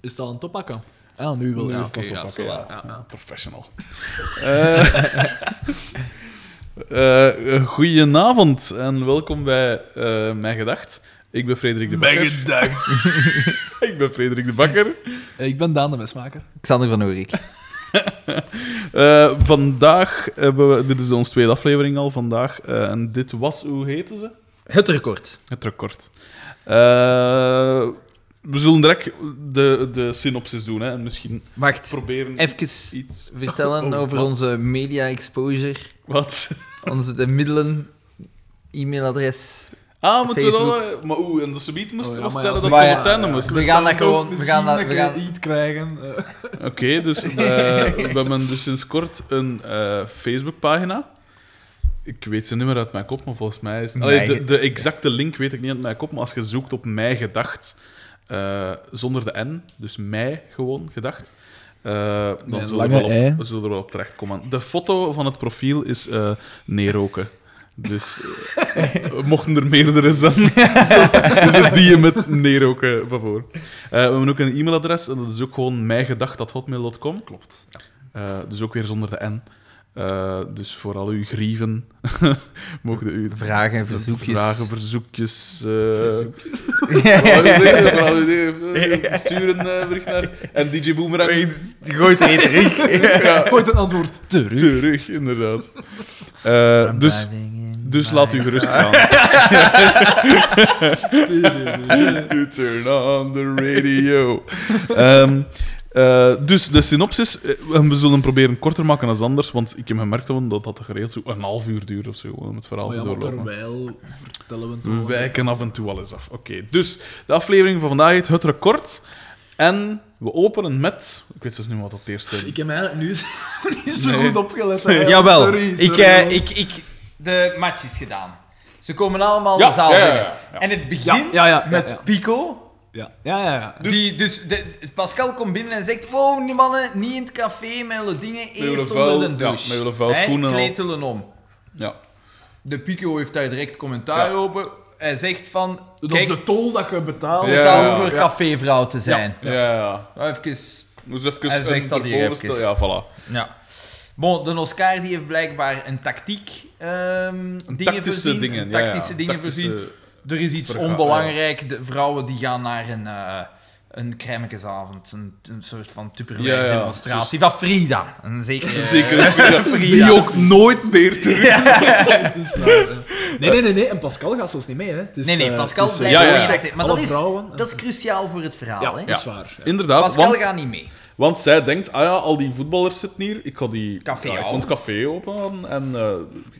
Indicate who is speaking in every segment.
Speaker 1: het aan het oppakken. Ah, nu wil je
Speaker 2: Nu
Speaker 1: het
Speaker 2: is het aan het
Speaker 1: oppakken,
Speaker 2: oppakken,
Speaker 1: ja.
Speaker 2: ja.
Speaker 1: Ja, ja.
Speaker 2: Professional. Eh, eh, goedenavond en welkom bij eh Mijn Gedacht. Ik ben Frederik de Bakker. Ik ben Frederik de Bakker.
Speaker 1: Eh, Ik ben Daan de Mesmaker.
Speaker 3: Xander van Oerik.
Speaker 2: Eh, vandaag hebben we... Dit is onze tweede aflevering al vandaag. eh, en dit was... Hoe heette ze?
Speaker 3: Het record.
Speaker 2: Het record. Eh, we zullen direct de, de synopsis doen hè, en misschien
Speaker 3: Wacht,
Speaker 2: proberen
Speaker 3: even
Speaker 2: iets...
Speaker 3: vertellen
Speaker 2: Oh,
Speaker 3: over
Speaker 2: wat?
Speaker 3: onze media exposure,
Speaker 2: Wat?
Speaker 3: onze de middelen, e-mailadres.
Speaker 2: Ah, moeten we
Speaker 3: Facebook.
Speaker 2: dan... eh, Maar oeh, en dat ze niet moesten
Speaker 1: Oh ja, maar ja,
Speaker 2: vaststellen dat
Speaker 3: maar
Speaker 2: we
Speaker 3: ja,
Speaker 2: het einde
Speaker 1: ja.
Speaker 2: moesten.
Speaker 3: We gaan dat gewoon... We gaan dat, we gaan,
Speaker 1: iets krijgen.
Speaker 2: Oké, dus eh, we hebben dus sinds kort een eh, Facebookpagina. Ik weet ze niet meer uit mijn kop, maar volgens mij is... Allee,
Speaker 3: Mijn
Speaker 2: de,
Speaker 3: ge-
Speaker 2: de exacte link weet ik niet uit mijn kop, maar als je zoekt op mij gedacht, eh, zonder de N, dus mij gewoon gedacht, eh,
Speaker 1: Met
Speaker 2: dan
Speaker 1: een lange
Speaker 2: zullen we, wel op,
Speaker 1: ei.
Speaker 2: we zullen er wel op terechtkomen. De foto van het profiel is eh neerroken. Dus eh, mochten er meerdere zijn, is er Dus die je met neerroken van voor. Eh, we hebben ook een e-mailadres en dat is ook gewoon mijgedacht.hotmail.com. Klopt. dus ook weer zonder de N. Eh, dus voor al uw grieven mogen u
Speaker 3: vragen en verzoekjes.
Speaker 2: vragen, Oh, verzoekjes. eh, wat wil je? Voor al uw dingen, eh, Sturen eh, bericht naar. En DJ Boomerang.
Speaker 3: Gooit er in, Rick.
Speaker 2: Ja,
Speaker 1: Ooit een antwoord terug.
Speaker 2: terug, inderdaad. Eh, dus dus laat u gerust gaan. You turn on the radio. Ehm, eh, dus de synopsis, eh, we zullen proberen korter maken dan anders, want ik heb gemerkt gewoon dat dat geregeld zo een half uur duurt of zo, om het verhaal
Speaker 1: Oh ja,
Speaker 2: te
Speaker 1: maar
Speaker 2: doorlopen.
Speaker 1: terwijl vertellen we het
Speaker 2: We
Speaker 1: gewoon.
Speaker 2: wijken af en toe alles af. Oké, dus de aflevering van vandaag heet Het Record. En we openen met... Ik weet zelfs niet wat dat eerste...
Speaker 1: Ik heb eigenlijk nu niet zo
Speaker 2: Nee.
Speaker 1: goed opgelet. hè.
Speaker 3: Jawel,
Speaker 1: Sorry,
Speaker 3: ik,
Speaker 1: sorry,
Speaker 3: eh,
Speaker 1: man.
Speaker 3: ik, ik, de match is gedaan. Ze komen allemaal
Speaker 2: Ja,
Speaker 3: de zaal
Speaker 2: ja, ja,
Speaker 3: binnen.
Speaker 2: ja.
Speaker 3: En het begint
Speaker 1: Ja, ja, ja, ja,
Speaker 3: met
Speaker 1: ja.
Speaker 3: Pico.
Speaker 1: Ja, ja, ja. ja.
Speaker 3: Die, dus de, Pascal komt binnen en zegt: Wow, die mannen, niet in het café met hun dingen.
Speaker 2: hun
Speaker 3: Eerst
Speaker 2: vuil-
Speaker 3: onder de douche.
Speaker 2: ja, met hun vuil
Speaker 3: Hè,
Speaker 2: schoenen al.
Speaker 3: Kleed hun om.
Speaker 2: Ja.
Speaker 3: De Pico heeft daar direct commentaar
Speaker 2: Ja.
Speaker 3: over. Hij zegt: van,
Speaker 1: Dat
Speaker 3: Kijk,
Speaker 1: is de tol dat je betaalt.
Speaker 3: we
Speaker 2: Ja,
Speaker 3: staan
Speaker 2: ja,
Speaker 3: voor
Speaker 1: ja.
Speaker 3: cafévrouw te zijn.
Speaker 2: Ja, ja.
Speaker 3: Even.
Speaker 2: Dus even
Speaker 3: Hij zegt
Speaker 2: een
Speaker 3: dat hier
Speaker 2: bovenste-
Speaker 3: even.
Speaker 2: Ja, voilà.
Speaker 3: Ja. Bon, de Oscar die heeft blijkbaar een tactiek. ehm
Speaker 2: Een
Speaker 3: dingen
Speaker 2: tactische
Speaker 3: voorzien,
Speaker 2: dingen.
Speaker 3: een
Speaker 2: ja, ja.
Speaker 3: tactische dingen
Speaker 2: Tactische-
Speaker 3: voorzien. Er is iets
Speaker 2: Verga-
Speaker 3: onbelangrijk. De vrouwen die gaan naar een, eh een crèmekesavond. Een, een soort van
Speaker 2: Ja, ja.
Speaker 3: Tupperware-demonstratie. Van Frida. Een zekere...
Speaker 2: Zeker. Die ook nooit meer terug.
Speaker 1: Het is waar, hè. Nee, nee, nee, nee. En Pascal gaat zelfs niet mee, hè. Het is,
Speaker 3: Nee, nee,
Speaker 1: eh,
Speaker 3: Pascal
Speaker 1: het is, eh,
Speaker 3: blijft
Speaker 2: ja, ja.
Speaker 3: niet echt. Maar
Speaker 1: Alle
Speaker 3: dat is,
Speaker 1: vrouwen.
Speaker 3: dat is cruciaal voor het verhaal.
Speaker 1: Ja,
Speaker 3: hè?
Speaker 1: dat is waar. ja.
Speaker 2: Inderdaad,
Speaker 3: Pascal
Speaker 2: want,
Speaker 3: gaat niet mee.
Speaker 2: want zij denkt, ah ja, al die voetballers zitten hier, ik ga die
Speaker 3: Café
Speaker 2: ja, ik
Speaker 3: houden.
Speaker 2: kon het café openen en eh,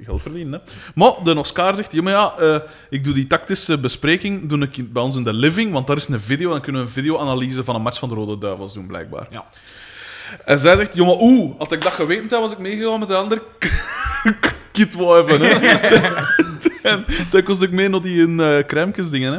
Speaker 2: geld verdienen. Hè. Maar de Oscar zegt, ja, maar ja, eh, ik doe die tactische bespreking doe ik in- bij ons in de living, want daar is een video en dan kunnen we een videoanalyse van een match van de Rode Duivels doen, blijkbaar.
Speaker 1: Ja.
Speaker 2: En zij zegt, jongen, oeh, had ik dat geweten, dan was ik meegegaan met de andere kit wel even, hè. en dat kost ook mee naar die in eh crèmekes dingen, hè.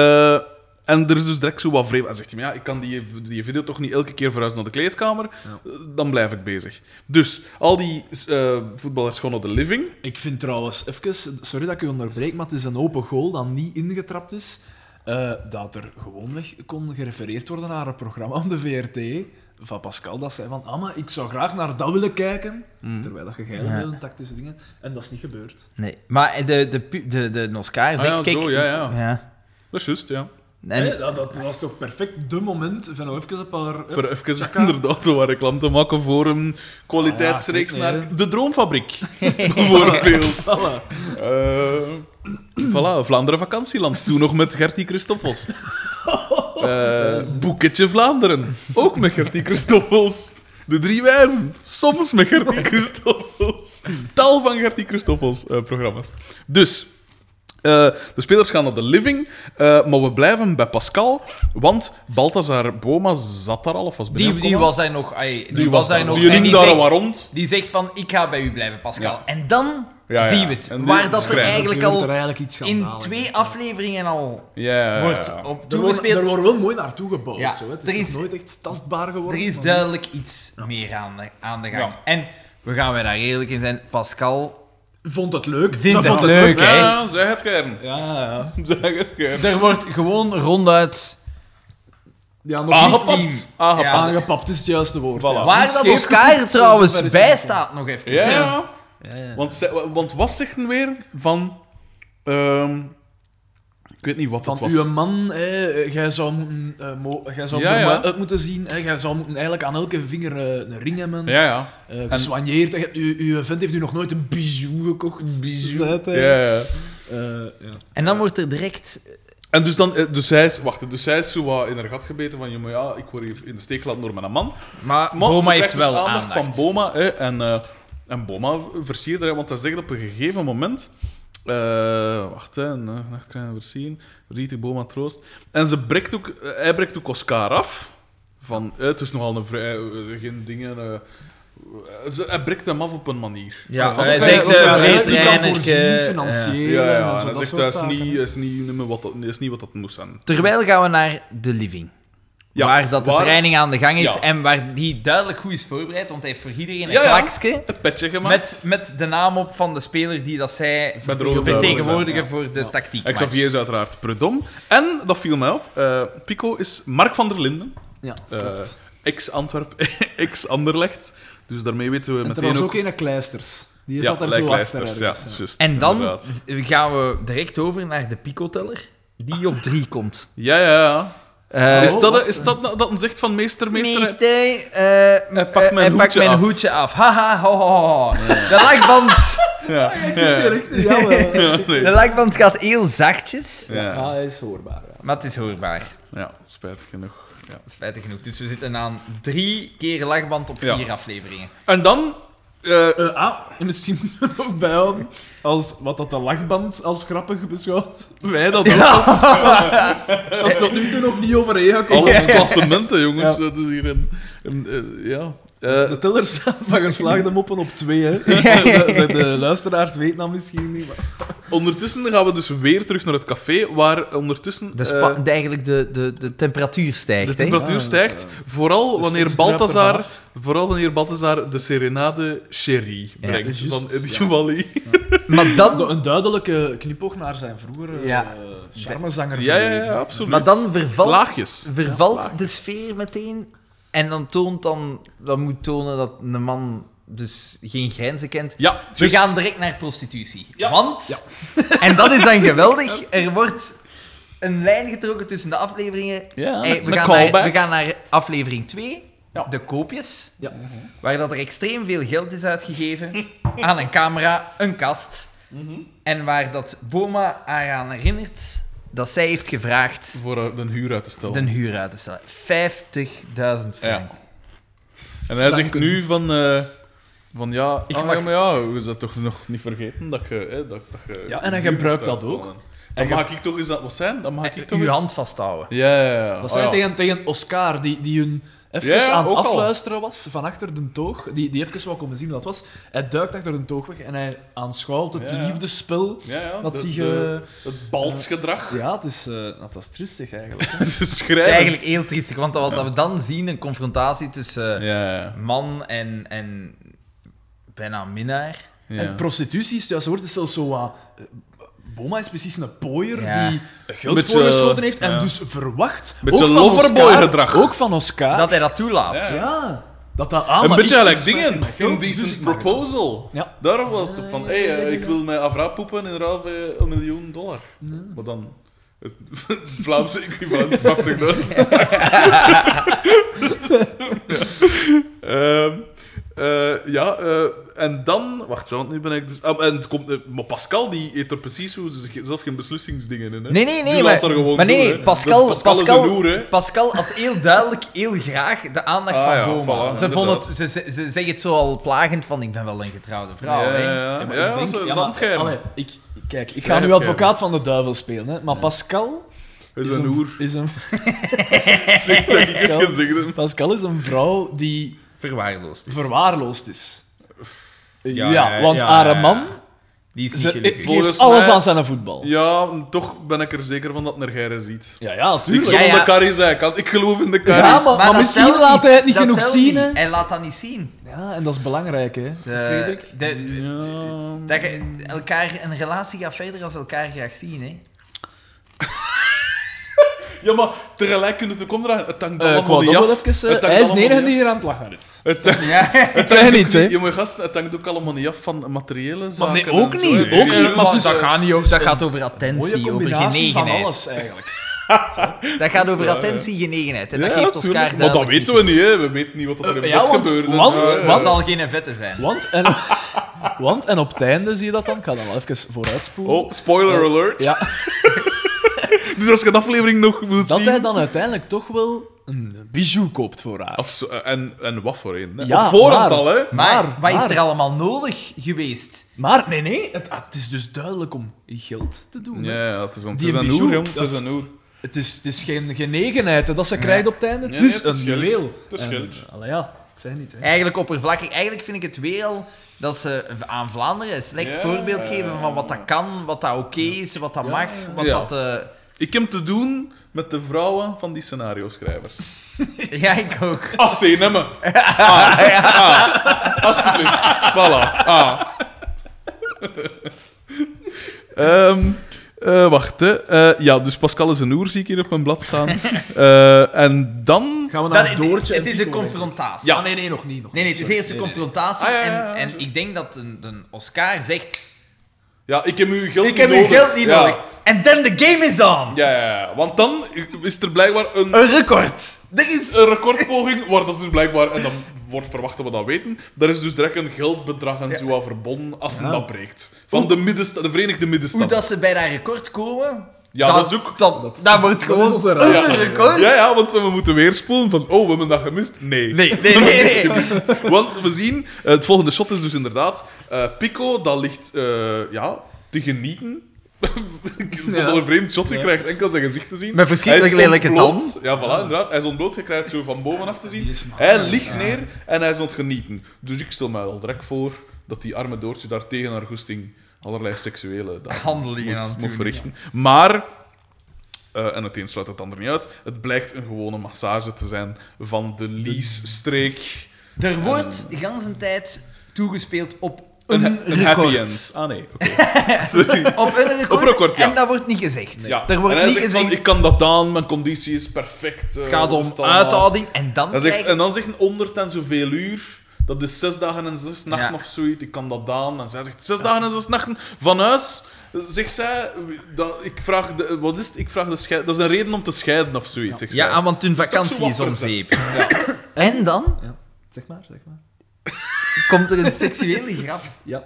Speaker 2: Eh, en er is dus direct zo wat vreemd. Hij zegt, maar ja, ik kan die, die video toch niet elke keer verhuizen naar de kleedkamer. Eh, Dan blijf ik bezig. Dus, al die eh, voetballers gewoon naar de living.
Speaker 1: Ik vind trouwens, even, sorry dat ik u onderbreek, maar het is een open goal dat niet ingetrapt is. eh, dat er gewoonweg kon gerefereerd worden naar een programma op de VRT van Pascal. Dat zei van, ah, maar ik zou graag naar dat willen kijken. Terwijl dat je geil
Speaker 3: Hm? Ja.
Speaker 1: heel tactische dingen. En dat is niet gebeurd.
Speaker 3: Nee. Maar de, de, pu- de, de Oscar zegt...
Speaker 2: Ah ja,
Speaker 3: kijk,
Speaker 2: zo, ja, ja.
Speaker 3: ja.
Speaker 2: Dat is juist, ja.
Speaker 3: En,
Speaker 1: Hè, dat, dat was toch perfect de moment van nou even een paar...
Speaker 2: Voor even inderdaad zo wat reclame te maken voor een kwaliteitsreeks
Speaker 1: Ah ja, goed, nee,
Speaker 2: naar de Droomfabriek, bijvoorbeeld.
Speaker 1: Voilà.
Speaker 2: Eh voilà, Vlaanderen vakantieland. Toen nog met Gertie Christoffels. Eh Boeketje Vlaanderen. Ook met Gertie Christoffels. De Drie Wijzen. Soms met Gertie Christoffels. Tal van Gertie Christoffels eh, programma's. Dus, eh, de spelers gaan naar de living. eh, maar we blijven bij Pascal. Want Balthazar Boma zat daar al. Of was
Speaker 3: die, die
Speaker 2: binnengekomen.
Speaker 3: was hij nog... ai, die, was hij
Speaker 2: daar.
Speaker 3: nog...
Speaker 2: Die
Speaker 3: en
Speaker 2: hing
Speaker 3: die
Speaker 2: daar
Speaker 3: zegt-
Speaker 2: al wat rond.
Speaker 3: Die zegt van, ik ga bij u blijven, Pascal.
Speaker 2: Ja.
Speaker 3: En dan
Speaker 2: Ja, ja.
Speaker 3: zien we het.
Speaker 2: En die
Speaker 3: waar dat er
Speaker 2: schrijven.
Speaker 3: eigenlijk
Speaker 1: Er wordt
Speaker 3: al
Speaker 1: er eigenlijk iets
Speaker 3: in
Speaker 1: schandaligs.
Speaker 3: twee afleveringen al
Speaker 2: Ja, ja, ja,
Speaker 3: wordt
Speaker 2: ja.
Speaker 3: Oh, op
Speaker 1: Er wordt, er
Speaker 3: toegespeeld.
Speaker 1: wordt wel mooi naartoe gebouwd.
Speaker 3: Ja,
Speaker 1: zo, hè. Het is,
Speaker 3: er is-
Speaker 1: nog nooit echt tastbaar
Speaker 3: Er
Speaker 1: geworden.
Speaker 3: is
Speaker 1: maar-
Speaker 3: duidelijk iets meer aan de, aan de gang. En we gaan weer daar eerlijk in zijn. Pascal...
Speaker 1: Vond het leuk.
Speaker 3: Vindt
Speaker 1: Dat
Speaker 3: het
Speaker 1: vond
Speaker 3: leuk, hè?
Speaker 2: Ja, ja, zeg het, Kern.
Speaker 1: Ja, ja.
Speaker 2: Zeg het, Kern.
Speaker 3: Er wordt gewoon ronduit
Speaker 1: Ja, nog niet.
Speaker 2: Aangepapt.
Speaker 1: Ja,
Speaker 2: Aangepapt.
Speaker 1: Aangepapt is het juiste woord.
Speaker 2: Voilà.
Speaker 1: ja.
Speaker 3: Ah, Waar dat
Speaker 1: Scheef
Speaker 3: Oscar
Speaker 1: gepoetst, zoals
Speaker 3: trouwens
Speaker 1: het
Speaker 3: bij
Speaker 1: is.
Speaker 3: staat, nog even.
Speaker 2: Ja, ja.
Speaker 3: Ja, ja.
Speaker 2: Want, ze- want wat zegt men weer van... ehm, ik weet niet wat
Speaker 1: Van
Speaker 2: dat was.
Speaker 1: uw man, hè, jij zou, moeten, eh, mo- jij zou
Speaker 2: Ja,
Speaker 1: er
Speaker 2: ja.
Speaker 1: maar uit moeten zien. Hè, jij zou moeten eigenlijk aan elke vinger eh, een ring hebben.
Speaker 2: Ja, ja.
Speaker 1: eh, gesoigneerd. Je hebt- Uw, uw vent heeft u nog nooit een bijou gekocht. Bijou.
Speaker 2: ja, ja.
Speaker 1: ja.
Speaker 3: En dan wordt er direct...
Speaker 2: En dus dan... eh, Dus zij is... Wacht, dus zij is zo wat in haar gat gebeten van... Ja, maar ja, ik word hier in de steek gelaten door mijn man.
Speaker 3: Maar
Speaker 2: Maar
Speaker 3: Boma
Speaker 2: ze
Speaker 3: heeft
Speaker 2: krijgt dus
Speaker 3: wel
Speaker 2: aandacht,
Speaker 3: aandacht.
Speaker 2: van Boma. Hè, en, eh, en Boma versierde, hè, want hij zegt op een gegeven moment... eh, wacht, hè, een eh, nachtkleine versieren. Riet ik Boma troost. En ze breekt ook, eh, hij breekt ook Oscar af. Van, eh, het is nogal een vrij... eh, geen dingen... eh, ze, hij breekt hem af op een manier.
Speaker 3: Ja,
Speaker 2: Van,
Speaker 3: hij
Speaker 2: ook,
Speaker 3: zegt,
Speaker 2: ook,
Speaker 3: eh,
Speaker 2: hij
Speaker 3: vrees
Speaker 2: zegt-
Speaker 1: Je kan
Speaker 3: trainer,
Speaker 1: voorzien,
Speaker 3: eh,
Speaker 1: financieren.
Speaker 2: Ja,
Speaker 1: en
Speaker 2: ja,
Speaker 1: zo,
Speaker 2: en hij
Speaker 1: dat
Speaker 2: zegt,
Speaker 1: soort
Speaker 2: dat is
Speaker 1: zaken,
Speaker 2: niet,
Speaker 1: hè.
Speaker 2: is, niet, nummer wat dat, is niet wat dat moest zijn.
Speaker 3: Terwijl gaan we naar de living.
Speaker 2: Ja,
Speaker 3: waar dat de
Speaker 2: waar-
Speaker 3: training aan de gang is
Speaker 2: Ja.
Speaker 3: en waar die duidelijk goed is voorbereid, want hij heeft voor iedereen een
Speaker 2: Ja, ja.
Speaker 3: klaksje
Speaker 2: Een petje gemaakt.
Speaker 3: met, met de naam op van de speler die dat zij
Speaker 2: Met de rode
Speaker 3: vertegenwoordigen
Speaker 2: duivels, ja.
Speaker 3: voor de tactiek.
Speaker 2: En Xavier is uiteraard Predom. En, dat viel mij op, eh, Pico is Mark van der Linden.
Speaker 1: Ja,
Speaker 2: Eh,
Speaker 1: klopt.
Speaker 2: Ex-Antwerp, ex-Anderlecht. Dus daarmee weten we
Speaker 1: En er
Speaker 2: meteen
Speaker 1: was
Speaker 2: ook...
Speaker 1: ook een Kleisters. Die
Speaker 2: ja,
Speaker 1: zat er zo achter.
Speaker 2: lijklijsters,
Speaker 1: ergens,
Speaker 2: ja,
Speaker 1: ja.
Speaker 2: juist,
Speaker 3: En dan
Speaker 2: inderdaad.
Speaker 3: gaan we direct over naar de picoteller, die op drie komt.
Speaker 2: Ja, ja, ja.
Speaker 3: Eh,
Speaker 2: is dat,
Speaker 1: wat?
Speaker 2: is dat nou- dat een zegt van meester, meester?
Speaker 3: Meester, eh,
Speaker 2: Hij pakt
Speaker 3: eh,
Speaker 2: mijn
Speaker 3: hij pakt
Speaker 2: hoedje
Speaker 3: mijn
Speaker 2: af.
Speaker 3: hoedje af. Haha, ho, ho, ho. De lakband,
Speaker 2: Ja, ja, ja.
Speaker 1: Ja, wel.
Speaker 2: Nee.
Speaker 3: de lakband gaat heel zachtjes,
Speaker 1: Ja,
Speaker 2: Ja,
Speaker 1: hij is hoorbaar. ja.
Speaker 3: maar het is hoorbaar.
Speaker 2: ja, spijtig genoeg. Ja.
Speaker 3: Spijtig genoeg. Dus we zitten aan drie keer lakband op
Speaker 2: Ja.
Speaker 3: vier afleveringen.
Speaker 2: En dan... eh,
Speaker 1: Eh, ah, en misschien moeten we er ook bijhouden, als, wat dat de lachband als grappig beschouwt, wij dat ook. Als tot nu toe nog niet overeen gekomen.
Speaker 2: Alle klassementen, jongens.
Speaker 1: Ja.
Speaker 2: Het is hier een... een- eh, ja. Eh,
Speaker 1: De tellers staan van geslaagde moppen op twee. Hè. De, de, de luisteraars weten dat misschien niet. Maar...
Speaker 2: ondertussen gaan we dus weer terug naar het café, waar ondertussen...
Speaker 3: De
Speaker 2: eh,
Speaker 3: spa- de- eigenlijk de, de, de temperatuur stijgt.
Speaker 2: De
Speaker 3: hè?
Speaker 2: temperatuur
Speaker 1: Ah,
Speaker 2: stijgt, vooral
Speaker 1: Dus
Speaker 2: Oh, wanneer,
Speaker 1: het druipt ervan
Speaker 2: Balthazar,
Speaker 1: af.
Speaker 2: vooral wanneer Balthazar de serenade Chérie
Speaker 3: Ja,
Speaker 2: brengt
Speaker 1: juist,
Speaker 2: van Eddie
Speaker 1: ja.
Speaker 2: Wally.
Speaker 3: Maar dan,
Speaker 1: Een duidelijke knipoog naar zijn vroegere
Speaker 3: Ja.
Speaker 1: ja. charmezanger.
Speaker 2: Ja, ja, ja, absoluut.
Speaker 3: maar dan vervalt,
Speaker 2: Laagjes.
Speaker 3: vervalt
Speaker 2: Ja, laag.
Speaker 3: de sfeer meteen. En dan toont dan, dan moet tonen dat een man dus geen grenzen kent.
Speaker 2: Ja,
Speaker 3: We
Speaker 2: juist.
Speaker 3: gaan direct naar prostitutie.
Speaker 2: Ja.
Speaker 3: Want, en dat is dan geweldig, er wordt een lijn getrokken tussen de afleveringen.
Speaker 2: Ja,
Speaker 3: Hey, we,
Speaker 2: een
Speaker 3: gaan
Speaker 2: callback.
Speaker 3: naar, we gaan naar aflevering 2,
Speaker 2: Ja.
Speaker 3: de koopjes.
Speaker 1: Ja.
Speaker 3: Waar dat er extreem veel geld is uitgegeven aan een camera, een kast.
Speaker 2: Mhm.
Speaker 3: En waar dat Boma haar aan herinnert dat zij heeft gevraagd
Speaker 2: Voor eh, de huur uit te stellen.
Speaker 3: de huur uit te stellen. 50.000 frank.
Speaker 2: En hij zegt nu van... eh, van ja,
Speaker 3: Ik
Speaker 2: ah,
Speaker 3: mag-
Speaker 2: ja, maar ja, je bent toch nog niet vergeten dat je... Hè, dat, dat je
Speaker 1: Ja, en hij
Speaker 2: de huur
Speaker 1: gebruikt
Speaker 2: moet
Speaker 1: dat ook.
Speaker 2: uitstellen. Dan
Speaker 1: Hij
Speaker 2: mag ik toch eens... dat- Wat zijn? Dan mag ik toch
Speaker 3: Eh, Uw
Speaker 2: eens...
Speaker 3: hand vasthouden.
Speaker 2: Ja, ja, ja.
Speaker 1: Dat
Speaker 2: Ah,
Speaker 1: zei
Speaker 2: ja.
Speaker 1: tegen, tegen Oscar, die, die hun even
Speaker 2: Ja, ja,
Speaker 1: aan het
Speaker 2: ook al.
Speaker 1: afluisteren was van achter de toog. Die, die even wou komen zien wat dat was. Hij duikt achter de toog weg en hij aanschouwt het
Speaker 2: Ja, ja.
Speaker 1: liefdespel.
Speaker 2: Ja, ja,
Speaker 1: Dat
Speaker 2: de-
Speaker 1: zie
Speaker 2: de-
Speaker 1: je...
Speaker 2: Het baltsgedrag.
Speaker 1: Ja, het is, eh, dat was tristig eigenlijk.
Speaker 2: Het is
Speaker 3: Dat is
Speaker 2: schrijnend.
Speaker 3: eigenlijk heel triestig, want wat we dan zien, een confrontatie tussen
Speaker 2: Ja, ja.
Speaker 3: man en, en bijna minnaar.
Speaker 2: ja.
Speaker 1: En prostitutie is het juiste woord. Het is zelfs zo wat... eh, Boma is precies een pooier
Speaker 3: Ja.
Speaker 1: die geld
Speaker 2: Beetje,
Speaker 1: voorgeschoten heeft en
Speaker 2: ja.
Speaker 1: dus verwacht...
Speaker 2: Beetje
Speaker 1: ook van
Speaker 2: loverboy
Speaker 1: Oscar-
Speaker 2: gedrag.
Speaker 1: Ook van Oscar.
Speaker 3: Dat hij dat toelaat.
Speaker 2: Ah. Ja.
Speaker 1: Ja. Dat dat aan,
Speaker 2: een
Speaker 1: maar
Speaker 2: beetje
Speaker 1: ik-
Speaker 2: gelijk dingen.
Speaker 1: met geld,
Speaker 2: Indecent
Speaker 1: dus ik mag het.
Speaker 2: proposal.
Speaker 1: Ja.
Speaker 2: Daarom was het ook van, hé, hey, eh, ik wil mij afra poepen in ruil voor eh, een miljoen dollar. Maar dan het Vlaamse equivalent dus. 50.000. Ehm, eh, ja, eh, en dan... Wacht, zo, want nu ben ik dus... ah, en het komt, eh, maar Pascal die eet er precies zo zelf geen beslissingsdingen in. Hè.
Speaker 3: Nee, nee, nee.
Speaker 2: Die
Speaker 3: maar,
Speaker 2: laat er gewoon
Speaker 3: maar nee,
Speaker 2: door,
Speaker 3: nee,
Speaker 2: hè.
Speaker 3: Pascal,
Speaker 2: Dus
Speaker 3: Pascal,
Speaker 2: is een loer, hè.
Speaker 3: Pascal had heel duidelijk, heel graag de aandacht
Speaker 2: Ah,
Speaker 3: van
Speaker 2: ja,
Speaker 3: Boma.
Speaker 2: voilà,
Speaker 3: ze, vond
Speaker 2: inderdaad.
Speaker 3: het, ze, ze, ze zeggen het zo al plagend van, ik ben wel een getrouwde vrouw.
Speaker 2: Ja,
Speaker 3: hè.
Speaker 2: ja, ja.
Speaker 1: maar
Speaker 2: Ja,
Speaker 1: ik denk-
Speaker 2: zo,
Speaker 1: ja, maar-
Speaker 2: zandgeil.
Speaker 1: allee, ik, kijk, ik ga
Speaker 2: Zandgeil.
Speaker 1: nu advocaat van de duivel spelen, hè, maar Pascal
Speaker 2: Hij is een hoer.
Speaker 1: Is een,
Speaker 2: Zeg dat ik het gezegd heb.
Speaker 1: Pascal is een vrouw die
Speaker 3: Verwaarloosd is.
Speaker 1: verwaarloosd is. Ja,
Speaker 3: Ja, ja,
Speaker 1: want
Speaker 3: ja,
Speaker 1: haar
Speaker 3: ja.
Speaker 1: man
Speaker 3: Die is niet
Speaker 1: ze,
Speaker 3: gelukkig.
Speaker 2: ik- Volgens
Speaker 1: geeft alles
Speaker 2: mij-
Speaker 1: aan zijn voetbal. Ja,
Speaker 2: Ja, toch ben ik er zeker van dat Nergeire ziet.
Speaker 1: ja,
Speaker 2: Ik
Speaker 1: tuurlijk.
Speaker 2: zal
Speaker 3: Ja, ja.
Speaker 2: de karrie zijn kant. Ik geloof in de
Speaker 1: Ja,
Speaker 2: karrie.
Speaker 1: maar, maar
Speaker 3: dat
Speaker 1: misschien
Speaker 3: telt
Speaker 1: laat hij het niet
Speaker 3: dat
Speaker 1: genoeg
Speaker 3: telt
Speaker 1: zien.
Speaker 3: niet.
Speaker 1: Hè.
Speaker 3: Hij laat dat niet zien.
Speaker 1: Ja, en dat is belangrijk, hè.
Speaker 3: De,
Speaker 1: Frederik?
Speaker 3: de-
Speaker 2: Ja.
Speaker 3: dat je elkaar, een relatie gaat verder als elkaar graag zien. Hè.
Speaker 2: Ja, maar tegelijk kunnen ze ook omdraaien. Het hangt
Speaker 1: Eh,
Speaker 2: dan
Speaker 1: ik wou
Speaker 2: allemaal
Speaker 1: dat
Speaker 2: niet
Speaker 1: wel
Speaker 2: af.
Speaker 1: even,
Speaker 2: Het
Speaker 1: eh,
Speaker 2: hangt
Speaker 1: hij is de
Speaker 2: allemaal
Speaker 1: enige
Speaker 2: niet
Speaker 1: die hier aan het lachen is.
Speaker 2: Het hangt-
Speaker 3: Ja.
Speaker 1: Ik zeg niets, hè.
Speaker 2: Je moet gasten, het hangt ook allemaal niet af van materiële
Speaker 1: Maar
Speaker 2: zaken.
Speaker 1: nee, ook
Speaker 2: en zo,
Speaker 1: niet,
Speaker 2: hè.
Speaker 1: ook niet, maar
Speaker 3: maar
Speaker 1: het is-
Speaker 3: dat gaat niet
Speaker 1: het
Speaker 3: over.
Speaker 1: is
Speaker 3: Dat
Speaker 1: een
Speaker 3: gaat over
Speaker 1: Mooie
Speaker 3: attentie, over
Speaker 1: combinatie van
Speaker 3: genegenheid.
Speaker 1: alles, eigenlijk.
Speaker 3: Dat gaat over
Speaker 2: Ja, ja.
Speaker 3: attentie, genegenheid. En dat
Speaker 2: Ja,
Speaker 3: geeft
Speaker 2: tuurlijk.
Speaker 3: Oscar
Speaker 2: Maar dat
Speaker 3: duidelijk
Speaker 2: weten we niet, hè. We weten niet wat er in
Speaker 1: Eh, ja,
Speaker 2: bed
Speaker 1: want-
Speaker 2: gebeurt. en
Speaker 1: want-
Speaker 2: zo, hè.
Speaker 3: Dat
Speaker 1: want-
Speaker 3: zal geen vette zijn.
Speaker 1: Want en, want, en op het einde zie je dat dan. Ik ga dat wel even vooruitspoelen.
Speaker 2: Oh, spoiler alert.
Speaker 1: Ja,
Speaker 2: Dus als je de aflevering nog wilt
Speaker 1: dat
Speaker 2: zien...
Speaker 1: hij dan uiteindelijk toch wel een bijou koopt voor haar.
Speaker 2: Abso- eh, en, en wat voor een, hè.
Speaker 1: Ja,
Speaker 2: Op voorhand
Speaker 1: maar-
Speaker 2: al, hè.
Speaker 3: Maar,
Speaker 1: Maar-
Speaker 3: wat
Speaker 1: maar-
Speaker 3: is er allemaal nodig geweest?
Speaker 1: Maar nee, nee, het, ah, het is dus duidelijk om geld te doen. hè.
Speaker 2: Ja, ja, het is een, het
Speaker 1: Die
Speaker 2: is een
Speaker 1: bijou,
Speaker 2: oer, jong. Het
Speaker 1: dat
Speaker 2: is
Speaker 1: is-
Speaker 2: een oer.
Speaker 1: Het, is, het is geen genegenheid hè, dat ze krijgt op het einde.
Speaker 2: Nee,
Speaker 1: het is
Speaker 2: nee, het is
Speaker 1: een
Speaker 2: geld.
Speaker 1: juweel.
Speaker 2: Het is
Speaker 1: En,
Speaker 2: geld.
Speaker 1: allee, ja, ik zei niet. Hè.
Speaker 3: Eigenlijk oppervlakkig. Eigenlijk vind ik het weer al dat ze aan Vlaanderen een slecht
Speaker 2: Ja.
Speaker 3: voorbeeld geven van wat dat kan, wat dat oké is, wat dat mag, wat
Speaker 2: Ja.
Speaker 3: dat... eh,
Speaker 2: Ik heb te doen met de vrouwen van die scenario-schrijvers.
Speaker 3: ja, ik ook.
Speaker 2: Als ze in hebben. Ah, ah, alsjeblieft. Voilà. Ah. Ehm, eh, wacht, hè. Eh, ja, dus Pascal is een oer, zie ik hier op mijn blad staan. Eh, en dan...
Speaker 1: Gaan we
Speaker 3: Dat,
Speaker 1: naar
Speaker 3: het,
Speaker 1: Doortje en
Speaker 3: het is een
Speaker 1: Pico, denk ik.
Speaker 3: confrontatie.
Speaker 1: Ja, nee, nee, nog niet. Nog
Speaker 3: Nee, nee,
Speaker 1: niet,
Speaker 3: het is
Speaker 1: sorry.
Speaker 3: eerst een confrontatie.
Speaker 2: Ah, ja, ja, ja,
Speaker 3: en en
Speaker 2: juist.
Speaker 3: ik denk dat een, een Oscar zegt...
Speaker 2: Ja, ik heb uw geld
Speaker 3: Ik
Speaker 2: niet
Speaker 3: heb uw
Speaker 2: nodig.
Speaker 3: geld niet
Speaker 2: Ja.
Speaker 3: nodig. En then the game is
Speaker 2: Ja,
Speaker 3: on.
Speaker 2: ja, ja. Want dan is er blijkbaar een,
Speaker 3: Een record.
Speaker 2: Er is een recordpoging, waar dat dus blijkbaar, en dan wordt verwacht dat we dat weten, daar is dus direct een geldbedrag en zo aan verbonden als ze
Speaker 1: Ja.
Speaker 2: dat breekt. Van de, middensta- de Verenigde
Speaker 3: Hoe
Speaker 2: Middenstaten.
Speaker 3: dat ze bij dat record komen...
Speaker 2: Ja, dat is ook-
Speaker 3: Dat, dat, wordt
Speaker 1: dat
Speaker 3: gewoon
Speaker 1: is onze
Speaker 3: een
Speaker 1: raad.
Speaker 2: Ja.
Speaker 3: record.
Speaker 2: Ja, ja, want we moeten weer spoelen van, oh, we hebben dat gemist. Nee.
Speaker 3: Nee, nee, nee, nee.
Speaker 2: Alsjeblieft. Want we zien, eh, het volgende shot is dus inderdaad, eh, Pico, dat ligt eh, ja, te genieten. Ik vond
Speaker 1: Ja.
Speaker 2: dat een vreemd shot, je
Speaker 1: Ja.
Speaker 2: krijgt enkel zijn gezicht te zien.
Speaker 3: Met verschrikkelijk
Speaker 2: Hij is
Speaker 3: lelijke
Speaker 2: ontbloot. Ja, voilà, inderdaad. Hij is ontbloot, je krijgt zo van bovenaf te zien.
Speaker 1: Die is maar-
Speaker 2: Hij ligt neer en hij is ontgenieten. Dus ik stel mij al direct voor dat die arme Doortje daar tegen haar goesting allerlei seksuele daden
Speaker 3: Handelingen
Speaker 2: moet,
Speaker 3: aan het
Speaker 2: moet
Speaker 3: doen,
Speaker 2: verrichten. Maar eh, en het een sluit het ander niet uit. Het blijkt een gewone massage te zijn van de Lies-streek.
Speaker 3: Er wordt de ganse tijd toegespeeld op
Speaker 2: Een,
Speaker 3: een,
Speaker 2: een
Speaker 3: record.
Speaker 2: happy end. Ah nee, oké. Sorry.
Speaker 3: Op een record.
Speaker 2: Op record, ja.
Speaker 3: En dat wordt niet gezegd.
Speaker 2: Ja.
Speaker 3: Er
Speaker 2: en
Speaker 3: wordt
Speaker 2: hij
Speaker 3: niet
Speaker 2: zegt
Speaker 3: gezegd.
Speaker 2: van, ik kan dat aan, mijn conditie is perfect. eh,
Speaker 3: het gaat om uithouding. En dan
Speaker 2: Hij zegt,
Speaker 3: krijg je...
Speaker 2: en dan zegt een 100 en zoveel uur. Dat is zes dagen en zes nachten
Speaker 3: Ja.
Speaker 2: of zoiets. Ik kan dat aan. En zij zegt, zes dagen en zes nachten van huis. Zegt zij, dat, ik vraag de, wat is het? Ik vraag de scheid, dat is een reden om te scheiden of zoiets. zegt zij.
Speaker 3: Ja, want hun
Speaker 2: is toch zo
Speaker 3: vakantie
Speaker 2: wat
Speaker 3: is om
Speaker 2: verzet.
Speaker 3: zeep. En dan
Speaker 1: Ja. Zeg maar, zeg maar.
Speaker 3: komt er een seksuele grap.
Speaker 1: Ja.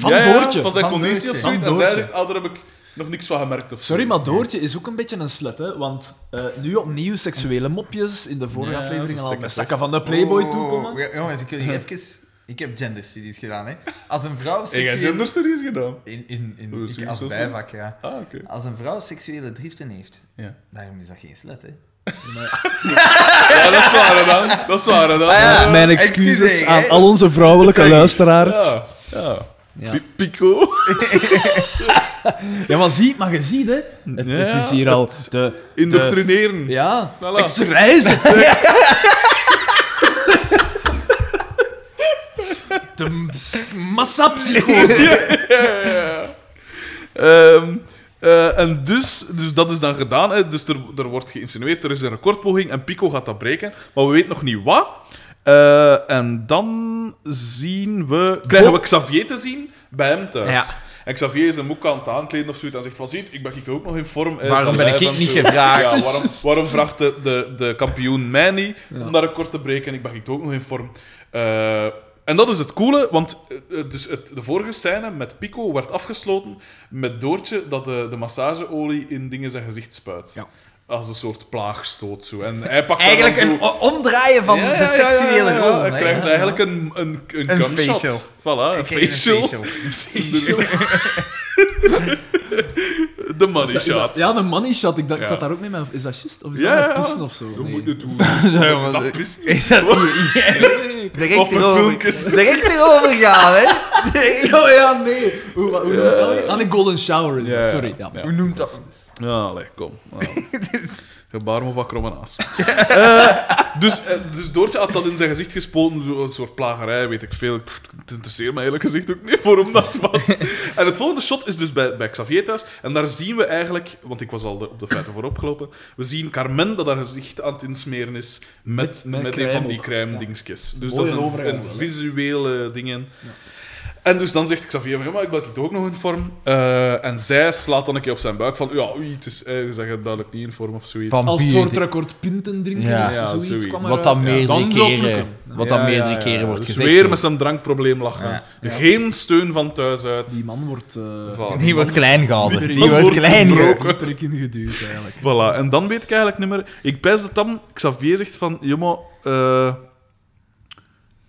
Speaker 2: Ja, ja,
Speaker 1: Doortje,
Speaker 2: Van zijn
Speaker 1: van
Speaker 2: conditie
Speaker 1: Doortje.
Speaker 2: of
Speaker 1: Van
Speaker 2: zoiets. En zij
Speaker 1: Doortje.
Speaker 2: zegt, oh, daar heb ik nog niks van gemerkt. Of
Speaker 1: Sorry, maar
Speaker 2: zoiets.
Speaker 1: Doortje is ook een beetje een slet, hè? Want eh, nu opnieuw seksuele mopjes in de vorige
Speaker 2: Ja,
Speaker 1: aflevering
Speaker 2: ze
Speaker 1: al
Speaker 2: stikken
Speaker 1: met
Speaker 2: zich.
Speaker 1: zakken van de Playboy
Speaker 3: Oh,
Speaker 1: toekomen.
Speaker 3: ja, Jongens, ik wil hier even... Ik heb genderstudies gedaan, hè. Als een vrouw
Speaker 2: Ik heb
Speaker 3: seksueel...
Speaker 2: genderstudies gedaan.
Speaker 3: In, in, in,
Speaker 2: Oh,
Speaker 3: ik-
Speaker 2: sorry,
Speaker 3: als
Speaker 2: sorry.
Speaker 3: bijvak, ja.
Speaker 2: Ah, oké.
Speaker 3: Als een vrouw seksuele driften heeft,
Speaker 2: Ja.
Speaker 3: daarom is dat geen slet, hè.
Speaker 2: ja, dat is waar dan. Dat is waar dan.
Speaker 3: ja.
Speaker 1: Mijn
Speaker 3: excuses
Speaker 1: excuses
Speaker 3: Excuseer, aan
Speaker 1: aan
Speaker 3: hè.
Speaker 1: al
Speaker 3: al
Speaker 1: onze vrouwelijke
Speaker 2: Zeg,
Speaker 1: luisteraars. Ja.
Speaker 2: Ja. ja.
Speaker 1: Ja.
Speaker 2: Pi- Pico.
Speaker 1: maar zie, maar je ziet, hè? Het,
Speaker 2: Ja,
Speaker 1: het is hier al de. de
Speaker 2: Indoctrineren.
Speaker 1: ja,
Speaker 2: Voilà.
Speaker 1: ik reis De s- massapsychose.
Speaker 2: Ehm, eh, en dus, dus dat is dan gedaan. Hè. Dus er, er wordt geïnsinueerd, er is een recordpoging en Pico gaat dat breken. Maar we weten nog niet wat. Eh, en dan zien we... Krijgen we Xavier te zien bij hem thuis.
Speaker 3: Ja.
Speaker 2: En Xavier is hem ook aan het aankleden of zoiets. En zegt van, ziet, ik ben hier ook nog in vorm. eh,
Speaker 3: Waarom
Speaker 2: sta
Speaker 3: ben
Speaker 2: bij
Speaker 3: ik
Speaker 2: hem
Speaker 3: niet
Speaker 2: zo."
Speaker 3: gevraagd? Dus-
Speaker 2: Ja, waarom, waarom vraagt de, de, de kampioen mij niet om dat record te breken? Ik ben hier ook nog in vorm. Eh, en dat is het coole, want eh, eh, dus het, de vorige scène met Pico werd afgesloten met Doortje dat de, de massageolie in dingen zijn gezicht spuit.
Speaker 1: Ja.
Speaker 2: Als een soort plaagstoot. Zo. En hij pakt dat
Speaker 3: Eigenlijk
Speaker 2: dan
Speaker 3: een
Speaker 2: zo...
Speaker 3: o- omdraaien van
Speaker 2: Ja, ja,
Speaker 3: de
Speaker 2: ja, ja,
Speaker 3: seksuele
Speaker 2: ja, ja.
Speaker 3: rol.
Speaker 2: Hij
Speaker 3: hè.
Speaker 2: krijgt
Speaker 3: Ja.
Speaker 2: eigenlijk een, een, een,
Speaker 3: Een
Speaker 2: gunshot.
Speaker 3: facial.
Speaker 2: Voilà, een
Speaker 3: Ik kreeg
Speaker 2: facial.
Speaker 3: een facial.
Speaker 2: de money shot.
Speaker 1: Ja, een money shot. Ik, dacht, ik
Speaker 2: Ja.
Speaker 1: zat daar ook mee. met- Is dat just? Of is
Speaker 2: Ja,
Speaker 1: dat
Speaker 2: ja.
Speaker 1: met pissen of zo?
Speaker 2: Hoe
Speaker 1: Nee.
Speaker 2: moet je het doen? Is dat pissen?
Speaker 3: Is dat niet?
Speaker 2: Of
Speaker 3: Direct
Speaker 2: een
Speaker 3: erover,
Speaker 2: filmpjes.
Speaker 3: direct erover gaan, hè? Direct-
Speaker 1: Oh ja, nee. Hoe, hoe noemt dat? weer? Ah, nee, Golden Shower is
Speaker 2: Ja,
Speaker 1: dat.
Speaker 2: ja.
Speaker 1: Sorry. Ja.
Speaker 2: Ja.
Speaker 3: Hoe noemt dat?
Speaker 2: Ja, allee, kom. Nou.
Speaker 3: Het is-
Speaker 2: Gebaar me van kromme naas. Eh, dus, eh, dus Doortje had dat in zijn gezicht gespoten, zo- een soort plagerij, weet ik veel. Pff, het interesseert me eerlijk gezegd ook niet waarom dat was. en het volgende shot is dus bij, bij Xavier thuis. En daar zien we eigenlijk, want ik was al de- op de feiten voorop gelopen, we zien Carmen dat haar gezicht aan het insmeren is met,
Speaker 1: Met- met
Speaker 2: met, een van
Speaker 1: crème
Speaker 2: die
Speaker 1: ook,
Speaker 2: crème
Speaker 1: ja.
Speaker 2: dingetjes. Dus
Speaker 1: Mooi
Speaker 2: dat is
Speaker 1: overgang
Speaker 2: een, een
Speaker 1: wel, hè.
Speaker 2: visuele dingen. En dus dan zegt Xavier van, ja, maar ik ben toch ook nog in vorm. Eh, en zij slaat dan een keer op zijn buik van, ja, oei, het is, eh, je zegt duidelijk niet in vorm of zoiets.
Speaker 4: Van
Speaker 1: Als het
Speaker 4: bier,
Speaker 1: voor het
Speaker 4: die-
Speaker 1: record pinten drinken
Speaker 4: Ja.
Speaker 1: is,
Speaker 2: Ja,
Speaker 1: zoiets,
Speaker 2: zoiets.
Speaker 1: kwam
Speaker 4: Wat
Speaker 1: eruit,
Speaker 4: dan
Speaker 1: ja.
Speaker 4: meerdere
Speaker 1: Dan zou het
Speaker 4: keren,
Speaker 1: lukken.
Speaker 4: wat
Speaker 2: Ja,
Speaker 4: dan
Speaker 2: ja,
Speaker 4: meerdere
Speaker 2: ja,
Speaker 4: keren
Speaker 2: ja.
Speaker 4: wordt
Speaker 2: Dus
Speaker 4: gezegd.
Speaker 2: weer
Speaker 4: nu.
Speaker 2: met zijn drankprobleem lachen.
Speaker 3: Ja.
Speaker 2: Geen steun van thuis uit.
Speaker 1: Die man wordt... eh
Speaker 2: Voilà.
Speaker 4: Die wordt klein gehouden.
Speaker 1: Die-
Speaker 4: Die,
Speaker 1: die
Speaker 4: wordt
Speaker 2: wordt
Speaker 4: klein
Speaker 2: gebroken.
Speaker 4: gehouden.
Speaker 1: die prik ingeduwd, eigenlijk.
Speaker 2: Voilà, en dan weet ik eigenlijk niet meer... Ik pijs dat dan Xavier zegt van... Jongen, eh,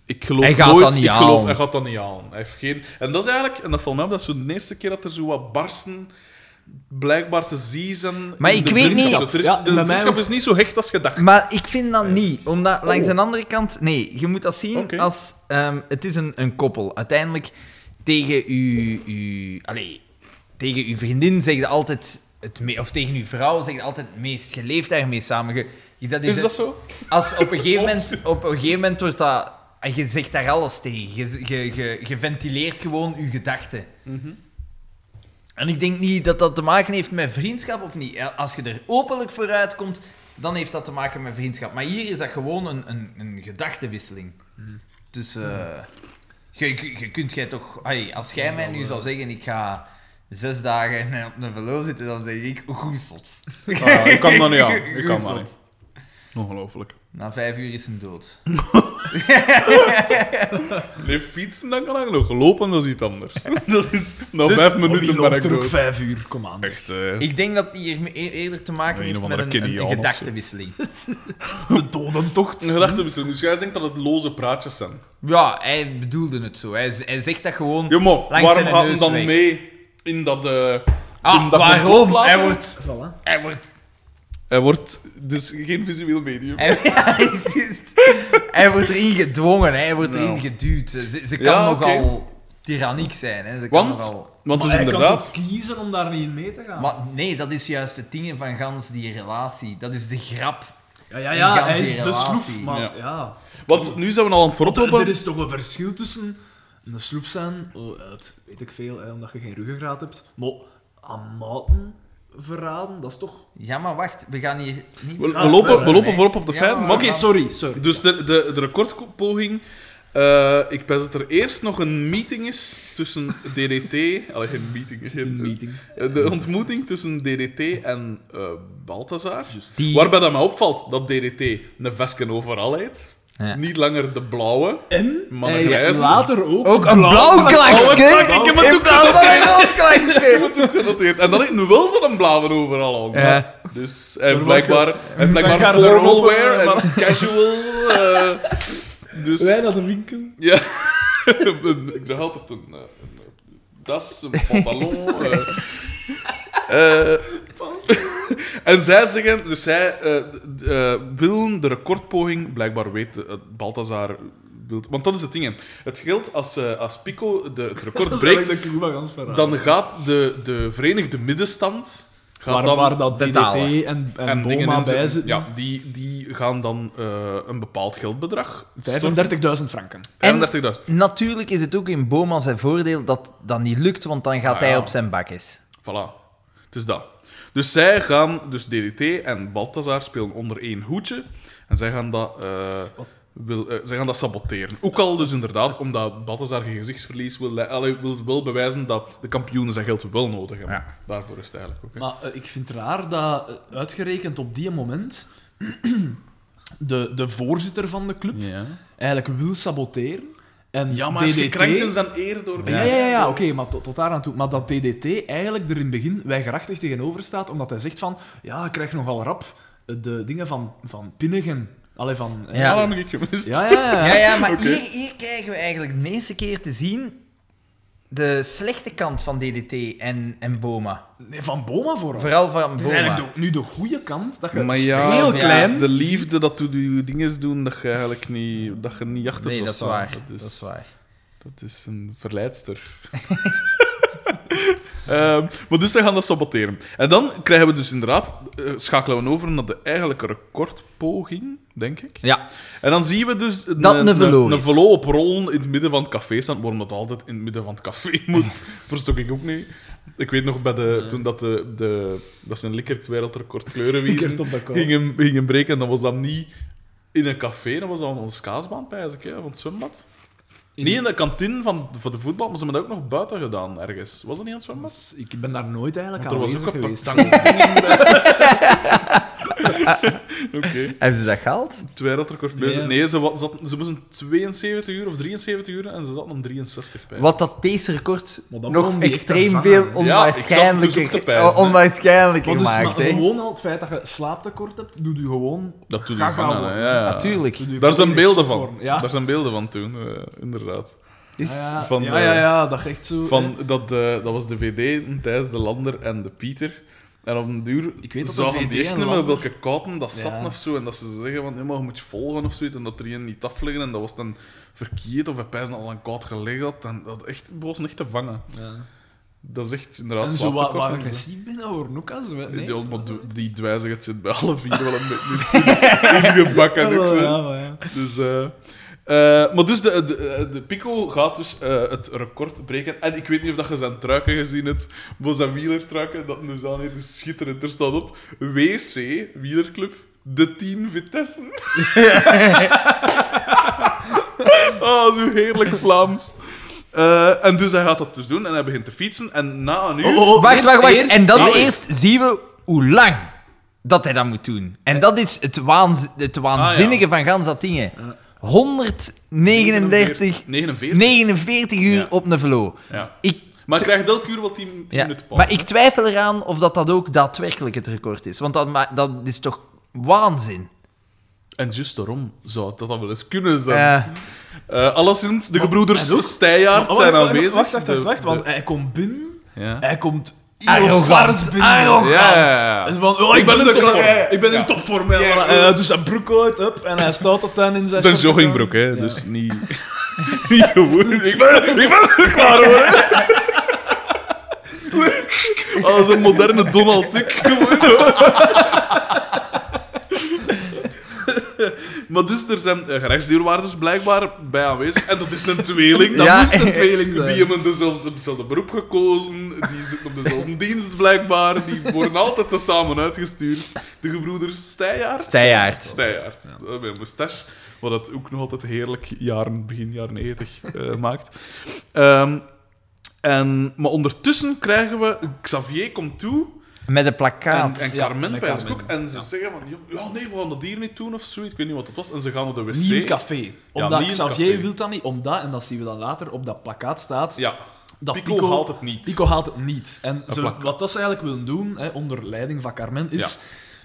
Speaker 2: ik geloof
Speaker 4: Hij gaat
Speaker 2: nooit...
Speaker 4: dat niet
Speaker 2: ik geloof,
Speaker 4: halen.
Speaker 2: hij gaat dat niet halen. Hij heeft geen... En dat is eigenlijk... En dat valt mij op, dat is zo de eerste keer dat er zo wat barsten blijkbaar te zien zijn
Speaker 3: Maar
Speaker 2: in
Speaker 3: ik
Speaker 2: de
Speaker 3: weet niet-
Speaker 2: vriendschap. Er is-
Speaker 1: Ja, bij
Speaker 2: de
Speaker 1: mij
Speaker 2: vriendschap
Speaker 1: ook.
Speaker 2: is niet zo hecht als je dacht.
Speaker 3: Maar ik vind dat niet, omdat langs de andere kant... Nee, je moet dat zien
Speaker 2: Eh, oh. Oké.
Speaker 3: als... ehm, het is een, een koppel. Uiteindelijk, tegen uw... uw allee, tegen uw vriendin zeg je altijd... Het me- of tegen uw vrouw zeg je altijd het meest. Je leeft daarmee samen. Je- dat is
Speaker 2: Is Dus dat zo?
Speaker 3: Als op een gegeven moment, op een gegeven moment wordt dat... en Je zegt daar alles tegen. Je, je, je, je ventileert gewoon je gedachten.
Speaker 2: Mhm.
Speaker 3: En ik denk niet dat dat te maken heeft met vriendschap of niet. Als je er openlijk voor uitkomt, dan heeft dat te maken met vriendschap. Maar hier is dat gewoon een, een, een gedachtenwisseling. Dus eh, je, je, je kunt jij toch... ai, als jij mij
Speaker 2: eh.
Speaker 3: nu zou zeggen, ik ga zes dagen op een velo zitten, dan zeg ik, goezels.
Speaker 2: Ah, ik kan dat niet aan. Ik kan dat
Speaker 3: Goezels.
Speaker 2: niet. Ongelooflijk.
Speaker 3: Na vijf uur is een dood.
Speaker 2: Nee, fietsen dan kan ik nog. Lopen, dat is iets anders. Dat is... Na
Speaker 1: Dus,
Speaker 2: vijf
Speaker 1: oh, die
Speaker 2: minuten ben
Speaker 1: loopt
Speaker 2: ik
Speaker 1: er ook
Speaker 2: dood.
Speaker 1: vijf uur, kom aan. zeg.
Speaker 2: Echt, eh,
Speaker 3: Ik denk dat het hier me- e- eerder te maken
Speaker 2: Een
Speaker 3: heeft
Speaker 2: of
Speaker 3: met
Speaker 2: andere
Speaker 3: een, een,
Speaker 2: Keniaan
Speaker 3: een
Speaker 2: of zo.
Speaker 3: gedachtenwisseling.
Speaker 1: De dodentocht.
Speaker 2: Een gedachtenwisseling. Dus jij denkt dat het loze praatjes zijn.
Speaker 3: Ja, hij bedoelde het zo. Hij, z- hij zegt dat gewoon...
Speaker 2: Ja, maar
Speaker 3: Langs
Speaker 2: waarom
Speaker 3: zijn
Speaker 2: gaat
Speaker 3: neus
Speaker 2: hem dan
Speaker 3: weg.
Speaker 2: mee in dat... eh, in
Speaker 3: ah,
Speaker 2: dat
Speaker 3: waarom?
Speaker 2: complot laten?
Speaker 3: Hij wordt...
Speaker 1: Voilà.
Speaker 3: Hij wordt...
Speaker 2: Hij wordt dus geen visueel medium.
Speaker 3: Hij, ja, juist. hij wordt erin gedwongen, hij wordt erin
Speaker 2: Nou.
Speaker 3: geduwd. Ze, ze kan
Speaker 2: Ja, oké.
Speaker 3: nogal tyranniek zijn. Hè. Ze kan
Speaker 2: Want,
Speaker 3: nogal...
Speaker 2: want dus
Speaker 1: Maar hij
Speaker 2: inderdaad...
Speaker 1: kan toch kiezen om daar niet in mee te gaan?
Speaker 3: Maar nee, dat is juist het ding van gans die relatie. Dat is de grap.
Speaker 1: ja, ja,
Speaker 3: een
Speaker 1: ja,
Speaker 3: ganse
Speaker 1: hij is de
Speaker 3: relatie.
Speaker 1: sloef. Maar
Speaker 2: Ja.
Speaker 1: ja...
Speaker 2: Want nu zijn we al aan het
Speaker 1: Er,
Speaker 2: vooroplopen.
Speaker 1: er is toch een verschil tussen een sloef zijn, oh, uit weet ik veel, hè, omdat je geen ruggengraat hebt, maar aan maten verraden, dat is toch...
Speaker 3: Ja, maar wacht, we gaan hier niet...
Speaker 2: We, we
Speaker 1: Ah,
Speaker 2: lopen, we
Speaker 1: verder,
Speaker 2: lopen
Speaker 3: nee.
Speaker 2: voorop op de
Speaker 3: Ja,
Speaker 2: feiten.
Speaker 3: maar-
Speaker 2: maar
Speaker 1: Oké,
Speaker 2: oké.
Speaker 1: sorry, sorry.
Speaker 2: Dus de, de, de recordpoging... eh, ik pens dat er eerst nog een meeting is tussen DDT... Allee, geen meeting. Geen,
Speaker 1: Een meeting.
Speaker 2: eh, De ontmoeting tussen DDT en eh Balthazar.
Speaker 3: Die-
Speaker 2: Waarbij dat mij opvalt dat DDT een vesken overal heeft.
Speaker 3: Ja.
Speaker 2: Niet langer de blauwe.
Speaker 1: En
Speaker 2: Maar
Speaker 1: hij
Speaker 2: een
Speaker 1: heeft
Speaker 2: grijze.
Speaker 1: later ook,
Speaker 3: Ook een blauw
Speaker 2: Oh,
Speaker 3: klaksje!
Speaker 2: kijk, ik heb het ook
Speaker 3: plaats van een rood klaksje!
Speaker 2: Ik heb het ook genoteerd. En dan heeft nu wel zo'n blauwe overal aan.
Speaker 3: Ja.
Speaker 2: Dus hij heeft
Speaker 1: Maar
Speaker 2: blijkbaar,
Speaker 1: welke-
Speaker 2: hij heeft blijkbaar
Speaker 1: welke
Speaker 2: formal
Speaker 1: garderobe,
Speaker 2: wear en
Speaker 1: maar-
Speaker 2: casual. eh, dus
Speaker 1: Wij naar de winkel.
Speaker 2: ja, ik draag altijd een, eh, een das, een pantalon. eh. Eh, en zij zeggen, dus zij eh, d- eh, willen de recordpoging, blijkbaar weet eh, Balthazar. wil- Want dat is het ding. hè. Het geldt als, eh, als Pico de, het record breekt,
Speaker 1: Dat is eigenlijk een gans verraden.
Speaker 2: dan gaat de, de Verenigde Middenstand. Gaat
Speaker 1: waar,
Speaker 2: dan,
Speaker 1: waar dat
Speaker 3: de
Speaker 1: DDT
Speaker 3: talen.
Speaker 1: en, en,
Speaker 2: en dingen
Speaker 1: Boma
Speaker 2: in
Speaker 1: bij
Speaker 2: zitten.
Speaker 1: zitten.
Speaker 2: Ja, die, die gaan dan eh, een bepaald geldbedrag.
Speaker 1: 35.000 franken.
Speaker 3: En-
Speaker 2: 35.000.
Speaker 3: Natuurlijk is het ook in Boma zijn voordeel dat dat niet lukt, want dan gaat
Speaker 2: Ah,
Speaker 3: hij
Speaker 2: ja.
Speaker 3: op zijn bakjes.
Speaker 2: Voilà. Het is dat. Dus zij gaan, dus DDT en Balthazar spelen onder één hoedje. En zij gaan dat, eh, wil, eh, zij gaan dat saboteren. Ook al dus inderdaad, omdat Balthazar geen gezichtsverlies wil, le- allee, wil wel bewijzen dat de kampioenen zijn geld wel nodig hebben. Daarvoor is het eigenlijk ook. hè.
Speaker 1: Maar eh, ik vind het raar dat eh, uitgerekend op die moment de, de voorzitter van de club
Speaker 2: Ja.
Speaker 1: eigenlijk wil saboteren. En
Speaker 2: ja, maar hij
Speaker 1: DDT...
Speaker 2: is gekrenkt in zijn eer door
Speaker 1: Ja, ja, ja, ja, oké, maar tot, tot daar aan toe. Maar dat DDT eigenlijk er in het begin weigerachtig tegenover staat, omdat hij zegt van, ja, ik krijg nogal rap eh, de dingen van, van Pinnigen. Allee, van... eh,
Speaker 2: Ja,
Speaker 3: Ja.
Speaker 2: Ah, dat heb ik gemist.
Speaker 1: ja, ja, ja.
Speaker 3: Ja, ja, maar
Speaker 2: Oké.
Speaker 3: hier, hier krijgen we eigenlijk de eerste keer te zien de slechte kant van DDT en, en Boma.
Speaker 1: Nee, van Boma vooral.
Speaker 3: Vooral van
Speaker 1: Het is
Speaker 3: Boma.
Speaker 1: eigenlijk de- nu de goede kant, dat je
Speaker 2: Maar ja,
Speaker 1: heel
Speaker 3: ja.
Speaker 1: klein...
Speaker 2: de liefde dat doet je dingen doen dat je eigenlijk niet, dat je niet achter
Speaker 3: Nee,
Speaker 2: zou
Speaker 3: dat is
Speaker 2: staan.
Speaker 3: waar.
Speaker 2: Dat is,
Speaker 3: waar.
Speaker 2: dat is een verleidster. Ehm, maar dus zij gaan dat saboteren. En dan krijgen we dus inderdaad, eh, schakelen we over naar de eigenlijke recordpoging, denk ik.
Speaker 3: Ja.
Speaker 2: En dan zien we dus een,
Speaker 3: Dat een velo is.
Speaker 2: een velo op rollen in het midden van het café staan. Waarom dat altijd in het midden van het café moet, verstok ik ook niet. Ik weet nog bij de, toen dat, de, de, dat ze een Likert wereldrecord kleurenwiezen
Speaker 1: Likert op dat kool.
Speaker 2: gingen, gingen breken. En dan was dat niet in een café, dat was dat aan onze kaasbaan, pijs ik, hè, van het zwembad.
Speaker 1: In-
Speaker 2: Niet in de kantine van, van de voetbal, maar ze hebben dat ook nog buiten gedaan ergens. Was dat niet aan het zwembad?
Speaker 1: Dus ik ben daar nooit eigenlijk
Speaker 2: Want er was
Speaker 1: aanwezig
Speaker 2: ook een
Speaker 1: geweest.
Speaker 2: Oké.
Speaker 3: Hebben ze dat gehaald?
Speaker 2: Het wereldrecord kleuren.
Speaker 1: Nee.
Speaker 2: Nee, ze, wa- zat, ze moesten 72 uur of 73 uur en ze zaten om 63 bij.
Speaker 3: Wat dat deze record
Speaker 1: Maar dan
Speaker 3: nog
Speaker 1: komen die
Speaker 3: extreem
Speaker 1: extra
Speaker 3: veel
Speaker 1: vangen.
Speaker 2: Ja, ik zat hem dus
Speaker 3: onwaarschijnlijker,
Speaker 2: ook te pijzen, hè.
Speaker 3: onwaarschijnlijker
Speaker 1: Maar dus, maar
Speaker 3: maakt. hè.
Speaker 1: gewoon al het feit dat je slaaptekort hebt, doet u gewoon...
Speaker 2: Dat doet
Speaker 1: Gaga
Speaker 2: hij van
Speaker 1: worden.
Speaker 2: aan, ja.
Speaker 3: Natuurlijk.
Speaker 1: doet u
Speaker 2: Daar
Speaker 1: gewoon
Speaker 2: zijn beelden van.
Speaker 1: worden. Ja.
Speaker 2: Daar zijn beelden van toen, eh, inderdaad.
Speaker 1: Ah, ja,
Speaker 2: van,
Speaker 1: ja, ja,
Speaker 2: eh,
Speaker 1: ja, dat echt zo...
Speaker 2: Van,
Speaker 1: hè.
Speaker 2: dat, eh, dat was de VD, een Thijs de Lander en de Pieter. En op een duur
Speaker 1: Ik weet dat de
Speaker 2: zagen
Speaker 1: VD
Speaker 2: die echt
Speaker 1: en
Speaker 2: niet meer
Speaker 1: Lander-
Speaker 2: welke kouten dat zat
Speaker 1: Ja.
Speaker 2: of zo. En dat ze zeggen van, nee, maar je moet je volgen of zoiets. En dat er een niet afleggen. En dat was dan verkeerd of hij pijs al een koud gelegen had. En dat echt, was niet te vangen.
Speaker 1: Ja.
Speaker 2: Dat is echt inderdaad
Speaker 1: En zo wat,
Speaker 2: slaaptekort
Speaker 1: wat
Speaker 2: en zo.
Speaker 1: agressief binnen hoor, ook als we...
Speaker 2: Die-
Speaker 1: Nee?
Speaker 2: Die, maar die- die dwijzigheid zit bij alle vier wel een beetje ingebakken. ook zo.
Speaker 1: Ah, Ja, maar ja.
Speaker 2: Dus, eh, eh, maar dus, de, de, eh, de Pico gaat dus eh, het record breken. En ik weet niet of dat je zijn truiken gezien hebt, maar zijn wielertruiken, dat nu aan hier is schitterend. Er staat op WC, wielerclub, de 10 Vitessen. oh, zo heerlijk Vlaams. Eh, en dus hij gaat dat dus doen en hij begint te fietsen. En na een uur...
Speaker 3: Oh, Wacht, wacht, wacht.
Speaker 1: Eerst-
Speaker 3: en dan
Speaker 2: nou,
Speaker 3: eerst zien we hoe lang dat hij dat moet doen. En dat is het, waanz- het
Speaker 1: Ah,
Speaker 3: waanzinnige van gans dat ding. hè. 139,
Speaker 2: 49.
Speaker 3: 49 uur
Speaker 2: Ja.
Speaker 3: op een velo.
Speaker 2: Ja.
Speaker 3: Ik,
Speaker 2: Maar hij krijgt elke uur wel 10 10
Speaker 3: ja,
Speaker 2: minuten pauze.
Speaker 3: maar ik twijfel eraan of dat, dat ook daadwerkelijk het record is. Want dat, ma- dat is toch waanzin.
Speaker 2: En juist daarom zou dat dan wel eens kunnen zijn.
Speaker 3: Eh,
Speaker 2: Eh, alleszins, de gebroeders
Speaker 1: en ook-
Speaker 2: Steijaert
Speaker 1: Oh,
Speaker 2: zijn
Speaker 1: wacht,
Speaker 2: aanwezig. dus
Speaker 1: Wacht, wacht, wacht,
Speaker 2: De-
Speaker 1: wacht,
Speaker 2: de-
Speaker 1: want Eh, hij komt binnen,
Speaker 2: ja.
Speaker 1: hij komt...
Speaker 3: Arrogant,
Speaker 1: Ilovars binnen.
Speaker 3: arrogant.
Speaker 2: Ja, ja, ja.
Speaker 1: En van, oh, ik,
Speaker 2: Ik ben
Speaker 1: ben in
Speaker 2: in
Speaker 1: topvorm.
Speaker 2: topvorm.
Speaker 1: Ik ben
Speaker 2: Ja.
Speaker 1: in topvorm. hè.
Speaker 2: Ja.
Speaker 1: En dus hij doet zijn broek uit, up, en hij staat tot dan in zijn...
Speaker 2: Zijn
Speaker 1: shortje.
Speaker 2: joggingbroek, hè,
Speaker 1: Ja.
Speaker 2: dus niet... niet gewoon. Ik ben, ik ben er klaar hoor. Als een moderne Donald Duck. gewoon, hoor. Maar dus, er zijn eh, gerechtsdeurwaarders blijkbaar bij aanwezig. En dat is een tweeling. Dat
Speaker 3: Ja,
Speaker 2: moest een
Speaker 1: tweeling
Speaker 2: Die
Speaker 1: zijn.
Speaker 2: hebben dezelfde, dezelfde beroep gekozen, die zitten op dezelfde dienst blijkbaar, die worden altijd tezamen uitgestuurd. De gebroeders Steijaard.
Speaker 3: Steijaard.
Speaker 2: Steijaard. Ja. Mijn moustache, wat het ook nog altijd heerlijk jaren, begin jaren 90 eh, maakt. Ehm, en, maar ondertussen krijgen we... Xavier komt toe
Speaker 3: met een
Speaker 2: en,
Speaker 3: plakkaat.
Speaker 2: en
Speaker 1: Ja,
Speaker 2: Carmen,
Speaker 1: met
Speaker 2: pijs ik
Speaker 1: Carmen,
Speaker 2: ook. En ze zeggen van, ja nee, we gaan dat hier niet doen of zoiets. Ik weet niet wat het was. En ze gaan naar de wc.
Speaker 1: Niet in het café. Omdat
Speaker 2: niet in het café.
Speaker 1: Xavier wil dat niet, omdat, en dat zien we dan later, op dat plakkaat staat,
Speaker 2: Ja.
Speaker 1: dat
Speaker 2: Pico, haalt het niet.
Speaker 1: Nou, Pico haalt het niet. En
Speaker 2: Een
Speaker 1: ze-
Speaker 2: plak.
Speaker 1: wat dat ze eigenlijk willen doen, hè, onder leiding van Carmen, is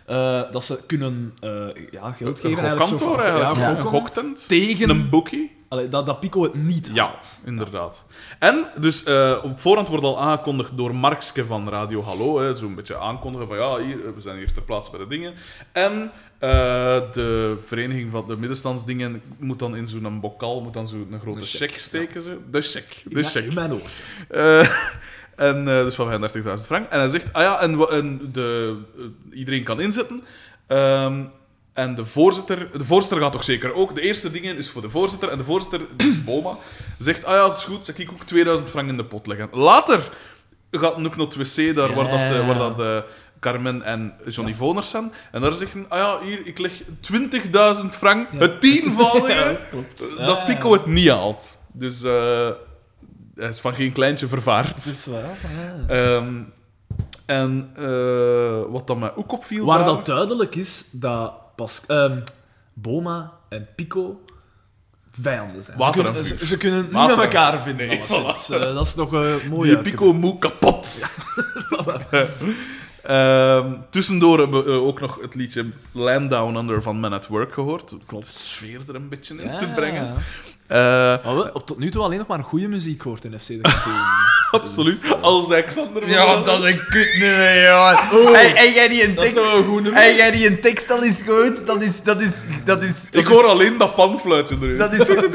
Speaker 1: eh, dat ze kunnen eh, ja, geld
Speaker 2: een
Speaker 1: geven. eigenlijk, zo
Speaker 2: gokkantoor
Speaker 1: van-
Speaker 2: eigenlijk.
Speaker 1: Ja,
Speaker 2: Ja, een
Speaker 1: gokken.
Speaker 2: goktent.
Speaker 1: Tegen
Speaker 2: Een boekie.
Speaker 1: allee, dat, dat Pico het niet
Speaker 2: Ja,
Speaker 1: haalt.
Speaker 2: inderdaad. En dus eh, op voorhand wordt al aangekondigd door Markske van Radio Hallo. hè, Zo'n beetje aankondigen van ja, hier, eh, we zijn hier ter plaatse bij de dingen. En eh, de vereniging van de middenstandsdingen moet dan in zo'n bokal moet dan zo'n grote
Speaker 1: Een
Speaker 2: check steken. Ze. De check. De
Speaker 1: In-
Speaker 2: check.
Speaker 1: in mijn oor.
Speaker 2: Eh, en, eh, dus van 35.000 frank. En hij zegt, ah ja, en, wa- en de, eh, iedereen kan inzetten. Ehm, en de voorzitter, de voorzitter gaat toch zeker ook. De eerste dingen is voor de voorzitter. En de voorzitter, Boma, zegt, ah ja, dat is goed, zal ik ook 2000 frank in de pot leggen. Later gaat Noek naar het wc, daar waar, dat ze,
Speaker 1: Ja.
Speaker 2: waar dat, eh, Carmen en Johnny Voners zijn. En daar zeggen, ah ja, hier, ik leg 20.000 frank,
Speaker 1: Ja.
Speaker 2: het tienvoudige,
Speaker 1: Ja, klopt.
Speaker 2: Eh, dat
Speaker 3: Ah.
Speaker 1: Ja,
Speaker 2: Pico
Speaker 1: ja.
Speaker 2: het niet haalt. Dus eh, hij is van geen kleintje vervaard.
Speaker 3: Dus-
Speaker 1: Dat is waar, ja.
Speaker 2: Ehm, en eh, wat dan mij ook opviel.
Speaker 1: Waar
Speaker 2: daar-
Speaker 1: dat duidelijk is dat Pas ehm, Boma en Pico vijanden zijn.
Speaker 2: Water
Speaker 1: ze,
Speaker 2: en
Speaker 1: kunnen,
Speaker 2: vuur.
Speaker 1: ze, ze kunnen niet
Speaker 2: Water
Speaker 1: met elkaar vinden.
Speaker 2: Nee,
Speaker 1: alleszins. Eh, dat is nog een
Speaker 3: oh
Speaker 1: mooi.
Speaker 2: die Pico moe kapot. Ehm, tussendoor hebben we eh, ook nog het liedje Land Down Under van Man at Work gehoord. Om de sfeer er een beetje in te brengen. Eh,
Speaker 1: Maar we op tot nu toe alleen nog maar goede muziek hoort in FC de Kampioen.
Speaker 3: Dus, eh,
Speaker 2: Absoluut. Als Alexander.
Speaker 3: Ja, dat is een kutnummer, joh. Hey, hey, jij die een
Speaker 2: Dat is
Speaker 3: tekst...
Speaker 2: toch wel een goed nummer?
Speaker 3: Hey, jij die een tekst al eens gehoord? Dat is... Dat is... Dat is... dat
Speaker 2: Ik
Speaker 3: is-
Speaker 2: hoor alleen dat panfluitje erin.
Speaker 3: Dat is... Dat,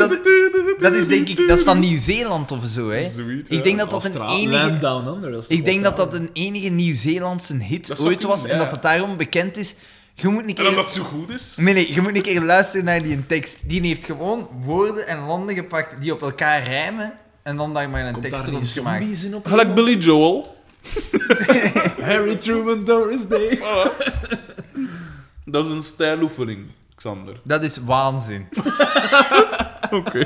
Speaker 3: dat is denk ik... Dat is van Nieuw-Zeeland of zo, hè.
Speaker 2: Zoiets, eh, ja.
Speaker 3: Ik denk dat dat een
Speaker 1: Australië.
Speaker 3: enige...
Speaker 1: Land Down Under. Dat is toch
Speaker 3: Ik denk dat dat
Speaker 1: Australië?
Speaker 3: een enige Nieuw-Zeelandse hit
Speaker 2: Dat zou
Speaker 3: ooit was
Speaker 2: kunnen, ja.
Speaker 3: en dat het daarom bekend is. Je moet
Speaker 2: En
Speaker 3: een
Speaker 2: omdat
Speaker 3: keer...
Speaker 2: het zo goed is.
Speaker 3: Nee, nee, je moet een keer luisteren naar die tekst. Die heeft gewoon woorden en landen gepakt die op elkaar rijmen en dan daar maar een
Speaker 1: Komt
Speaker 3: tekst
Speaker 1: daar
Speaker 3: rond
Speaker 1: geen
Speaker 3: gemaakt.
Speaker 1: zombies in op?
Speaker 2: Gelijk Billy Joel.
Speaker 1: Harry Truman, Doris Day.
Speaker 2: Voilà. dat is een stijloefening, Xander.
Speaker 3: Dat is waanzin.
Speaker 2: Oké.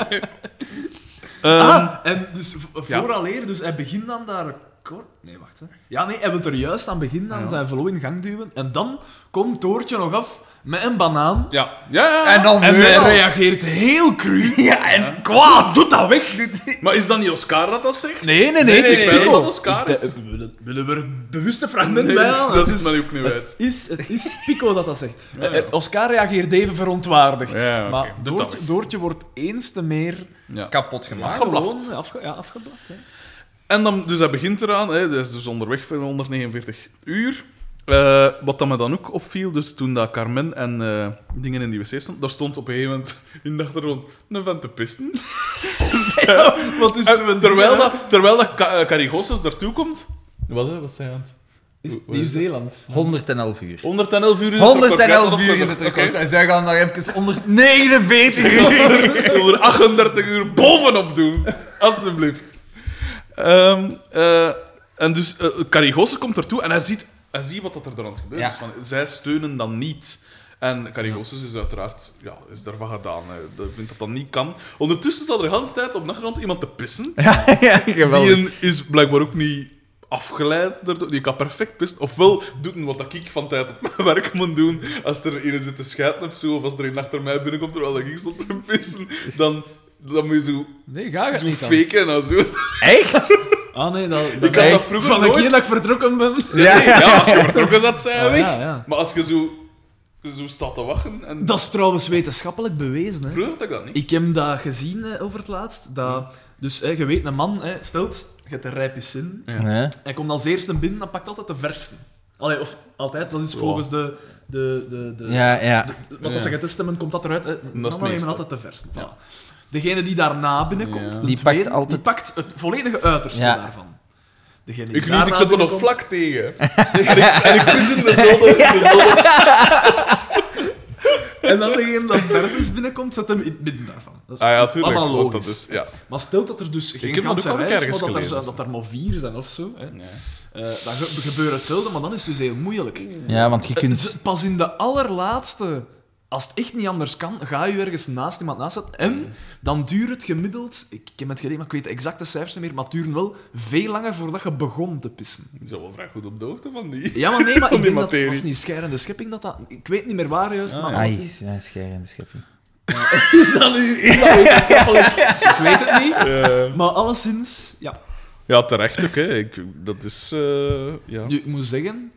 Speaker 2: Ehm,
Speaker 1: Ah, en dus v-
Speaker 2: ja.
Speaker 1: vooraleer, dus hij begint dan daar... kort- Nee, wacht. Hè. Ja, nee, hij wil er juist aan beginnen, aan
Speaker 3: Ja.
Speaker 1: zijn flow in gang duwen. En dan komt Toortje nog af met een banaan.
Speaker 2: Ja. Ja, ja, ja.
Speaker 3: En dan
Speaker 1: En
Speaker 3: weer
Speaker 1: hij
Speaker 3: al.
Speaker 1: reageert heel cru.
Speaker 3: Ja, en kwaad!
Speaker 1: Doet dat weg.
Speaker 2: Maar is dat niet Oscar dat dat zegt?
Speaker 1: Nee, nee, nee,
Speaker 2: Nee,
Speaker 1: het is
Speaker 2: nee, nee,
Speaker 1: Pico.
Speaker 2: dat is Karis.
Speaker 1: Ik denk- we willen- Willen we er het bewuste fragment bij halen?
Speaker 2: dat
Speaker 1: Het
Speaker 2: is mij ook niet
Speaker 1: Het
Speaker 2: uit.
Speaker 1: is, het is Pico dat dat zegt.
Speaker 2: Ja, ja.
Speaker 1: Eh, eh, Oscar reageert even verontwaardigd.
Speaker 2: Ja, oké.
Speaker 1: Maar
Speaker 2: Doe dat
Speaker 1: Doortje,
Speaker 2: weg.
Speaker 1: Doortje wordt eens te meer
Speaker 2: Ja.
Speaker 3: Kapot gemaakt.
Speaker 2: Afgeblaft.
Speaker 1: gewoon eh, afge- ja, afgeblaft. Hè.
Speaker 2: En dan, dus hij begint eraan, hè, hij is dus onderweg voor 149 uur. Eh, wat dat me dan ook opviel, dus toen dat Carmen en eh, dingen in die wc stonden, daar stond op een gegeven moment in de achtergrond een vent te pisten.
Speaker 1: Wat is
Speaker 2: En terwijl dat, terwijl dat Ka- eh, Carigossus daartoe komt... Wat, hè, wat zei hij aan het-
Speaker 1: Is het Nieuw-Zeelands?
Speaker 3: 111 uur.
Speaker 2: 111 uur Oh, is het
Speaker 3: 111
Speaker 2: record.
Speaker 3: uur is het
Speaker 2: Oké.
Speaker 3: record. En zij gaan daar even 149 uur.
Speaker 2: 138 uur bovenop doen. Alsjeblieft. Ehm, eh, en dus eh Carigossus komt ertoe en hij ziet, hij ziet wat dat er door aan het gebeuren
Speaker 3: Ja.
Speaker 2: is. Dus Van, zij steunen dan niet. En Carigossus is uiteraard ja, is daarvan gedaan. Hij dat vindt dat dat niet kan. Ondertussen staat er de hele tijd op de achtergrond iemand te pissen.
Speaker 3: Ja, ja,
Speaker 2: Die
Speaker 3: geweldig.
Speaker 2: een is blijkbaar ook niet afgeleid daardoor. Die kan perfect pissen. Ofwel doet een wat dat ik van tijd op mijn werk moet doen. Als er een zit te schijten of zo, of als er een achter mij binnenkomt terwijl ik stond te pissen, dan, dan moet je zo
Speaker 1: Nee, ga ik
Speaker 2: zo
Speaker 1: niet dan.
Speaker 2: faken en zo.
Speaker 3: Echt?
Speaker 1: Ah nee, dat, dat
Speaker 2: Ik had dat
Speaker 3: Echt?
Speaker 2: vroeger
Speaker 1: van de
Speaker 2: nooit.
Speaker 1: keer dat ik vertrokken ben.
Speaker 3: Ja, ja.
Speaker 2: Ja, als je vertrokken zat, zijn we
Speaker 1: Ah,
Speaker 2: weg.
Speaker 1: ja, ja.
Speaker 2: Maar als je zo, zo staat te wachten... En...
Speaker 1: Dat is trouwens wetenschappelijk bewezen. Hè.
Speaker 2: Vroeger had ik dat niet.
Speaker 1: Ik heb dat gezien eh, over het laatst.
Speaker 2: Hm.
Speaker 1: Dat, dus hè, je weet, een man hè, stelt, je hebt een rijpe zin.
Speaker 3: Nee.
Speaker 1: Hij komt als eerste binnen, dan pakt altijd de verste. Allee, of altijd, dat is volgens de... de, de, de
Speaker 3: Ja, ja.
Speaker 1: de- wat als ze
Speaker 2: Ja.
Speaker 1: getest hebben, komt dat eruit. hè.
Speaker 2: het
Speaker 1: Mannen nemen
Speaker 2: meeste.
Speaker 1: altijd de verste.
Speaker 2: Ja.
Speaker 1: Voilà. Degene die daarna binnenkomt,
Speaker 2: Ja.
Speaker 1: de
Speaker 3: Die
Speaker 1: tweede,
Speaker 3: pakt altijd-
Speaker 1: die pakt het volledige uiterste
Speaker 3: Ja.
Speaker 1: daarvan. Degene die
Speaker 2: Ik niet, ik
Speaker 1: daarna
Speaker 2: zat me
Speaker 1: binnenkomt-
Speaker 2: nog vlak tegen. en, ik, en ik pis in dezelfde... dezelfde-
Speaker 1: En dan degene dat derde is binnenkomt, zet hem in het midden daarvan. Dat is
Speaker 2: Ah ja, tuurlijk.
Speaker 1: allemaal
Speaker 2: want
Speaker 1: logisch.
Speaker 2: dat is... Ja.
Speaker 1: Maar stel dat er dus geen
Speaker 2: heb dat
Speaker 1: ganse
Speaker 2: ook al een
Speaker 1: rij is,
Speaker 2: keer
Speaker 1: maar dat er,
Speaker 2: gelezen.
Speaker 1: zo- dat er maar vier zijn of zo. Hè. Eh, dan ge- gebeurt hetzelfde, maar dan is het dus heel moeilijk.
Speaker 3: Ja, want je
Speaker 1: Eh,
Speaker 3: kunt...
Speaker 1: ze- Pas in de allerlaatste, als het echt niet anders kan, ga je ergens naast iemand naast zetten. En dan duurt het gemiddeld, ik ken het geen, maar ik weet de exacte cijfers niet meer, maar het duurt wel veel langer voordat je begon te pissen.
Speaker 2: Ik ben wel vrij goed op de hoogte van die.
Speaker 1: Ja, maar nee, maar
Speaker 2: Van
Speaker 1: ik
Speaker 2: die
Speaker 1: denk dat
Speaker 2: materie.
Speaker 1: was niet scheidende schepping dat dat... Ik weet niet meer waar juist,
Speaker 2: Ah,
Speaker 1: maar
Speaker 2: ja.
Speaker 1: dat
Speaker 3: Ai,
Speaker 1: was iets.
Speaker 3: ja, scherende schepping.
Speaker 1: Is dat nu is dat wetenschappelijk? Ik weet het niet.
Speaker 2: Eh,
Speaker 1: Maar alleszins, ja.
Speaker 2: ja, terecht ook. Hè. Ik, dat is... eh, ja.
Speaker 1: Nu, ik moet zeggen...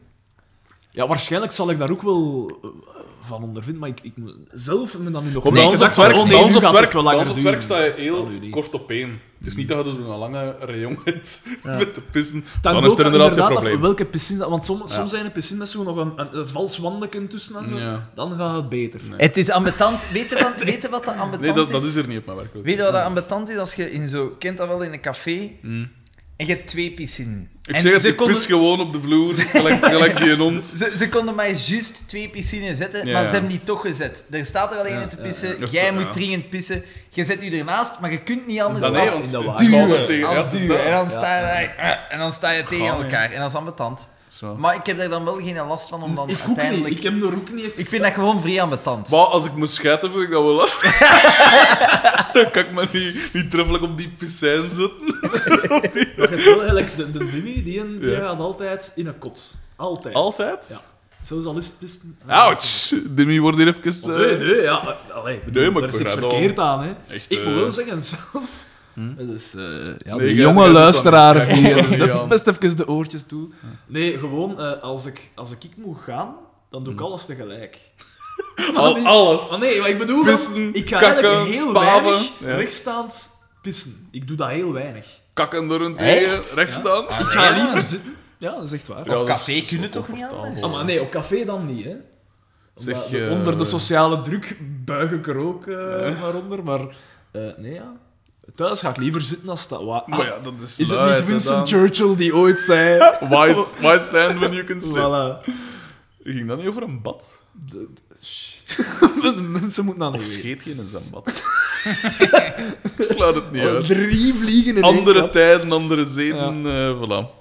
Speaker 1: Ja, waarschijnlijk zal ik daar ook wel eh, van ondervinden, maar ik, ik moet zelf me dan nu nog...
Speaker 2: Kom,
Speaker 1: Nee,
Speaker 2: bij ons op
Speaker 1: gedacht
Speaker 2: het werk,
Speaker 1: van, oh nee,
Speaker 2: bij ons
Speaker 1: nu
Speaker 2: op
Speaker 1: gaat
Speaker 2: het
Speaker 1: het
Speaker 2: werk,
Speaker 1: wel
Speaker 2: bij ons
Speaker 1: langer
Speaker 2: op het werk
Speaker 1: duren.
Speaker 2: sta je heel
Speaker 1: Kan nu niet.
Speaker 2: kort op één. Het is niet dat je zo'n lange rayon hebt
Speaker 1: Ja.
Speaker 2: met te pissen.
Speaker 1: Dan,
Speaker 2: Dan, is
Speaker 1: ook
Speaker 2: er inderdaad geen
Speaker 1: af
Speaker 2: probleem.
Speaker 1: welke piscine... dat- Want som-
Speaker 2: Ja.
Speaker 1: soms zijn de piscines met zo nog een, een, een vals wandeken tussen en zo.
Speaker 2: Ja.
Speaker 1: Dan gaat het beter.
Speaker 2: Nee.
Speaker 3: Het is ambetant. Weet je, wat- weet je wat dat ambetant
Speaker 2: Nee, dat, dat is er niet op mijn werk.
Speaker 3: Weet je wat dat ambetant is als je in zo... Kent dat wel in een café? En je hebt twee piscinen.
Speaker 2: Mm. Ik
Speaker 3: En
Speaker 2: zeg het,
Speaker 3: ze
Speaker 2: ik
Speaker 3: konden,
Speaker 2: pis gewoon op de vloer, gelijk, gelijk die een hond.
Speaker 3: ze, ze konden mij juist twee piscines zetten,
Speaker 2: Ja,
Speaker 3: maar
Speaker 2: ja.
Speaker 3: ze hebben die toch gezet. Er staat er alleen
Speaker 1: Ja,
Speaker 3: in te
Speaker 1: ja,
Speaker 3: pissen,
Speaker 2: ja.
Speaker 3: jij
Speaker 2: Ja.
Speaker 3: moet dringend pissen, je zet u ernaast, maar je kunt niet anders
Speaker 2: Dan
Speaker 3: dan
Speaker 1: nee,
Speaker 2: nee,
Speaker 1: was
Speaker 2: want
Speaker 1: in de
Speaker 2: het
Speaker 1: wagen.
Speaker 2: staat
Speaker 3: duwen.
Speaker 2: er tegen. ja,
Speaker 3: als
Speaker 2: het is
Speaker 3: duwen.
Speaker 2: dat.
Speaker 3: En dan,
Speaker 1: Ja,
Speaker 3: sta je,
Speaker 1: ja.
Speaker 3: daar- eh, en dan sta je tegen
Speaker 2: Gaan,
Speaker 3: elkaar, en dat is ambetant.
Speaker 2: Zo.
Speaker 3: Maar ik heb daar dan wel geen last van om dan
Speaker 1: ik, ook niet.
Speaker 3: uiteindelijk...
Speaker 1: ik
Speaker 3: Ik,
Speaker 1: heb er ook niet echt...
Speaker 3: vind dat gewoon vrij ambetant.
Speaker 2: Maar als ik moest schijten, vind ik dat wel lastig. dan kan ik me niet, niet treffelijk op die piscijn zetten.
Speaker 1: Maar je hebt wel eigenlijk... De, de Demi, die, een- die
Speaker 2: Ja.
Speaker 1: gaat altijd in een kot. Altijd.
Speaker 2: Altijd?
Speaker 1: Ja. Zelfs al is het pissen...
Speaker 2: Ouch! Demi wordt hier even...
Speaker 1: Oh,
Speaker 2: eh,
Speaker 1: Nee, nee, ja. maar- Allee, bedoel,
Speaker 2: Nee, maar
Speaker 1: er
Speaker 2: ik
Speaker 1: is niks
Speaker 2: begrijp
Speaker 1: verkeerd aan, hè.
Speaker 2: Echt,
Speaker 1: ik moet
Speaker 2: eh,
Speaker 1: wel zeggen, zelf... Dat is, eh, ja,
Speaker 2: Nee,
Speaker 1: de
Speaker 2: jij-
Speaker 1: jonge
Speaker 2: jij doet
Speaker 1: luisteraars
Speaker 2: dat niet.
Speaker 1: die
Speaker 2: Jij doet dat niet aan.
Speaker 1: best even de oortjes toe. Nee, gewoon, eh, als, ik, als ik ik moet gaan, dan doe ik alles tegelijk.
Speaker 2: al, alles.
Speaker 1: Oh nee, maar ik bedoel,
Speaker 2: Pissen,
Speaker 1: ik ga
Speaker 2: kakken,
Speaker 1: eigenlijk heel
Speaker 2: spaven.
Speaker 1: weinig
Speaker 2: Ja.
Speaker 1: rechtstaand pissen. Ik doe dat heel weinig.
Speaker 2: kakken door een tegen,
Speaker 3: Echt?
Speaker 2: rechtstaand.
Speaker 1: Ik ga liever zitten. Ja, dat is echt waar.
Speaker 2: Ja, dat
Speaker 3: café
Speaker 2: is
Speaker 3: kunnen
Speaker 2: zo
Speaker 3: toch niet
Speaker 2: comfortabel.
Speaker 3: anders?
Speaker 1: Ah, maar nee, op café dan niet, hè.
Speaker 2: Zeg,
Speaker 1: Omdat-
Speaker 2: eh,
Speaker 1: Onder de sociale druk buig ik er ook eh, maar onder, maar... eh, nee, ja. Thuis ga ik liever zitten als dat... wa-
Speaker 2: Maar ja, dat is
Speaker 1: Ah. Is het
Speaker 2: luid,
Speaker 1: niet
Speaker 2: hè,
Speaker 1: Winston
Speaker 2: dan.
Speaker 1: Churchill die ooit zei...
Speaker 2: Why, s- why stand when you can sit?
Speaker 1: Voilà.
Speaker 2: Ging dat niet over een bad?
Speaker 1: De- de- sh- Mensen moeten aan
Speaker 2: Of
Speaker 1: de
Speaker 2: scheet je in zijn bad? Ik sluit het
Speaker 1: Oh,
Speaker 2: niet uit.
Speaker 1: Drie vliegen in één
Speaker 2: Andere
Speaker 1: klap.
Speaker 2: tijden, andere zeden, eh, voilà.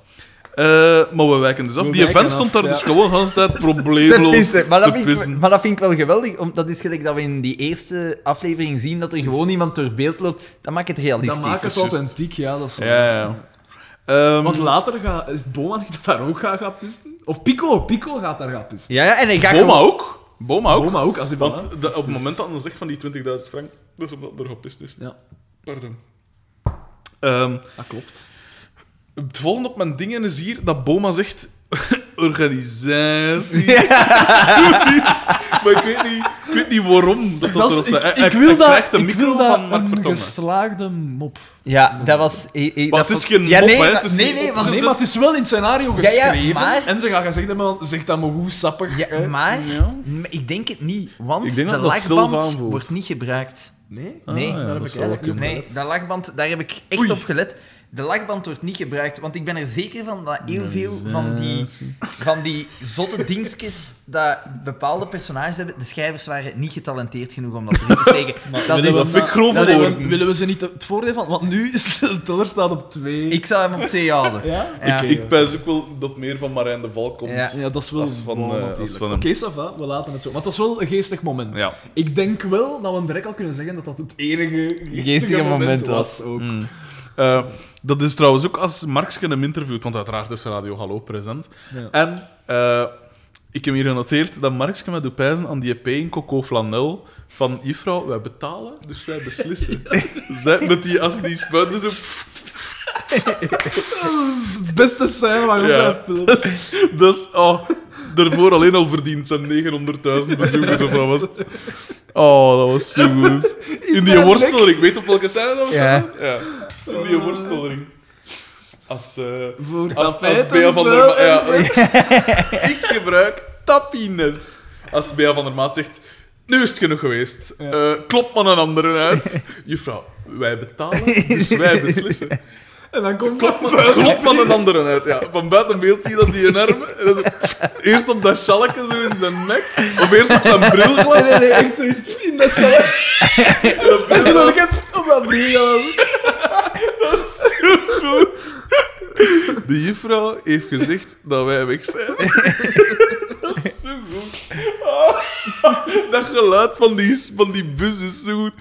Speaker 2: Eh, maar we wijken dus af.
Speaker 1: We
Speaker 2: Die
Speaker 1: wijken
Speaker 2: vent stond
Speaker 1: af,
Speaker 2: daar dus
Speaker 1: ja.
Speaker 2: gewoon de hele tijd
Speaker 3: Te
Speaker 2: probleemloos
Speaker 3: pissen. Maar dat,
Speaker 2: te
Speaker 3: vind ik,
Speaker 2: pissen.
Speaker 3: maar dat vind ik wel geweldig. Om, dat is gelijk dat we in die eerste aflevering zien dat er gewoon iemand door beeld loopt. Dat maakt het realistisch.
Speaker 1: Dat maakt het
Speaker 2: juist.
Speaker 1: authentiek, ja, dat is waar.
Speaker 2: Ja, ja. Ehm,
Speaker 1: Want later ga, is het Boma niet dat daar ook gaat gaan pissen? Of Pico, Pico gaat daar gaan pissen.
Speaker 3: Ja, ja, en hij gaat
Speaker 2: Boma
Speaker 3: gewoon-
Speaker 2: ook. Boma ook.
Speaker 1: Boma ook, als hij
Speaker 2: Want
Speaker 1: Boma-
Speaker 2: de-
Speaker 1: dus
Speaker 2: op het
Speaker 1: is-
Speaker 2: moment dat men zegt van die 20.000 frank, dat is omdat er gepist is.
Speaker 1: Ja,
Speaker 2: Pardon. Ehm,
Speaker 1: dat klopt.
Speaker 2: het volgende op mijn dingen is hier dat Boma zegt... organisatie. maar ik weet, niet, ik weet niet waarom dat, dat
Speaker 1: Dat is-
Speaker 2: erop staat. Hij-
Speaker 1: ik,
Speaker 2: hij-
Speaker 1: ik wil
Speaker 2: hij
Speaker 1: dat,
Speaker 2: krijgt de
Speaker 1: ik
Speaker 2: micro
Speaker 1: wil dat
Speaker 2: van Mark
Speaker 1: een
Speaker 2: Vertongen.
Speaker 1: geslaagde mop.
Speaker 3: Ja, dat was... eh, eh, dat
Speaker 2: het is
Speaker 3: vond-
Speaker 2: geen
Speaker 3: ja,
Speaker 2: mop,
Speaker 3: nee,
Speaker 2: hè, het
Speaker 3: maar-
Speaker 2: is
Speaker 3: nee,
Speaker 2: niet
Speaker 3: nee, want
Speaker 2: opgezet.
Speaker 1: Nee, maar het is wel in het scenario
Speaker 3: Ja, ja,
Speaker 1: geschreven.
Speaker 3: maar-
Speaker 1: En ze gaan gaan zeggen, "Maar zeg dat maar goed sappig.
Speaker 3: Ja,
Speaker 1: hè."
Speaker 3: maar
Speaker 2: Ja.
Speaker 3: m- ik denk het niet, want
Speaker 2: Ik denk
Speaker 3: de
Speaker 2: dat dat Silva
Speaker 3: lachband
Speaker 2: aanvoelt.
Speaker 3: wordt niet gebruikt.
Speaker 1: Nee?
Speaker 2: Ah,
Speaker 3: Nee,
Speaker 2: ja,
Speaker 3: daar
Speaker 2: dat
Speaker 1: heb ik
Speaker 2: zou
Speaker 1: eigenlijk
Speaker 2: wel kunnen.
Speaker 1: Nee.
Speaker 3: Nee, dat lachband, daar heb ik echt
Speaker 2: Oei.
Speaker 3: op gelet. De lachband wordt niet gebruikt, want ik ben er zeker van dat heel veel van die, van die zotte dingetjes dat bepaalde personages hebben, de schrijvers waren niet getalenteerd genoeg om dat erin te steken. dat
Speaker 1: willen
Speaker 2: Dat
Speaker 1: we-
Speaker 3: is,
Speaker 2: vind ik grove
Speaker 1: Willen we-
Speaker 2: woorden.
Speaker 1: willen we ze niet het voordeel van? Want nu is de teller staat op twee.
Speaker 3: ik zou hem op twee houden.
Speaker 1: ja?
Speaker 3: Ja.
Speaker 2: Ik, ik pijs ook wel dat meer van Marijn de Val komt.
Speaker 3: Ja.
Speaker 1: ja, dat is wel
Speaker 2: Dat is van,
Speaker 1: wel
Speaker 2: eh, dat is
Speaker 1: natuurlijk.
Speaker 2: van hem.
Speaker 1: Oké, ça va, we laten het zo. Maar het was wel een geestig moment.
Speaker 2: Ja.
Speaker 1: Ik denk wel dat we direct al kunnen zeggen dat dat het enige geestige,
Speaker 3: Geestige
Speaker 1: moment,
Speaker 3: moment
Speaker 1: was. ook.
Speaker 2: Mm. Eh, dat is trouwens ook als Marksken hem interviewt, want uiteraard is Radio Hallo present.
Speaker 1: Ja.
Speaker 2: En eh, ik heb hier genoteerd dat Marksken me doet pijzen aan die EP in Coco Flanel van juffrouw, wij betalen, dus wij beslissen. Zij, met die, als die dus spuiten zo...
Speaker 1: Het beste scène waar we
Speaker 2: Ja.
Speaker 1: zijn film.
Speaker 2: Dat is, dat is- oh, daarvoor alleen al verdiend zijn 900.000 bezoekers of wat was het? Oh, dat was zo goed. In die
Speaker 1: ben
Speaker 2: worsteling, weet je op welke scène dat was?
Speaker 3: Ja.
Speaker 2: ja. In die worsteling. Als... eh,
Speaker 1: Voor
Speaker 2: Als, als
Speaker 1: tapijten
Speaker 2: Bea van der
Speaker 1: vullen.
Speaker 2: Maat... Ja, ik gebruik tappinet. Als Bea van der Maat zegt... Nu is het genoeg geweest.
Speaker 1: Ja.
Speaker 2: Eh, klopt maar een andere uit. Juffrouw, wij betalen, dus wij beslissen.
Speaker 1: En dan komt
Speaker 2: Klopt maar, klopt maar een andere uit. Ja, van buiten beeld zie je dat die een arm... dat is- eerst op dat schalkje zo in zijn nek. Of eerst op zijn
Speaker 1: Nee,
Speaker 2: brilglas.
Speaker 1: nee, nee, echt zoiets in dat scène.
Speaker 2: Dat
Speaker 1: En
Speaker 2: is
Speaker 1: ze wil
Speaker 2: wel
Speaker 1: ik het op dat ding gaan.
Speaker 2: zo goed. De juffrouw heeft gezegd dat wij weg zijn. Dat is zo goed. Ah, dat geluid van die, van die bus is zo goed.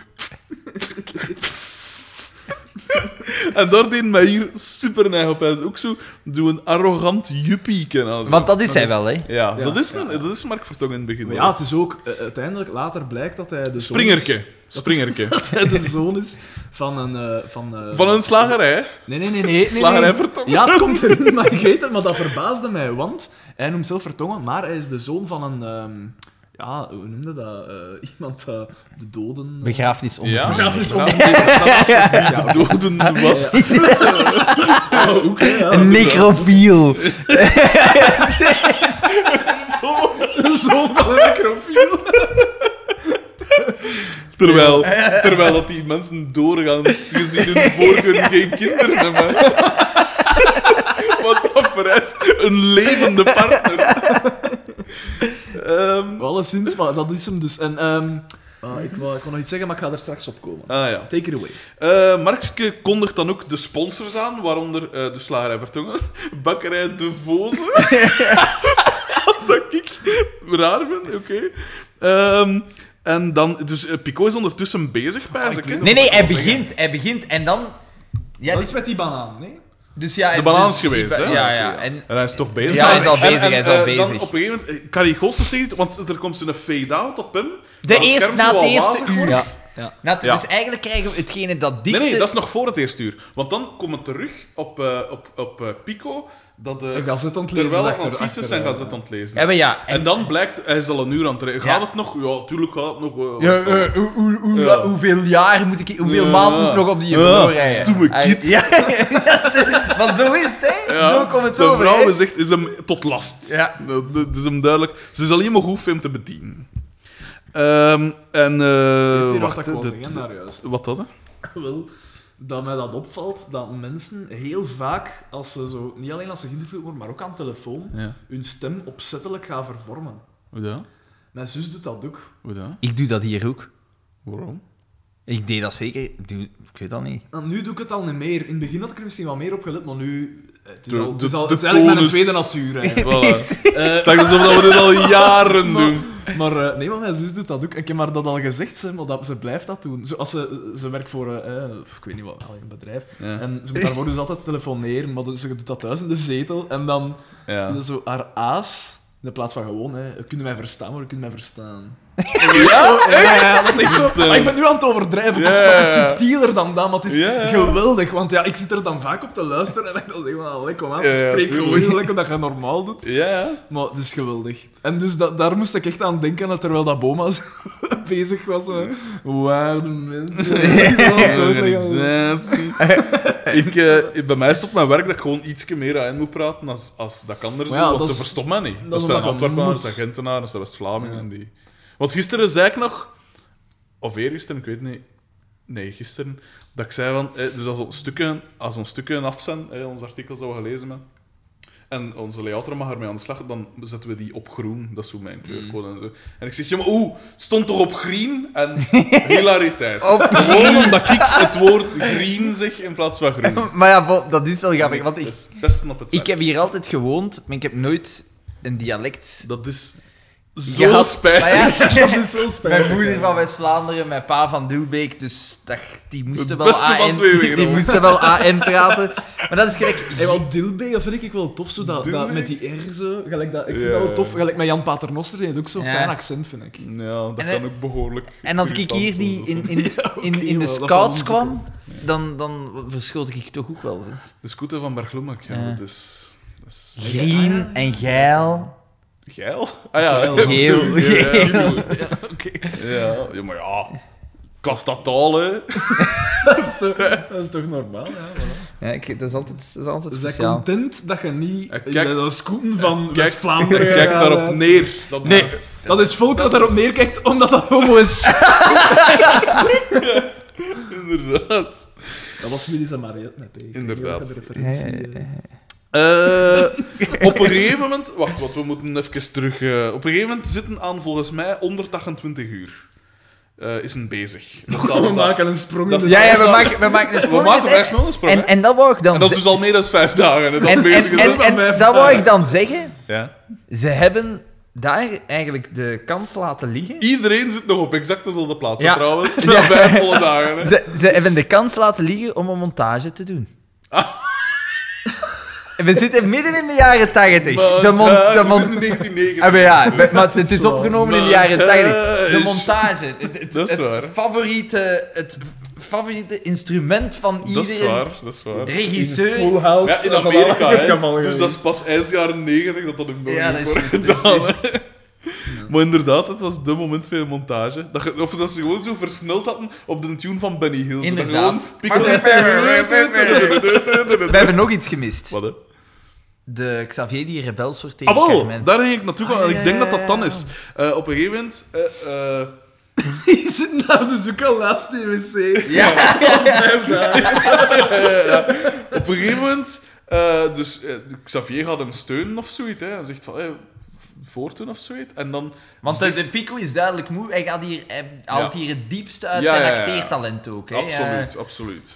Speaker 2: En daar deed mij hier super neig op. Hij is ook zo zo'n arrogant juppie kennen.
Speaker 3: Want dat is hij wel, hè.
Speaker 2: Ja,
Speaker 1: Ja,
Speaker 2: dat is,
Speaker 1: ja.
Speaker 2: een, dat is Mark Vertongen in het begin.
Speaker 1: Maar ja, het is ook... eh, uiteindelijk, later blijkt dat hij de zoon is-
Speaker 2: Springerke. Springerke.
Speaker 1: Dat hij de zoon is van een... eh, van, eh,
Speaker 2: Van een slagerij. hè.
Speaker 1: Nee, nee, nee. nee, nee,
Speaker 2: Slagerij
Speaker 1: nee.
Speaker 2: Vertongen.
Speaker 1: Ja, het komt erin, maar ik weet het. Maar dat verbaasde mij, want hij noemt zelf Vertongen, maar hij is de zoon van een... ehm, ja, hoe noemde dat? Eh, iemand dat de doden...
Speaker 3: Begrafenis onder.
Speaker 2: Ja.
Speaker 1: Begrafenis onderneemt. Dat was het. Ja, Ah, oké. Oh,
Speaker 2: Doden was.
Speaker 1: oké, ja.
Speaker 3: Een necrofiel.
Speaker 1: De zoon van een necrofiel.
Speaker 2: Terwijl, terwijl dat die mensen doorgaans gezien hun voorkeur geen kinderen hebben. Want dat vereist een levende partner. Ehm,
Speaker 1: Alleszins, eh, maar dat is hem dus. En ehm, ah, ik, wou, ik kon nog iets zeggen, maar ik ga er straks op komen.
Speaker 2: ah ja.
Speaker 1: Take it away.
Speaker 2: Eh Markske kondigt dan ook de sponsors aan, waaronder eh, de slagerij Vertongen, bakkerij De Voze. Wat dat ik raar vind, oké. Ehm, en dan, dus eh, Pico is ondertussen bezig, pijs ik. hè?
Speaker 3: Nee, nee, hij begint. Hij begint en dan... Ja,
Speaker 1: dat
Speaker 3: dus,
Speaker 1: is met die banaan, nee?
Speaker 3: dus ja,
Speaker 2: De
Speaker 3: dus-
Speaker 2: balans geweest, hè?
Speaker 3: Ja, ja.
Speaker 2: Oké,
Speaker 3: En
Speaker 2: En hij is toch bezig.
Speaker 3: Ja, hij is al
Speaker 2: En- en-
Speaker 3: bezig, hij is al
Speaker 2: eh,
Speaker 3: bezig.
Speaker 2: Dan op een gegeven moment, eh, Carrie Goossens zegt, want er komt zo'n fade-out op hem.
Speaker 3: De
Speaker 2: dat
Speaker 3: eerste-
Speaker 2: scherm
Speaker 3: na
Speaker 2: zo
Speaker 3: het
Speaker 2: al
Speaker 3: eerste
Speaker 2: wazig
Speaker 3: uur.
Speaker 2: wordt.
Speaker 3: Ja. Ja. Nou,
Speaker 2: Ja.
Speaker 3: Dus eigenlijk krijgen we hetgene dat dichtste...
Speaker 2: Nee, nee, dat is nog voor het eerste uur. Want dan komen we terug op, eh, op, op eh, Pico, dat de,
Speaker 1: Een gazet ontlezen.
Speaker 2: terwijl hij
Speaker 1: achter-
Speaker 2: aan het fietsen
Speaker 1: achter,
Speaker 2: is, zijn
Speaker 1: eh,
Speaker 2: gazet aan het lezen
Speaker 3: Ja, maar
Speaker 2: is.
Speaker 3: ja.
Speaker 2: En
Speaker 3: En,
Speaker 2: dan blijkt, hij is al een uur aan het rijden. Gaat
Speaker 3: Ja.
Speaker 2: het nog? Ja, tuurlijk gaat het nog. eh, wat
Speaker 3: Ja,
Speaker 2: is dat?
Speaker 3: eh, hoe- hoe- hoe-
Speaker 2: Ja.
Speaker 3: Hoeveel jaar moet ik... Hoeveel
Speaker 2: Ja.
Speaker 3: maanden moet ik nog op die
Speaker 2: Ja,
Speaker 3: vloer rijden?
Speaker 2: stoeme
Speaker 3: Ah,
Speaker 2: kid.
Speaker 3: Ja, ja, zo- want zo is het, hè.
Speaker 2: Ja,
Speaker 3: eh, Zo komt het
Speaker 2: zijn
Speaker 3: over,
Speaker 2: vrouw
Speaker 3: hè.
Speaker 2: is echt, is hem tot last.
Speaker 3: Ja.
Speaker 2: Dat, dat is hem duidelijk. Ze is alleen maar goed voor hem te bedienen. Ehm, en, eh,
Speaker 1: Weet je wat
Speaker 2: wacht,
Speaker 1: dat
Speaker 2: hè,
Speaker 1: ik wou
Speaker 2: de-
Speaker 1: zeggen daar juist?
Speaker 2: wat dat, hè?
Speaker 1: Wel, dat mij dat opvalt, dat mensen heel vaak, als ze zo, niet alleen als ze geïnterviewd worden, maar ook aan telefoon,
Speaker 2: Ja.
Speaker 1: hun stem opzettelijk gaan vervormen.
Speaker 2: Hoe dat?
Speaker 1: Mijn zus doet dat ook.
Speaker 2: Hoe dat?
Speaker 3: Ik doe dat hier ook.
Speaker 2: Waarom?
Speaker 3: Ik deed dat zeker. Ik, doe, ik weet dat niet.
Speaker 1: En Nou, nu doe ik het al niet meer. In het begin had ik er misschien wat meer op gelet, maar nu... eh, Het is,
Speaker 2: De-
Speaker 1: al, het is,
Speaker 2: de-
Speaker 1: al,
Speaker 2: de
Speaker 1: het is eigenlijk mijn
Speaker 2: tonus.
Speaker 1: tweede natuur, eigenlijk.
Speaker 2: Voilà.
Speaker 1: Eh,
Speaker 2: Het lijkt alsof dat we dit al jaren doen.
Speaker 1: Maar eh, nee, maar mijn zus doet dat ook. Ik heb haar dat al gezegd, ze, maar dat, ze blijft dat doen. Zo, als ze, ze werkt voor, eh, eh, ik weet niet wat, allee, een bedrijf.
Speaker 2: Ja.
Speaker 1: En ze moet daarvoor dus altijd telefoneren, maar dus, ze doet dat thuis in de zetel. En dan
Speaker 2: Ja.
Speaker 1: dus zo haar aas, in plaats van gewoon, hè, kunnen mij verstaan, maar kunnen mij verstaan.
Speaker 2: Ja?
Speaker 1: Ja, ja, dat is
Speaker 2: Dus,
Speaker 1: zo.
Speaker 2: eh,
Speaker 1: Maar ik ben nu aan het overdrijven. Het is,
Speaker 2: ja,
Speaker 1: maar het is
Speaker 2: ja.
Speaker 1: subtieler dan dat, maar het is
Speaker 2: Ja, ja.
Speaker 1: geweldig. Want ja, ik zit er dan vaak op te luisteren en dan denk ik, "Wel, allee, kom aan,
Speaker 2: Ja, ja,
Speaker 1: spreek
Speaker 2: tuurlijk.
Speaker 1: gewoon gelijk omdat je normaal doet.
Speaker 2: Ja.
Speaker 1: Maar het is geweldig. En dus da- daar moest ik echt aan denken, dat terwijl dat Boma zo bezig was met... Waar de mensen...
Speaker 2: Organisatie. ik, eh, bij mij is het op mijn werk dat ik gewoon ietsje meer aan moet praten als, als dat ik anders
Speaker 1: Maar
Speaker 2: doe,
Speaker 1: ja,
Speaker 2: want
Speaker 1: dat
Speaker 2: ze
Speaker 1: is-
Speaker 2: verstaan mij niet. Dat,
Speaker 1: omdat
Speaker 2: zijn
Speaker 1: je
Speaker 2: Antwerpenaren, dat
Speaker 1: moet.
Speaker 2: zijn Gentenaren, dat zijn West-Vlamingen. en Die... Want gisteren zei ik nog, of eergisteren, ik weet niet, nee, gisteren, dat ik zei van, eh, dus als ons stukken, als ons stukken af zijn, eh, ons artikel zou gelezen hebben, en onze layouter mag ermee aan de slag, dan zetten we die op groen. Dat is hoe
Speaker 1: Mm.
Speaker 2: mijn kleurcode en zo. En ik zeg, ja, maar oeh, het stond toch op green? En hilariteit.
Speaker 1: Oh,
Speaker 2: Gewoon omdat ik het woord green zeg in plaats van groen.
Speaker 3: Maar ja, bo- dat is wel grappig. Want ik,
Speaker 2: Dus pesten op het
Speaker 3: ik
Speaker 2: werk.
Speaker 3: heb hier altijd gewoond, maar ik heb nooit een dialect
Speaker 2: Dat is
Speaker 3: Je
Speaker 2: zo
Speaker 3: had-
Speaker 2: spijtig.
Speaker 3: Maar ja,
Speaker 1: Dat is zo spijtig.
Speaker 3: eh, Mijn moeder van West-Vlaanderen, mijn pa van Dilbeek, dus dat, die moesten
Speaker 2: Het
Speaker 3: wel
Speaker 2: beste van
Speaker 3: AN
Speaker 2: twee
Speaker 3: die,
Speaker 2: werelden.
Speaker 3: die moesten wel AN praten. Maar dat is gelijk.
Speaker 1: Hey, want Dilbe, dat vind ik wel tof, zo dat, dat
Speaker 2: Dilbeek?
Speaker 1: met die R zo. Gelijk dat, ik vind
Speaker 2: Ja.
Speaker 1: dat wel tof, gelijk met Jan Paternoster, die heeft ook zo'n
Speaker 3: Ja.
Speaker 1: fijn accent, vind ik.
Speaker 2: Ja, dat kan
Speaker 3: En, eh,
Speaker 2: ook behoorlijk.
Speaker 3: En als ik
Speaker 2: irritant
Speaker 3: hier die
Speaker 2: zijn,
Speaker 3: in,
Speaker 2: soms.
Speaker 3: in, in, in de
Speaker 1: wel, dat
Speaker 3: scouts
Speaker 1: kan
Speaker 3: kwam, dan, dan verschoot ik toch ook wel. hè.
Speaker 2: De scooter van Bergloemak, ja,
Speaker 3: Ja.
Speaker 2: dat is... Dat is...
Speaker 3: Green en geil.
Speaker 2: Geil? Ah ja,
Speaker 1: Geil.
Speaker 3: Geel.
Speaker 2: Ja, ja,
Speaker 3: Geel.
Speaker 2: ja. Ja, ja, maar ja. Klas dat taal, hè.
Speaker 1: Dat is, toch- dat is toch normaal, ja? voilà.
Speaker 3: Ja, ik, dat is altijd, dat is altijd
Speaker 1: Is
Speaker 2: Dus
Speaker 1: hij
Speaker 3: speciaal.
Speaker 1: content dat je niet
Speaker 2: Hij
Speaker 1: in
Speaker 2: kijkt-
Speaker 1: de scooten van
Speaker 2: Kijk,
Speaker 1: West-Vlaanderen...
Speaker 2: Kijk daarop
Speaker 1: gaat.
Speaker 2: neer. Dat
Speaker 1: Nee.
Speaker 2: maakt.
Speaker 1: Dat is volk dat daarop neerkijkt, omdat dat homo is.
Speaker 2: Inderdaad.
Speaker 1: Dat was Willy Samariet, net. hè.
Speaker 2: Inderdaad.
Speaker 1: De
Speaker 3: Ja, ja,
Speaker 1: referentie,
Speaker 3: ja,
Speaker 1: eh.
Speaker 3: ja.
Speaker 2: Eh, op een gegeven moment... Wacht, wat, we moeten even terug... eh, op een gegeven moment zitten aan, volgens mij, 128 uur. Eh, is een bezig. Dat staat
Speaker 1: We
Speaker 2: op dat-
Speaker 1: maken een sprong in
Speaker 2: dat
Speaker 1: de...
Speaker 3: Ja, ja, we maken, we maken een
Speaker 2: We
Speaker 3: sprong.
Speaker 2: maken
Speaker 3: met
Speaker 2: vrij
Speaker 3: X.
Speaker 2: snel een sprong, hè.
Speaker 3: en, en dat wou ik dan
Speaker 2: En dat is
Speaker 3: ze-
Speaker 2: dus al meer dan vijf dagen. Hè, dat
Speaker 3: en,
Speaker 2: bezig
Speaker 3: en,
Speaker 2: is.
Speaker 3: en, en,
Speaker 1: Vijf
Speaker 3: dat wou
Speaker 1: dagen.
Speaker 3: ik dan zeggen.
Speaker 2: Ja.
Speaker 3: Ze hebben daar eigenlijk de kans laten liggen.
Speaker 2: Iedereen zit nog op exact dezelfde plaats, hè,
Speaker 3: Ja.
Speaker 2: trouwens. Na vijf volle dagen. Hè.
Speaker 3: Ze, ze hebben de kans laten liggen om een montage te doen.
Speaker 2: Ah.
Speaker 3: We zitten midden in de jaren 80.
Speaker 2: Maar
Speaker 3: De mon,
Speaker 2: daar,
Speaker 3: de
Speaker 2: we
Speaker 3: mon-
Speaker 2: zitten in Dus 1990.
Speaker 3: Ah, maar ja, we- maar het is
Speaker 1: Zo.
Speaker 3: opgenomen in de
Speaker 2: Maar
Speaker 3: jaren
Speaker 2: thuis.
Speaker 3: 80. De montage. Het, het-
Speaker 2: Dat is
Speaker 3: het
Speaker 2: waar.
Speaker 3: favoriete, het favoriete instrument van
Speaker 2: Dat is
Speaker 3: iedere
Speaker 2: waar, dat is waar.
Speaker 3: regisseur.
Speaker 1: Full House. eh,
Speaker 2: Ja, in
Speaker 1: dat
Speaker 2: Amerika,
Speaker 1: het
Speaker 2: hè.
Speaker 1: geval
Speaker 2: Dus
Speaker 1: geweest.
Speaker 2: dat is pas eind jaren 90 dat dat ook nog
Speaker 3: Ja, dat
Speaker 2: niet
Speaker 3: is
Speaker 2: wordt
Speaker 3: juist, dat is
Speaker 2: gedaan,
Speaker 3: juist.
Speaker 2: hè. Maar inderdaad, het was de moment van de montage. Dat je- of dat ze gewoon zo versneld hadden op de tune van Benny Hill. Zo Dat
Speaker 3: Inderdaad.
Speaker 2: gewoon pikkelen-
Speaker 3: We hebben nog iets gemist.
Speaker 2: Wat, hè?
Speaker 3: De Xavier die rebel sorteert.
Speaker 2: Ah, wel,
Speaker 3: Carmen.
Speaker 2: daar ging ik naartoe gaan.
Speaker 3: Ah,
Speaker 2: en
Speaker 3: ja,
Speaker 2: ik denk
Speaker 3: ja,
Speaker 2: dat dat dan
Speaker 3: ja.
Speaker 2: is. Eh, op een gegeven moment... eh, eh,
Speaker 1: Die zit daar dus ook al laatst in wc.
Speaker 3: Ja,
Speaker 1: Vijf dagen.
Speaker 2: op een gegeven moment, eh, dus eh, Xavier gaat hem steunen of zoiets. Hè, en zegt van, hey, voortdoen of zoiets. En dan,
Speaker 3: want de, de Pico is duidelijk moe. Hij, gaat hier, hij haalt hier het diepste uit
Speaker 2: Ja,
Speaker 3: zijn
Speaker 2: ja, ja, ja.
Speaker 3: acteertalent ook. Hè?
Speaker 2: absoluut, absoluut.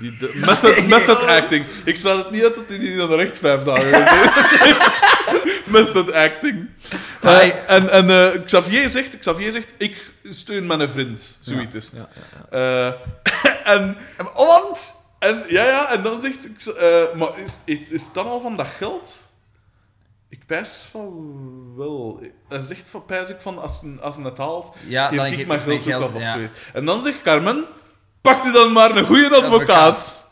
Speaker 2: Die, de, method, method acting. Ik sluit het niet uit dat hij die dan echt vijf dagen heeft. Method acting. Eh,
Speaker 3: Hai.
Speaker 2: en en eh, Xavier, zegt, Xavier zegt, ik steun mijn vriend. Zoiets is het. Eh, en
Speaker 3: Ja. Want...
Speaker 2: En, ja, ja, en dan zegt... ik zo, eh, maar is, is het dan al van dat geld? Ik pijs van wel. Hij zegt van, pijs ik van, als hij als hij het haalt,
Speaker 3: Ja,
Speaker 2: geef
Speaker 3: dan
Speaker 2: ik
Speaker 3: geef
Speaker 2: mijn
Speaker 3: ik mijn
Speaker 2: geld ook
Speaker 3: geld,
Speaker 2: af of
Speaker 3: ja.
Speaker 2: zoiets. En dan zegt Carmen, pak je dan maar een goede advocaat. Zij-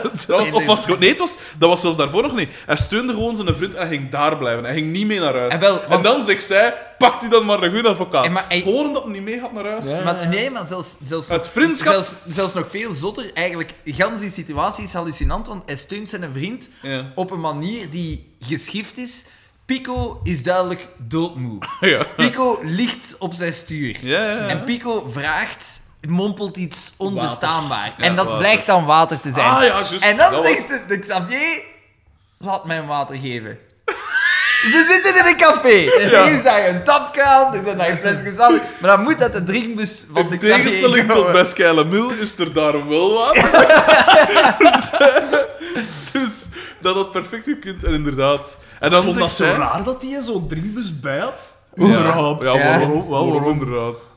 Speaker 2: dat was, of was het gewoon- nee, het was, dat was zelfs daarvoor nog niet. Hij steunde gewoon zijn vriend en hij ging daar blijven. Hij ging niet mee naar huis.
Speaker 3: En wel, want-
Speaker 2: dan zegt zij, pak u dan maar een goede advocaat.
Speaker 3: En maar hij-
Speaker 2: Gewoon omdat hij niet mee gaat naar huis.
Speaker 1: Ja.
Speaker 3: Maar, nee, maar zelfs, zelfs,
Speaker 2: Het vriendschap-
Speaker 3: zelfs, zelfs nog veel zotter. Eigenlijk, gans die situatie is hallucinant, want hij steunt zijn vriend
Speaker 2: Ja.
Speaker 3: op een manier die geschift is. Pico is duidelijk doodmoe.
Speaker 2: Ja.
Speaker 3: Pico ligt op zijn stuur.
Speaker 2: Ja, ja, ja.
Speaker 3: En Pico vraagt, mompelt iets onverstaanbaar.
Speaker 2: Ja,
Speaker 3: en dat
Speaker 2: water.
Speaker 3: blijkt dan water te zijn.
Speaker 2: Ah ja, juist.
Speaker 3: En dan
Speaker 2: Dat was-
Speaker 3: zegt de, de Xavier, laat mij een water geven. Ze zitten in een café. Er is daar een tapkraan, er zijn daar flesjes aan. Maar dan moet dat de drinkbus van de
Speaker 2: In
Speaker 3: Xavier
Speaker 2: tegenstelling tot
Speaker 3: komen.
Speaker 2: bij Skyla Mil is er daarom wel water. dus dat had perfect gekund en inderdaad. En dan
Speaker 1: vond dat
Speaker 2: zegt
Speaker 1: zo
Speaker 2: zij-
Speaker 1: raar dat hij zo'n drinkbus bij had.
Speaker 2: Ja,
Speaker 1: Überhaupt.
Speaker 2: ja,
Speaker 3: Ja.
Speaker 2: waarom,
Speaker 1: Waarom?
Speaker 2: waarom,
Speaker 1: Waarom?
Speaker 2: inderdaad?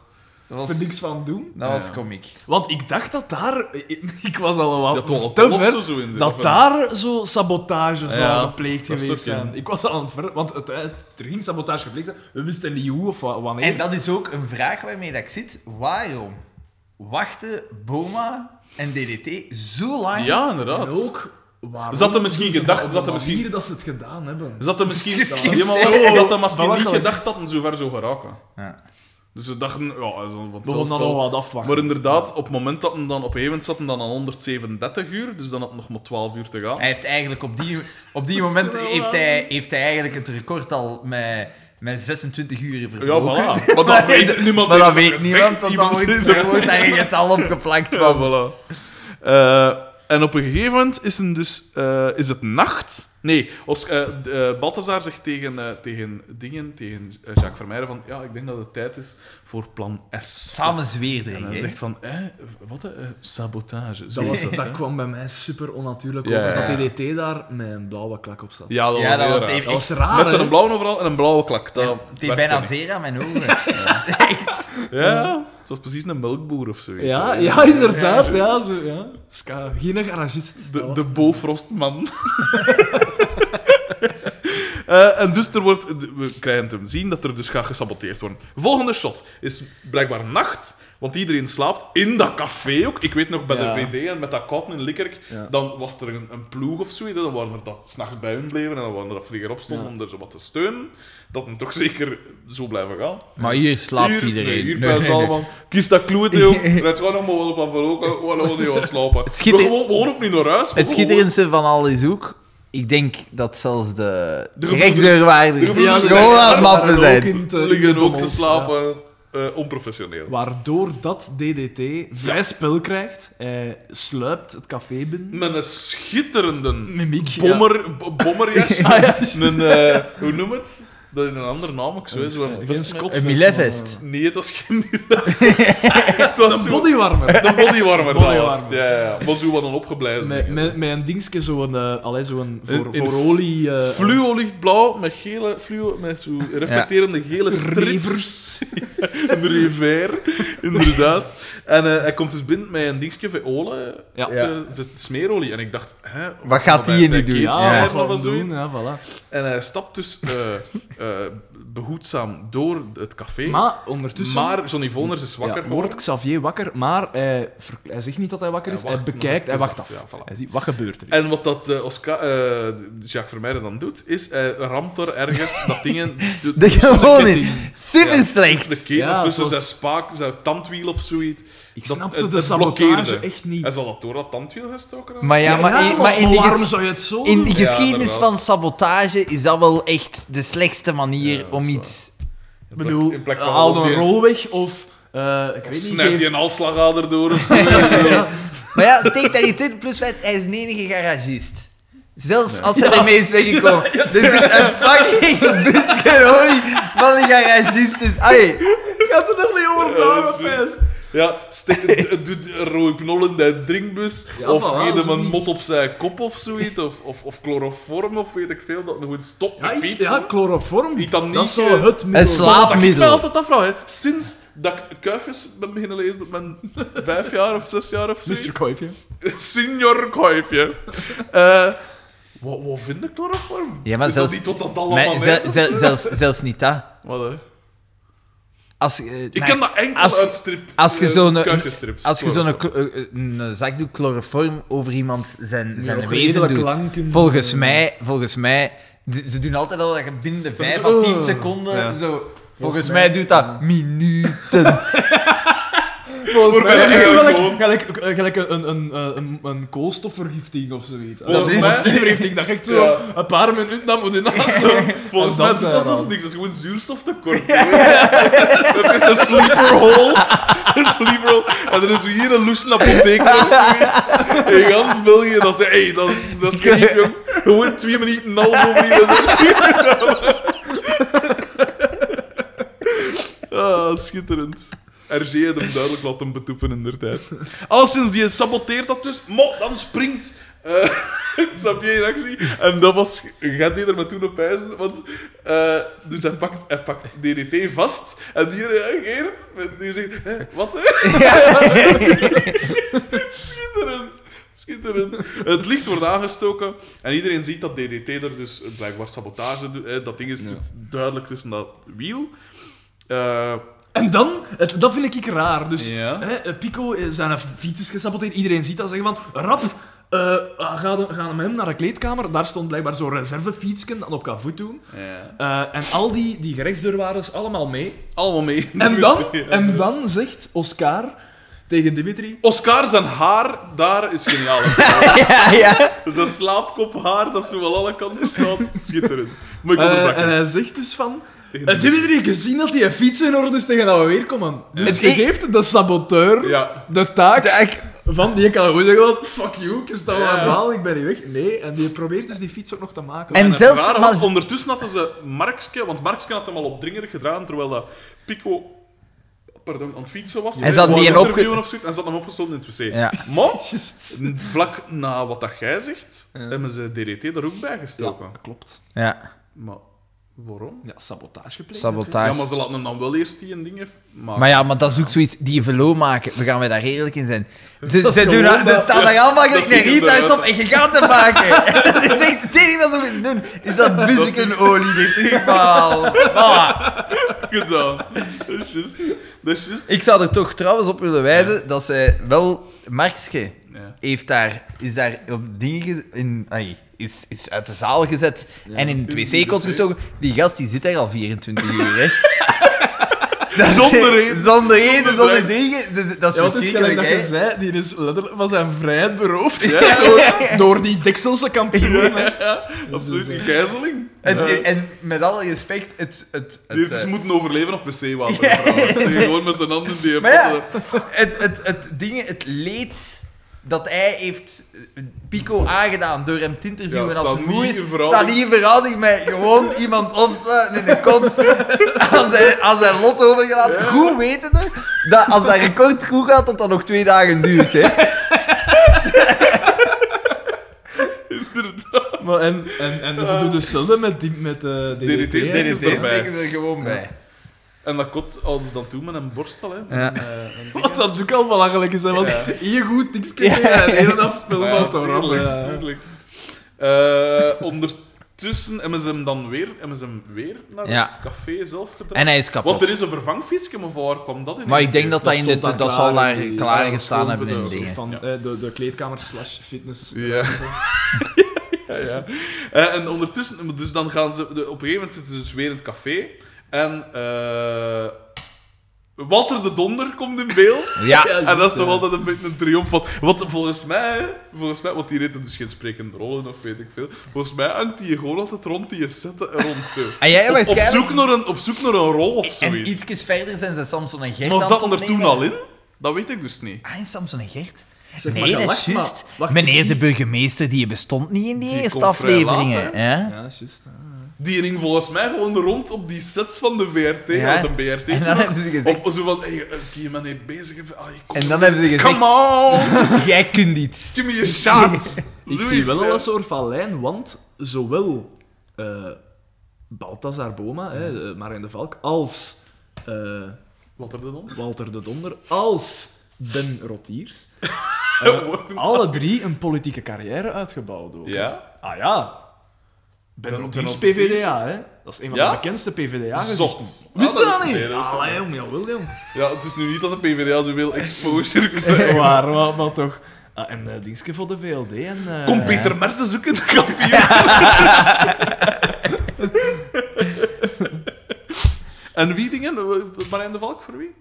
Speaker 3: Dat was,
Speaker 1: Er niks van doen.
Speaker 3: dat was
Speaker 2: Ja.
Speaker 3: komiek.
Speaker 1: Want ik dacht dat daar... Ik was al wel
Speaker 2: Dat wel
Speaker 1: te
Speaker 2: tof
Speaker 1: ver.
Speaker 2: zo in de-
Speaker 1: Dat daar zo sabotage zou
Speaker 2: Ja,
Speaker 1: gepleegd
Speaker 2: dat
Speaker 1: geweest
Speaker 2: zou
Speaker 1: zijn.
Speaker 2: kunnen.
Speaker 1: Ik was al aan het ver... Want het, het- er ging sabotage gepleegd zijn. We wisten niet hoe of wa- wanneer.
Speaker 3: En dat is ook een vraag waarmee dat ik zit. Waarom wachten Boma en DDT zo lang?
Speaker 2: Ja,
Speaker 1: En
Speaker 2: inderdaad.
Speaker 1: ook... Waarom
Speaker 2: Zat er misschien
Speaker 1: doen ze
Speaker 2: gedacht-
Speaker 1: dat op
Speaker 2: zat
Speaker 1: de
Speaker 2: er misschien-
Speaker 1: manier dat ze het gedaan hebben.
Speaker 2: Ze hadden misschien,
Speaker 3: Misschien
Speaker 2: ja, maar
Speaker 3: zei-
Speaker 2: waarom? Ze hadden misschien niet
Speaker 1: Belachelijk.
Speaker 2: gedacht dat ze zo ver zou geraken.
Speaker 3: Ja.
Speaker 2: Dus ze dachten, ja, hij zal vanzelf
Speaker 1: Begon dan
Speaker 2: wel-
Speaker 1: nog wat afwachten.
Speaker 2: Maar inderdaad, op het moment dat hem dan op een gegeven moment zat hem dan aan 137 uur, dus dan had het nog maar 12 uur te gaan.
Speaker 3: Hij heeft eigenlijk op die, op die
Speaker 1: Dat is
Speaker 3: moment
Speaker 1: wel
Speaker 3: heeft
Speaker 1: waar.
Speaker 3: hij, heeft hij eigenlijk het record al met, met 26 uur
Speaker 2: Ja,
Speaker 3: verbroken.
Speaker 2: voilà. Maar dat weet niemand.
Speaker 3: Maar dat
Speaker 2: heeft
Speaker 3: weet
Speaker 2: gezegd.
Speaker 3: niemand, want dan
Speaker 2: Iemand
Speaker 3: wordt
Speaker 2: heeft
Speaker 3: daar wordt daar een getal op geplakt
Speaker 2: Ja,
Speaker 3: van.
Speaker 2: voilà. Eh, en op een gegeven moment is, een dus, eh, is het nacht. Nee, Os eh, d- eh, Balthazar zegt tegen, eh, tegen Dingen, tegen eh, Jacques Vermeijden van ja, ik denk dat het tijd is voor plan S.
Speaker 3: Samen
Speaker 2: En
Speaker 3: zweerdringen.
Speaker 2: hij
Speaker 3: hè.
Speaker 2: zegt van, eh, wat eh, sabotage. Zo
Speaker 1: Dat, was,
Speaker 2: het,
Speaker 1: dat
Speaker 2: hè.
Speaker 1: kwam bij mij super onnatuurlijk
Speaker 2: Ja,
Speaker 1: over
Speaker 2: ja,
Speaker 1: dat
Speaker 3: ja.
Speaker 1: DDT daar met een blauwe klak op zat.
Speaker 2: Ja, dat was
Speaker 3: Ja, dat
Speaker 2: heel
Speaker 3: was
Speaker 2: raar.
Speaker 3: even-
Speaker 1: Ah, Dat was
Speaker 3: Echt?
Speaker 1: raar,
Speaker 2: Met
Speaker 1: hè?
Speaker 2: zijn blauwe overal en een blauwe klak. Dat
Speaker 3: Het is
Speaker 2: werkte
Speaker 3: bijna
Speaker 2: niet.
Speaker 3: zeer aan mijn ogen. Echt.
Speaker 2: Ja, het was precies een melkboer of zo.
Speaker 1: Ja, ja, inderdaad. Ja, zo, ja. Ska, geen garagist. dat
Speaker 2: De,
Speaker 1: was
Speaker 2: de
Speaker 1: het.
Speaker 2: Bofrostman. Eh, en dus er wordt, we krijgen te zien dat er dus gaat gesaboteerd worden. Volgende shot is blijkbaar nacht, want iedereen slaapt in dat café ook. Ik weet nog bij
Speaker 1: Ja.
Speaker 2: de VD en met dat koud in Likkerk,
Speaker 1: Ja.
Speaker 2: dan was er een, een ploeg of zo. Dan waren er dat s'nachts bij hun bleven en dan waren er dat vlieger op stonden
Speaker 1: Ja.
Speaker 2: om er zo wat te steunen. Dat hem toch zeker zo blijven gaan.
Speaker 3: Maar hier slaapt
Speaker 2: Hier- nee,
Speaker 3: iedereen.
Speaker 2: hier bij allemaal. Kies dat kloedeel. Red gewoon nog maar wel op aan verloken. Gewoon gewoon niet gaan slapen.
Speaker 3: Het schitter-
Speaker 2: We gewoon- we gewoon ook niet naar huis. maar
Speaker 3: Het
Speaker 2: gewoon-
Speaker 3: schitterendste van alles is ook... Ik denk dat zelfs de,
Speaker 2: De
Speaker 3: rechtsdeurwaarder
Speaker 2: de gebroeders-
Speaker 3: zo aan het mappen
Speaker 1: Ook
Speaker 3: zijn.
Speaker 1: in te- in
Speaker 2: eh, liggen ook te
Speaker 1: dommels, ja.
Speaker 2: slapen. eh, onprofessioneel.
Speaker 1: Waardoor dat DDT vrij spel krijgt. Hij sluipt het café binnen.
Speaker 2: Met een schitterende
Speaker 1: Mimiek. ja.
Speaker 2: bommer, b- bommerjasje.
Speaker 1: Ah, ja.
Speaker 2: Een, eh, hoe noem het? Dat in een andere naam ook zo is. Zo'n vest
Speaker 1: Geen
Speaker 2: met-
Speaker 1: Scots.
Speaker 3: Een milevest.
Speaker 2: Nee, het was geen Het was
Speaker 1: Een
Speaker 2: zo-
Speaker 1: bodywarmer.
Speaker 2: De bodywarmer. dat was het.
Speaker 1: Bodywarmer.
Speaker 2: Ja, ja, ja. Maar zo wat een opgeblazen.
Speaker 1: Met,
Speaker 2: ding,
Speaker 1: met, met een dingetje, zo'n... eh allee, zo'n voor,
Speaker 2: In- in
Speaker 1: voor olie... eh,
Speaker 2: Fluolichtblauw met gele fluo, met zo reflecterende gele strips. een rever, inderdaad. En eh, hij komt dus binnen met een dingetje violen,
Speaker 1: Ja.
Speaker 2: eh, met smeerolie. En ik dacht, hè,
Speaker 3: Wat gaat
Speaker 2: bij-
Speaker 3: die
Speaker 2: bij
Speaker 3: nu doen?
Speaker 2: Kate
Speaker 1: ja,
Speaker 2: Schaar
Speaker 1: ja,
Speaker 2: nog
Speaker 1: gewoon
Speaker 2: wel
Speaker 1: doen.
Speaker 2: zoiets.
Speaker 1: Ja, voilà.
Speaker 2: En hij stapt dus eh, eh, behoedzaam door het café. Maar,
Speaker 1: Maar ondertussen...
Speaker 2: Johnny Voners is wakker
Speaker 1: ja, wordt Xavier wakker, maar hij, ver- hij zegt niet dat hij wakker
Speaker 2: Hij
Speaker 1: is. Hij,
Speaker 2: wacht nog
Speaker 1: bekijkt, hij
Speaker 2: even
Speaker 1: wacht af.
Speaker 2: af. Ja, voilà.
Speaker 1: Hij ziet, wat gebeurt er? hier?
Speaker 2: En wat dat eh, Oscar, eh, Jacques Vermeijden dan doet, is hij ramt er ergens dat dingen... de-
Speaker 3: De
Speaker 2: tussen
Speaker 3: gewoon
Speaker 2: ketting.
Speaker 3: in. Super
Speaker 2: Ja,
Speaker 3: slecht.
Speaker 2: Tussen de keel
Speaker 1: Ja,
Speaker 2: of tussen
Speaker 1: het was-
Speaker 2: zijn spaak, zijn tandwiel of zoiets.
Speaker 1: Ik
Speaker 2: dat-
Speaker 1: snapte
Speaker 2: het-
Speaker 1: de
Speaker 2: het
Speaker 1: sabotage
Speaker 2: blokkeerde.
Speaker 1: echt niet.
Speaker 2: Hij zal dat door dat tandwiel gestoken hebben.
Speaker 3: Maar ja, maar, in, maar in, de,
Speaker 1: waarom
Speaker 3: ges-
Speaker 1: zou je het zo
Speaker 3: in de
Speaker 1: doen?
Speaker 2: Ja,
Speaker 3: geschiedenis
Speaker 2: inderdaad.
Speaker 3: van sabotage is dat wel echt de slechtste manier
Speaker 2: Ja, dat
Speaker 3: om
Speaker 2: is
Speaker 3: iets...
Speaker 1: Ik bedoel,
Speaker 2: in plek van
Speaker 1: haal eh, een
Speaker 2: rol-
Speaker 1: rol weg of... eh, ik weet niet,
Speaker 2: Snijdt
Speaker 1: geef-
Speaker 2: hij een halsslagader door of zo.
Speaker 3: Maar ja, steek daar iets in, plus feit, hij is een enige garagist. Zelfs als hij
Speaker 1: Ja.
Speaker 3: ermee is weggekomen. Er zit een fucking busje olie van een garagist. Dus, ai,
Speaker 1: Ik had er nog niet over
Speaker 2: Ja,
Speaker 1: nagedacht.
Speaker 2: dat is Ja, steek- doet rooi knol in de drinkbus.
Speaker 1: Ja,
Speaker 2: of
Speaker 1: voilà,
Speaker 2: geef hem een
Speaker 1: zoiets.
Speaker 2: mot op zijn kop of zoiets. Of, of, of chloroform of weet ik veel. Dat nog goed stopt met
Speaker 1: Ja, Ah, iets,
Speaker 2: fietsen.
Speaker 1: ja, chloroform.
Speaker 2: Iets dat
Speaker 1: dat
Speaker 2: niet,
Speaker 1: is zo
Speaker 2: eh,
Speaker 1: het middel.
Speaker 3: Een slaap-
Speaker 2: Dat ik me
Speaker 3: Slaapmiddel.
Speaker 2: altijd afvraag, hè. sinds dat ik kuifjes ben beginnen lezen op mijn vijf jaar of zes jaar of zo.
Speaker 1: Mr. Koifje.
Speaker 2: Signor Kuifje. Eh, Wat, wat vind ik chloroform?
Speaker 3: Ja, maar
Speaker 2: is
Speaker 3: zelfs-
Speaker 2: dat niet wat dat
Speaker 3: Maar
Speaker 2: allemaal
Speaker 3: ze-
Speaker 2: is?
Speaker 3: ze- zelfs, zelfs niet dat.
Speaker 2: Wat, hè?
Speaker 3: Als, eh,
Speaker 2: Ik
Speaker 3: nou,
Speaker 2: ken dat enkel
Speaker 3: als-
Speaker 2: uit strip.
Speaker 3: als je
Speaker 2: eh,
Speaker 3: zo'n-
Speaker 2: kuikensstrips.
Speaker 3: als je zo'n klo- eh, eh, een zakdoek chloroform over iemand zijn, zijn wezen doet, volgens mij, volgens mij, d- ze doen altijd al dat je binnen de 5 à 10 seconden
Speaker 2: Ja.
Speaker 3: zo. Volgens, mij, doet dat minuten.
Speaker 1: Volgens mij
Speaker 2: Waarbij
Speaker 1: is het
Speaker 2: eigenlijk
Speaker 1: gelijk-
Speaker 2: gewoon-
Speaker 1: gelijk, gelijk een, een, een, een, een koolstofvergifting of zoiets.
Speaker 2: Volgens
Speaker 1: Dat is een
Speaker 2: mij-
Speaker 1: koolstofvergifting, dat ik zo
Speaker 2: Ja.
Speaker 1: een paar minuten dan moet naast zo.
Speaker 2: Volgens
Speaker 1: En
Speaker 2: mij
Speaker 1: dat eh,
Speaker 2: doet
Speaker 1: zijn
Speaker 2: dat zelfs
Speaker 1: dan.
Speaker 2: niks. Dat is gewoon zuurstoftekort. Dat is een sleeper hold. Een sleeper hold. En er is hier een loes apotheek of zoiets. In gans België. Dat ze, hey, dat, dat is geniet, jong. Gewoon twee minuten en half over hier. Ah, schitterend. RG had hem duidelijk laten betoepen in der tijd. Alleszins, die saboteert dat dus. Mo, dan springt eh, Xavier in actie. En dat was... Gaat die er maar toen op ijzen, want... eh, dus hij pakt, hij pakt DDT vast. En die reageert. met- Die zegt... "Hè, wat? hè?" Schitterend. Schitterend. Het licht wordt aangestoken. En iedereen ziet dat DDT er dus blijkbaar sabotage doet. hè. Dat ding is zit duidelijk tussen dat wiel. Eh,
Speaker 1: En dan, het- dat vind ik raar. Dus
Speaker 2: Ja.
Speaker 1: hè, eh, Pico, eh, zijn fiets is gesaboteerd. Iedereen ziet dat zeggen van, rap, eh, gaan we- gaan we met hem naar de kleedkamer. Daar stond blijkbaar zo'n reservefietsje dat op kavoet doen. Eh, en al die, die gerechtsdeurwaarders allemaal mee.
Speaker 2: Allemaal mee.
Speaker 1: En
Speaker 2: Dus,
Speaker 1: dan,
Speaker 2: ja.
Speaker 1: en dan zegt Oscar tegen Dimitri...
Speaker 2: Oscar zijn haar, daar is geniaal.
Speaker 3: ja, ja.
Speaker 2: Zijn slaapkophaar, dat zo wel alle kanten staat. Schitterend. Maar ik
Speaker 1: eh,
Speaker 2: onderbrak
Speaker 1: en
Speaker 2: hem.
Speaker 1: hij zegt dus van...
Speaker 2: Tegen
Speaker 1: eh, Dimitri, gezien dat die fiets in orde is tegen dat we weer komen. Dus
Speaker 3: Ja.
Speaker 1: je geeft de
Speaker 3: Eh,
Speaker 1: saboteur
Speaker 2: Ja.
Speaker 1: de taak...
Speaker 3: Taak.
Speaker 1: Van die kan gewoon zeggen van, fuck you, ik sta wel
Speaker 2: Ja.
Speaker 1: aan baal, ik ben niet weg. Nee, en die probeert dus die fiets ook nog te maken.
Speaker 3: En
Speaker 2: En
Speaker 3: zelfs
Speaker 2: zelfs
Speaker 3: maar-
Speaker 2: was, ondertussen hadden ze Markske, want Markske had hem al opdringerig gedaan, terwijl dat Pico pardon, aan het fietsen was.
Speaker 3: En
Speaker 2: hè,
Speaker 3: ze hadden
Speaker 2: wou
Speaker 3: die
Speaker 2: hem
Speaker 3: opge-
Speaker 2: interviewen of zoiets, en ze hadden hem opgestoken in het wc.
Speaker 3: Ja.
Speaker 2: Maar, vlak na wat dat jij zegt, hebben ze DDT er ook bij gestoken.
Speaker 1: klopt.
Speaker 3: ja.
Speaker 2: Maar waarom?
Speaker 1: Ja, sabotage gepleegd.
Speaker 3: Sabotage.
Speaker 2: Ja, maar ze laten hem dan wel eerst die een ding even maken.
Speaker 3: Maar ja, maar dat is ook zoiets die verloop maken. We gaan we daar eerlijk in zijn. Ze,
Speaker 1: Dat is
Speaker 3: ze, doen,
Speaker 1: gewoon
Speaker 3: dat- ze
Speaker 1: dat-
Speaker 3: staan daar allemaal
Speaker 2: dat
Speaker 3: gelijk de
Speaker 2: die
Speaker 3: riet uit
Speaker 2: inderdaad-
Speaker 3: op en je gaat het maken. dat is echt het enige wat ze moeten doen. Is dat buzzekenolie dit terughaal.
Speaker 2: gedaan. Dat is juist. Dat is juist.
Speaker 3: Ik zou er toch trouwens op willen wijzen dat zij wel... Markske
Speaker 2: Ja.
Speaker 3: heeft daar, is daar op dingen... ge- In, ai, is, is uit de zaal gezet en in het
Speaker 2: in de
Speaker 3: wc-kot
Speaker 2: wc.
Speaker 3: gestoken. Die gast die zit daar al 24 uur, hè. Dat is-
Speaker 2: Zonder reden.
Speaker 3: Zonder reden, zonder
Speaker 2: Zonder
Speaker 3: dingen. Dat is- Dat is
Speaker 1: Ja, wat is gelijk dat
Speaker 3: verschrikkelijk,
Speaker 1: je
Speaker 3: hè.
Speaker 1: zei, die is letterlijk van zijn vrijheid beroofd.
Speaker 2: Ja.
Speaker 1: Door, door die Dekselse kampioen. hè.
Speaker 2: Absoluut, een gijzeling.
Speaker 3: En,
Speaker 2: Ja.
Speaker 3: en met alle respect, het... het,
Speaker 2: Die
Speaker 3: het
Speaker 2: heeft dus
Speaker 3: eh,
Speaker 2: moeten overleven op wc-water. trouwens. Die Gewoon met zijn handen die
Speaker 3: Maar ja,
Speaker 2: potten.
Speaker 3: het, het, het, ding, het leed dat hij heeft eh, Pico aangedaan door hem te interviewen
Speaker 2: Ja,
Speaker 3: als
Speaker 2: staat
Speaker 3: een moe
Speaker 2: niet
Speaker 3: is,
Speaker 2: in verhouding.
Speaker 3: staat niet in verhouding met gewoon iemand opstaan in de kont als hij, als hij lot overgelaten. Goed wetende dat als dat record goed gaat, dat dat nog twee dagen duurt. Hè.
Speaker 1: Maar en, en, en ze
Speaker 2: Eh.
Speaker 1: doen hetzelfde met, die, met eh, DDT.
Speaker 2: DDT.
Speaker 1: hè.
Speaker 2: is erbij.
Speaker 3: steken ze er gewoon bij.
Speaker 2: En dat kot houden ze dan toe met een borstel. Hè. Met
Speaker 3: Ja.
Speaker 2: een, eh, een ding,
Speaker 1: Wat dat ook al belachelijk is, hè, want
Speaker 2: Ja.
Speaker 1: hier goed niks kunnen en heel afspelen.
Speaker 2: Maar ja,
Speaker 1: wat erop,
Speaker 2: tuurlijk,
Speaker 1: ja.
Speaker 2: tuurlijk. Eh, ondertussen hebben ze hem dan weer, hebben ze hem weer naar
Speaker 3: Ja.
Speaker 2: het café zelf gedaan.
Speaker 3: hij is
Speaker 2: Want er is een vervangfietsje, maar voor waar kwam dat in?
Speaker 1: Dat stond daar klaar in die- ja, dat
Speaker 3: gestaan
Speaker 2: stond voor de-
Speaker 1: Van
Speaker 2: Ja.
Speaker 1: eh, de, de kleedkamer slash fitness.
Speaker 2: Ja. ja, ja. Eh, en ondertussen, dus dan gaan ze, de- op een gegeven moment zitten ze dus weer in het café. En eh Walter de Donder komt in beeld.
Speaker 1: Ja.
Speaker 2: En dat is toch altijd een beetje een triomf. Want, want volgens mij, volgens mij, want die reed dus geen sprekende rollen of weet ik veel. Volgens mij hangt die gewoon altijd rond die zetten rond zo.
Speaker 3: En Ah, jij
Speaker 2: Op, op,
Speaker 3: waarschijnlijk...
Speaker 2: zoek naar een, op zoek naar een rol of
Speaker 3: en
Speaker 2: zoiets.
Speaker 3: ietsjes verder zijn ze Samson en Gert
Speaker 2: Maar
Speaker 3: aan
Speaker 2: zat
Speaker 3: het
Speaker 2: hem er toen
Speaker 3: opnemen.
Speaker 2: al in? Dat weet ik dus niet.
Speaker 3: Ah, en Samson en Gert?
Speaker 1: Zeg, maar
Speaker 3: nee,
Speaker 1: je
Speaker 3: dat is
Speaker 1: lacht, maar-
Speaker 3: juist.
Speaker 1: wacht, ik
Speaker 3: Meneer
Speaker 1: zie-
Speaker 3: de burgemeester, die bestond niet in die,
Speaker 2: Die
Speaker 3: eerste
Speaker 2: komt vrij
Speaker 3: afleveringen.
Speaker 2: laat,
Speaker 3: hè?
Speaker 1: Ja, juist. ja.
Speaker 2: Die ging volgens mij gewoon rond op die sets van de VRT.
Speaker 3: Ja.
Speaker 2: Of de BRT.
Speaker 3: En dan hebben ze gezegd-
Speaker 2: Of zo van, hey, eh, kun je me niet bezig hebben? Ah, je komt
Speaker 3: En dan hebben ze gezegd,
Speaker 2: Come on!
Speaker 3: jij kunt iets.
Speaker 2: Give me your shot!
Speaker 1: Ik
Speaker 2: Zoiets,
Speaker 1: zie wel
Speaker 2: ja.
Speaker 1: al een soort van lijn, want zowel eh Balthazar Boma, hè, eh, Marijn de Valk, als eh,
Speaker 2: Wat heb je dan?
Speaker 1: Walter de Donder, als Ben Rotiers, alle drie een politieke carrière uitgebouwd. Ook.
Speaker 2: Ja?
Speaker 1: Ah ja. Ben
Speaker 2: Ben-
Speaker 1: op
Speaker 2: Ben
Speaker 1: is
Speaker 2: Rodrigues.
Speaker 1: PVDA, hè? Dat is een van
Speaker 2: Ja?
Speaker 1: de bekendste PVDA-gezichten.
Speaker 2: Zocht.
Speaker 1: Wist je
Speaker 2: Ah,
Speaker 1: dat,
Speaker 2: is-
Speaker 1: niet?
Speaker 2: nee, dat wist ik
Speaker 1: Allee, jong, jawel, jong.
Speaker 2: Ja, het is nu niet dat de PvdA zoveel exposure krijgt.
Speaker 1: Zeg maar, maar, maar toch. Ah, en eh Dingske voor de VLD en... eh,
Speaker 2: Kom Peter Mertens ook in de kampioen. en wie dingen? Marijn de Valk voor wie?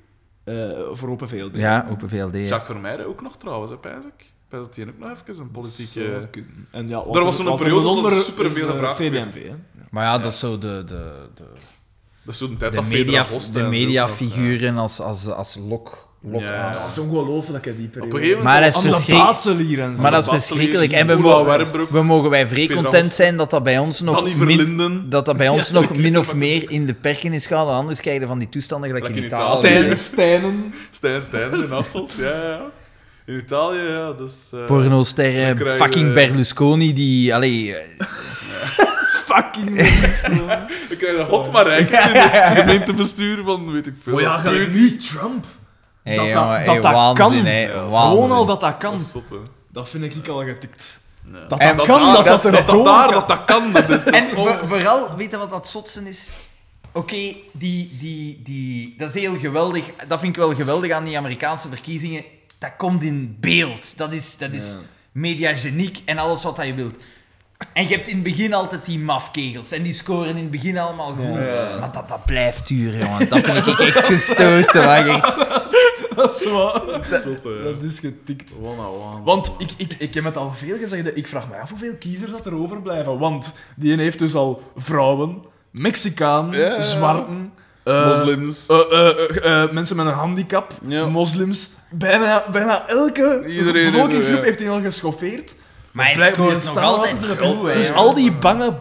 Speaker 1: eh, voor Open VLD.
Speaker 3: Ja, Open VLD. ja.
Speaker 2: Jacques Vermeijden ook nog trouwens, hè, pijs ik. Pijs dat die ook nog even een
Speaker 1: Zou
Speaker 2: politieke...
Speaker 1: kunnen. En ja,
Speaker 2: Er was zo'n periode dat er superveel
Speaker 1: eh,
Speaker 2: gevraagd werd.
Speaker 1: CDMV, hè?
Speaker 3: Maar ja, dat is zo de, de, de,
Speaker 2: Dat is toen een tijd
Speaker 3: de,
Speaker 2: dat Fedra
Speaker 3: media,
Speaker 2: Host
Speaker 3: de
Speaker 2: en zo ook nog,
Speaker 3: mediafiguren als, als, als lok. lok
Speaker 2: Ja.
Speaker 1: Dat is
Speaker 3: als-
Speaker 1: ongelooflijk, hè, die
Speaker 2: ja.
Speaker 1: periode.
Speaker 2: Op een gegeven moment...
Speaker 3: Maar dat is
Speaker 2: was-
Speaker 1: Anne
Speaker 3: verschrik-
Speaker 1: Baatsel hier en zo.
Speaker 3: Maar dat is
Speaker 2: Basseler,
Speaker 3: verschrikkelijk. En we
Speaker 2: Oela
Speaker 3: mogen-
Speaker 2: Wermbroek,
Speaker 3: We mogen wij vrij
Speaker 2: Fedra
Speaker 3: content
Speaker 2: Host.
Speaker 3: zijn dat dat bij ons nog,
Speaker 2: Danny
Speaker 3: min-
Speaker 2: Verlinden.
Speaker 3: dat dat bij ons
Speaker 2: Ja,
Speaker 3: nog
Speaker 2: dat
Speaker 3: min
Speaker 2: klinkt
Speaker 3: of meer in de perken is gegaan. Anders krijg je van die toestanden gelijk in
Speaker 2: Gelijk in
Speaker 3: Italië.
Speaker 1: Stijn,
Speaker 2: Italië.
Speaker 1: Stijnen.
Speaker 2: Stijn Stijn in Hasselt, ja, ja. In Italië, ja, dus... eh, Dan
Speaker 3: Pornosterren,
Speaker 2: krijgen
Speaker 3: fucking
Speaker 2: we-
Speaker 3: Berlusconi, die... Allee, eh,
Speaker 1: Fucking.
Speaker 2: We krijgen hot maar rijk in het gemeentebestuur van, weet ik veel.
Speaker 1: Oh ja,
Speaker 2: wat.
Speaker 1: gelijk niet Trump.
Speaker 3: hey,
Speaker 1: Dat dat-
Speaker 3: jongen,
Speaker 1: dat
Speaker 3: hey,
Speaker 1: dat
Speaker 3: waanzin,
Speaker 1: kan.
Speaker 3: hey,
Speaker 2: Ja, gewoon
Speaker 1: Gewoon
Speaker 3: waanzin.
Speaker 1: al dat dat kan,
Speaker 2: Dat is zot, hè.
Speaker 1: dat vind ik ik al getikt.
Speaker 2: Ja.
Speaker 1: Dat
Speaker 3: En
Speaker 1: dat kan,
Speaker 2: daar-
Speaker 1: dat dat er
Speaker 2: dat,
Speaker 1: door
Speaker 2: daar,
Speaker 1: kan.
Speaker 2: dat dat kan. Dat is, dat
Speaker 3: En
Speaker 2: is
Speaker 3: voor- vooral, weet je wat dat zotsen is? Oké, die, die, die, dat is heel geweldig. Dat vind ik wel geweldig aan die Amerikaanse verkiezingen. Dat komt in beeld. Dat is, dat is
Speaker 1: Ja.
Speaker 3: mediageniek en alles wat dat je wilt. En je hebt in het begin altijd die mafkegels. En die scoren in het begin allemaal groen.
Speaker 2: Ja.
Speaker 3: Maar dat, dat blijft duren, jongen. Dat vind ik echt gestoten. Maar ik-
Speaker 1: Dat is waar.
Speaker 2: dat is zot, hè.
Speaker 1: Dat is getikt.
Speaker 2: One on one.
Speaker 1: Want ik, ik, ik heb het al veel gezegd, ik vraag me af hoeveel kiezers dat er overblijven. Want die heeft dus al vrouwen, Mexicaan,
Speaker 2: Ja.
Speaker 1: zwarten, eh,
Speaker 2: moslims.
Speaker 1: eh, eh, eh, eh, mensen met een handicap,
Speaker 2: Ja.
Speaker 1: moslims. Bijna, bijna elke
Speaker 2: Iedereen
Speaker 1: bevolkingsgroep
Speaker 2: is er, ja.
Speaker 1: heeft hij al geschoffeerd.
Speaker 3: Maar hij
Speaker 1: Blijf-
Speaker 3: scoort
Speaker 1: die
Speaker 3: nog
Speaker 1: staan
Speaker 3: altijd
Speaker 1: altijd
Speaker 3: groen, hè,
Speaker 1: Dus
Speaker 3: jongen.
Speaker 1: al die bange,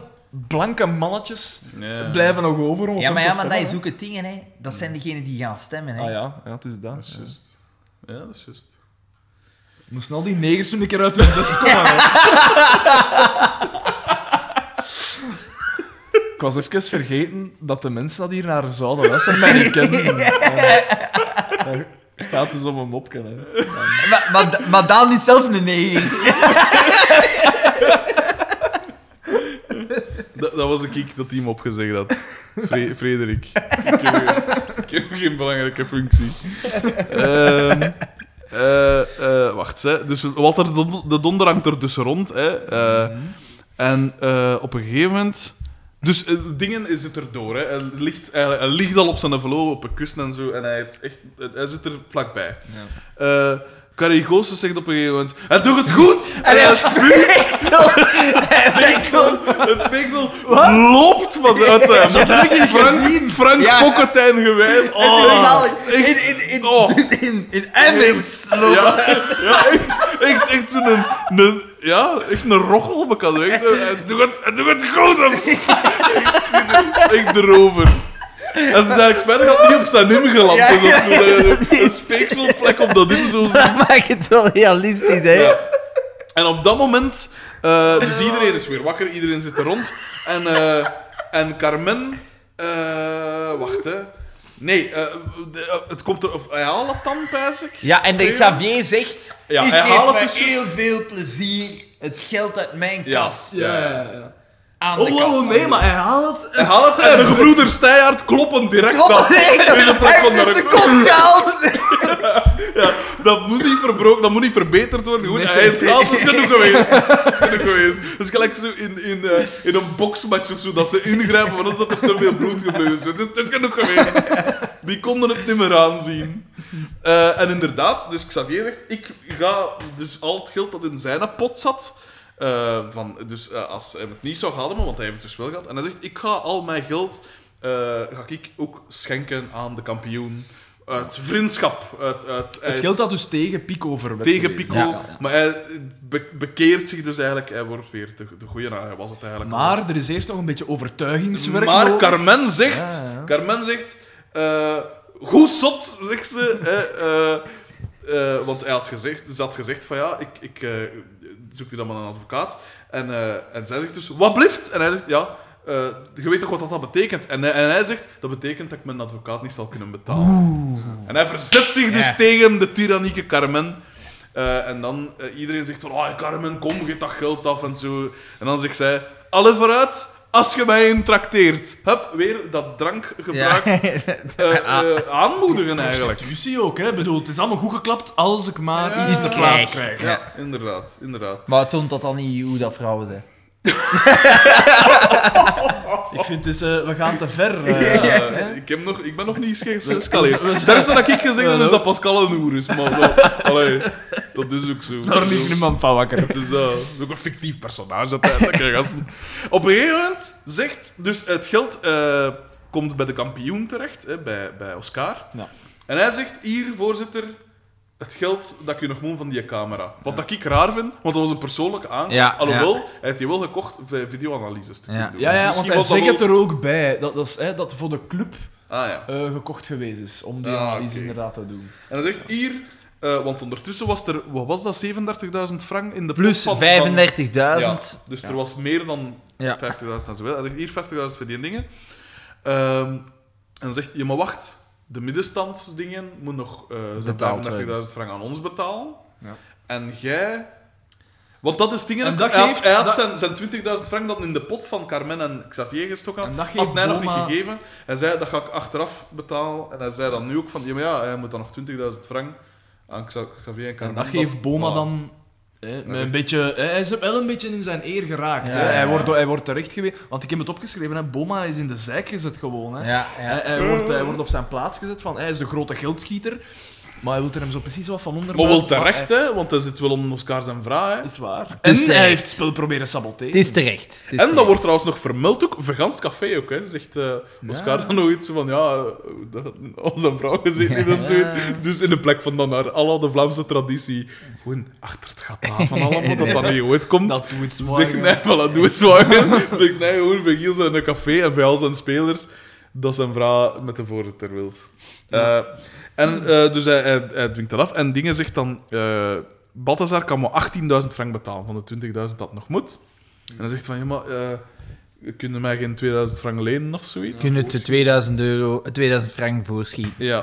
Speaker 1: blanke mannetjes
Speaker 2: Ja.
Speaker 1: blijven nog over. om op
Speaker 3: Ja,
Speaker 1: hem
Speaker 3: maar,
Speaker 1: te
Speaker 3: ja, maar dat
Speaker 1: stemmen,
Speaker 3: is ook het ding, hè. Dat zijn degenen die gaan stemmen,
Speaker 1: hè.
Speaker 3: hè.
Speaker 1: Ah ja, ja, het is dat.
Speaker 2: Dat is juist. Ja, dat is juist.
Speaker 1: We moesten al die negers toen een keer uit hun best komen. hè. Ik was even vergeten dat de mensen dat hier naar zouden luisteren mij niet kennen. Ja. Het gaat dus om een mopje. Hè.
Speaker 3: Maar, maar, maar Daan is zelf een neger.
Speaker 2: Dat, dat was ik, ik dat team opgezegd had. Fre- Frederik. Ik heb, ik heb geen belangrijke functie. Ehm, eh, eh, wacht, hè. Dus Walter de Don- de donder hangt er dus rond. Hè. Eh, En eh, op een gegeven moment... Dus eh, dingen is het erdoor. Hè. Hij, ligt, hij, hij ligt al op zijn envelop, op een kussen en zo. En hij, heeft echt, hij zit er vlakbij. Eh Carrie Goossens zegt op een gegeven moment... Hij doet het goed! En hij Het speeksel loopt van uit zijn mond. Frank, Frank
Speaker 3: Ja.
Speaker 2: Fokkentijn gewijs.
Speaker 3: Oh.
Speaker 2: echt-
Speaker 3: In, in, in,
Speaker 2: oh.
Speaker 3: in, in Emmers loopt
Speaker 2: Ja, ja, echt, echt, echt zo'n... Een, een- ja, echt een rochel. maar kan echt zo... Hij doet het, hij doet het goed. Echt, echt erover. En het is eigenlijk spijtig dat het niet op zijn im geland
Speaker 3: Ja,
Speaker 2: is. of zo.
Speaker 3: ja,
Speaker 2: Een- Een speekselplek op dat im zo
Speaker 3: Dat maakt het wel realistisch, hè.
Speaker 2: Ja. En op dat moment, eh, dus iedereen is weer wakker, iedereen zit er rond. En, eh, en Carmen, eh, wacht hè. Nee, eh, de- eh, het komt er. Of, hij haalt het dan, pijs ik.
Speaker 3: Ja, en de Xavier zegt...
Speaker 2: Ja,
Speaker 3: ik
Speaker 2: hij
Speaker 3: geef
Speaker 2: haalt
Speaker 3: me
Speaker 2: het dus-
Speaker 3: heel veel plezier het geld uit mijn
Speaker 2: Ja.
Speaker 3: kas
Speaker 1: ja, ja.
Speaker 3: aan
Speaker 1: Oh,
Speaker 3: de
Speaker 1: wow,
Speaker 3: kas.
Speaker 1: nee, maar hij haalt het.
Speaker 2: Hij haalt het en de gebroeders Steyaert kloppen direct
Speaker 3: Klopt,
Speaker 2: af.
Speaker 3: Oh, nee,
Speaker 2: In de plek
Speaker 3: hij
Speaker 2: van
Speaker 3: heeft
Speaker 2: de-
Speaker 3: een seconde gehaald.
Speaker 2: Ja, dat moet niet verbroken, dat moet niet verbeterd worden. Goed,
Speaker 3: Nee.
Speaker 2: Hij heeft het haalt, dat is genoeg geweest. Dat is genoeg geweest. Dat is gelijk zo in, in, eh, in een boksmatch of zo, dat ze ingrijpen, want dan zat er te veel bloed gebleven. is. Het is, het is genoeg geweest. Die konden het niet meer aanzien. Eh, en inderdaad, dus Xavier zegt, ik ga dus al het geld dat in zijn pot zat, eh, van, dus eh, als hij het niet zou gehad hebben, want hij heeft het dus wel gehad, en hij zegt, ik ga al mijn geld, eh, ga ik ook schenken aan de kampioen. Uit vriendschap. Uit, uit, hij
Speaker 1: Het
Speaker 2: is
Speaker 1: geldt dat dus tegen Pico verwet.
Speaker 2: tegen
Speaker 1: geweest.
Speaker 2: Pico.
Speaker 1: Ja, ja, ja.
Speaker 2: Maar hij be- bekeert zich dus eigenlijk. Hij wordt weer de, de goeie. nou, Hij was het eigenlijk. al.
Speaker 1: Maar er is eerst nog een beetje overtuigingswerk
Speaker 2: maar
Speaker 1: nodig.
Speaker 2: Carmen zegt...
Speaker 1: Ja, ja.
Speaker 2: Carmen zegt... eh, Goed zot, zegt ze. eh, eh, eh, want hij had gezegd, ze had gezegd van ja, ik, ik eh, zoek die dan maar een advocaat. En, eh, en zij zegt dus, wat blieft? En hij zegt, ja, eh, je weet toch wat dat, dat betekent? En, hij- en hij zegt, dat betekent dat ik mijn advocaat niet zal kunnen betalen. En hij verzet zich dus
Speaker 3: Ja.
Speaker 2: tegen de tyrannieke Carmen. Eh, en dan eh, iedereen zegt van, ah Carmen, kom, geef dat geld af en zo. En dan zegt zij, alle vooruit, als je mij intrakteert. Hup, weer dat drankgebruik eh,
Speaker 1: Ah.
Speaker 2: eh, aanmoedigen eigenlijk.
Speaker 1: Prostitutie ook, hè? Ik bedoel, het is allemaal goed geklapt als ik maar
Speaker 2: Ja.
Speaker 1: iets te
Speaker 3: Kijk.
Speaker 1: klaar krijg.
Speaker 2: Ja, inderdaad, inderdaad.
Speaker 3: Maar toont dat dan niet hoe dat vrouwen zijn?
Speaker 1: Ik vind het is, eh, we gaan te ver. eh,
Speaker 2: Eh,
Speaker 1: hè.
Speaker 2: ik, heb nog, ik ben nog niet eens geëscaleerd. Daar is dat ik gezegd heb, is dat Pascal een hoer is. Maar dat, allee, dat is ook zo.
Speaker 1: Daar ligt niemand van wakker.
Speaker 2: Het is, eh, het is ook een fictief personage uiteindelijk. hè, gasten. Op een gegeven moment zegt... Dus het geld eh, komt bij de kampioen terecht, hè, bij, bij Oscar.
Speaker 1: Ja.
Speaker 2: En hij zegt, hier, voorzitter, het geld dat ik u nog moet van die camera. Wat dat ik raar vind, want dat was een persoonlijke aankoop.
Speaker 3: Ja,
Speaker 2: Alhoewel, hij heeft die wel gekocht voor videoanalyses te kunnen
Speaker 3: Ja.
Speaker 2: doen.
Speaker 1: Ja,
Speaker 2: Dus
Speaker 1: ja, want
Speaker 2: misschien
Speaker 1: hij
Speaker 2: was dat
Speaker 1: zegt het
Speaker 2: wel-
Speaker 1: er ook bij dat dat, is, hè, dat voor de club
Speaker 2: Ah, ja.
Speaker 1: eh, gekocht geweest is om die
Speaker 2: Ah,
Speaker 1: analyse
Speaker 2: oké.
Speaker 1: inderdaad te doen.
Speaker 2: En hij zegt, hier... eh, want ondertussen was er, wat was dat, 37.000 frank in de pot
Speaker 3: Plus
Speaker 2: van-
Speaker 3: 35.000.
Speaker 2: van- Ja,
Speaker 3: Ja.
Speaker 2: dus er was meer dan
Speaker 3: Ja.
Speaker 2: 50.000 en zoveel. Hij zegt hier 50.000 voor die dingen. Ehm, en dan zegt je, maar wacht, de middenstandsdingen moet nog eh, zo'n
Speaker 3: Betaald
Speaker 2: 35.000 frank aan ons betalen.
Speaker 3: Ja.
Speaker 2: En jij. Want dat is dingen.
Speaker 1: En dat
Speaker 2: hij had,
Speaker 1: geeft-
Speaker 2: hij had
Speaker 1: dat-
Speaker 2: zijn, zijn 20.000 frank dan in de pot van Carmen en Xavier gestoken.
Speaker 1: En dat geeft
Speaker 2: had hij nog
Speaker 1: Boma-
Speaker 2: niet gegeven. Hij zei dat ga ik achteraf betalen. En hij zei dan nu ook van ja, maar ja, hij moet dan nog 20.000 frank aan Xa- Xavier en
Speaker 1: En
Speaker 2: Carmen.
Speaker 1: dat geeft Boma
Speaker 2: voilà.
Speaker 1: dan. Hè, met een
Speaker 2: zegt-
Speaker 1: beetje, hè, hij is wel een beetje in zijn eer geraakt.
Speaker 3: Ja,
Speaker 1: hè. Hij,
Speaker 3: ja, ja.
Speaker 1: wordt, hij wordt terecht geweest. Want ik heb het opgeschreven, hè, Boma is in de zijk gezet gewoon. Hè.
Speaker 3: Ja,
Speaker 1: Hij, hij wordt, hij wordt op zijn plaats gezet van hij is de grote geldschieter. Maar hij wil er hem zo precies wat van onder.
Speaker 2: Maar wel terecht, hè, want hij zit wel onder Oscar zijn vraag. Hè.
Speaker 1: Dat is waar. En
Speaker 3: is
Speaker 1: hij
Speaker 3: terecht.
Speaker 1: heeft het spel proberen saboteren.
Speaker 3: Het is terecht. Het is
Speaker 2: En dat
Speaker 3: terecht.
Speaker 2: wordt trouwens nog vermeld ook, vegans café ook, hè, zegt eh, Oscar
Speaker 1: Ja.
Speaker 2: dan nog iets van, ja, eh, dat, als een vrouw gezeten heeft of
Speaker 3: Ja.
Speaker 2: zoiets. Dus in de plek van dan naar alle de Vlaamse traditie, gewoon achter het gat van allemaal, dat dat niet ooit komt.
Speaker 1: Dat doet het
Speaker 2: zeg nee, voilà, doe het zwanger. zeg nee, gewoon vegans in een café en bij al zijn spelers, dat zijn vrouw met de voorzitter wilt. Eh, en eh, dus hij, hij, hij dwingt dat af en Dingen zegt dan, eh Balthazar kan maar 18.000 frank betalen van de 20.000 dat nog moet. En dan zegt van, ja, maar eh kunnen mij geen 2000 frank lenen of zoiets?
Speaker 3: Kunnen te 2000, euro, 2000 frank voorschieten.
Speaker 2: Ja.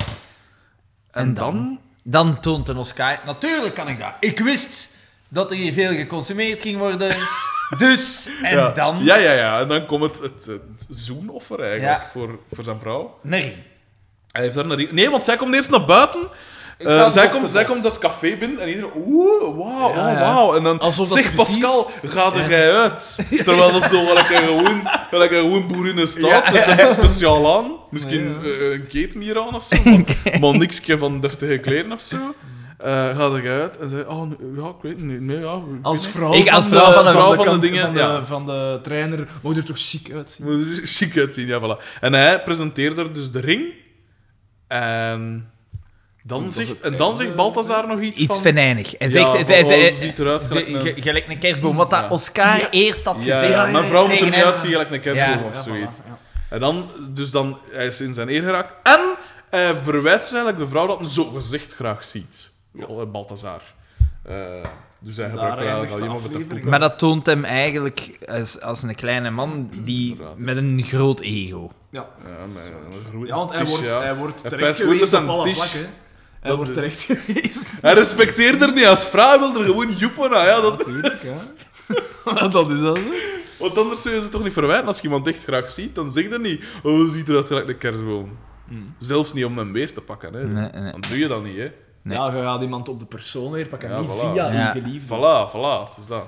Speaker 2: En,
Speaker 3: En dan?
Speaker 2: dan?
Speaker 3: Dan toont een Oscar. Natuurlijk kan ik dat. Ik wist dat er hier veel geconsumeerd ging worden. Dus, en
Speaker 2: ja.
Speaker 3: dan
Speaker 2: Ja, ja, ja. En dan komt het, het, het zoenoffer eigenlijk
Speaker 3: Ja.
Speaker 2: voor, voor zijn vrouw.
Speaker 3: een ring.
Speaker 2: Hij heeft daar een... rie- Nee, want zij komt eerst naar buiten. Eh,
Speaker 3: ga
Speaker 2: zij,
Speaker 3: op
Speaker 2: komt,
Speaker 3: de
Speaker 2: zij
Speaker 3: post.
Speaker 2: komt dat café binnen en iedereen... Oeh,
Speaker 1: Ja,
Speaker 2: wauw, oh,
Speaker 1: ja.
Speaker 2: wauw. En dan
Speaker 1: Alsof dat
Speaker 2: zeg,
Speaker 1: ze precies-
Speaker 2: Pascal, ga er jij uit. Terwijl dat is toch wel lekker gewoon, wel lekker gewoon boer in de stad.
Speaker 3: Ja.
Speaker 2: Dus dat is speciaal aan. Misschien
Speaker 1: Ja.
Speaker 2: eh, een keetmier aan of zo. Maar, maar niks van deftige kleren of zo.
Speaker 1: Mm.
Speaker 2: Eh ga er jij uit en zei... Oh, nee, ja, ik weet het niet. Nee, ja, ik weet
Speaker 1: Als
Speaker 2: het
Speaker 1: vrouw,
Speaker 3: Ik als
Speaker 1: van,
Speaker 3: vrouw
Speaker 1: de,
Speaker 3: van de-
Speaker 2: vrouw van de
Speaker 1: kant-
Speaker 2: dingen,
Speaker 1: van de,
Speaker 2: ja.
Speaker 1: van de trainer moet je er toch chic uitzien.
Speaker 2: Moet er chic uitzien, ja, voilà. En hij presenteerde er dus de ring. En dan,
Speaker 1: dat
Speaker 2: zegt,
Speaker 1: het
Speaker 2: en dan
Speaker 1: einde-
Speaker 2: zegt Balthazar nog iets,
Speaker 3: Iets
Speaker 2: van...
Speaker 3: venijnig. En
Speaker 2: ja,
Speaker 3: zegt,
Speaker 2: van,
Speaker 3: zij-
Speaker 2: oh,
Speaker 3: zij-
Speaker 2: ze ziet eruit
Speaker 3: ze-
Speaker 2: gelijk een-
Speaker 3: ge- gelijk een kerstboom. Wat
Speaker 2: Ja.
Speaker 3: dat Oscar eerst had
Speaker 2: Ja,
Speaker 3: gezegd.
Speaker 2: ja, mijn vrouw moet er
Speaker 3: tegen
Speaker 2: niet
Speaker 3: hem.
Speaker 2: uitzien gelijk een kerstboom
Speaker 3: Ja,
Speaker 2: of
Speaker 1: Ja,
Speaker 2: zoiets.
Speaker 1: voilà, ja.
Speaker 2: En dan, dus dan, hij is in zijn eer geraakt. En hij verwijt dus eigenlijk de vrouw dat hem zo gezegd graag ziet. Ja. Balthazar. Eh, dus hij
Speaker 1: Daar
Speaker 2: gebruikt er eigenlijk
Speaker 1: eindigt
Speaker 2: al
Speaker 1: de
Speaker 2: iemand met de
Speaker 1: aflevering.
Speaker 2: poep.
Speaker 3: Maar dat toont hem eigenlijk als, als een kleine man die,
Speaker 2: Inderdaad.
Speaker 3: met een groot ego.
Speaker 1: Ja.
Speaker 2: Ja, maar- maar-
Speaker 1: Ja, want hij
Speaker 2: het is,
Speaker 1: wordt,
Speaker 2: ja.
Speaker 1: hij wordt
Speaker 2: Hij
Speaker 1: terecht
Speaker 2: pijst dus goed
Speaker 1: geweest
Speaker 2: met
Speaker 1: op
Speaker 2: zijn
Speaker 1: alle
Speaker 2: tisch.
Speaker 1: vlakken. Hij
Speaker 2: Dat
Speaker 1: wordt
Speaker 2: is-
Speaker 1: terecht geweest.
Speaker 2: Hij respecteert er niet als vrouw, hij wil er gewoon joepen aan. Ja, dat,
Speaker 1: Natuurlijk, ja. dat is dat zo.
Speaker 2: Want anders zul je ze toch niet verwijten. Als je iemand echt graag ziet, dan zeg dat niet. Oh, ze ziet eruit gelijk een kerstboom.
Speaker 1: Mm.
Speaker 2: Zelfs niet om hem weer te pakken. Hè.
Speaker 3: Hmm. Nee, nee.
Speaker 2: Dan doe je dat niet. Hè.
Speaker 3: Nee.
Speaker 1: Ja, je gaat iemand op de persoon weer pakken,
Speaker 2: Ja,
Speaker 1: niet
Speaker 2: voilà.
Speaker 1: via
Speaker 3: Ja.
Speaker 1: je geliefde.
Speaker 2: Voilà, voilà. Het is dat.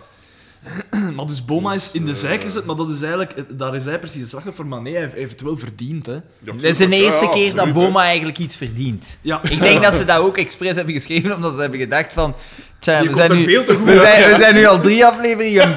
Speaker 1: Maar dus Boma
Speaker 2: Dus,
Speaker 1: is in de
Speaker 2: eh,
Speaker 1: zijk gezet, maar dat is eigenlijk, daar is hij precies het slachtoffer, maar nee, hij heeft- hij heeft het wel verdiend, hè.
Speaker 2: Ja,
Speaker 3: Dat is de
Speaker 2: tuurlijk, ja,
Speaker 3: eerste keer dat
Speaker 2: absoluut, hè.
Speaker 3: Boma eigenlijk iets verdient.
Speaker 1: Ja.
Speaker 3: Ik denk dat ze dat ook expres hebben geschreven, omdat ze hebben gedacht van... Tja,
Speaker 4: eh,
Speaker 1: Je
Speaker 3: we
Speaker 1: komt
Speaker 3: zijn,
Speaker 1: er
Speaker 3: nu,
Speaker 1: veel te goed
Speaker 3: we,
Speaker 1: uit,
Speaker 3: zijn, we zijn nu al drie afleveringen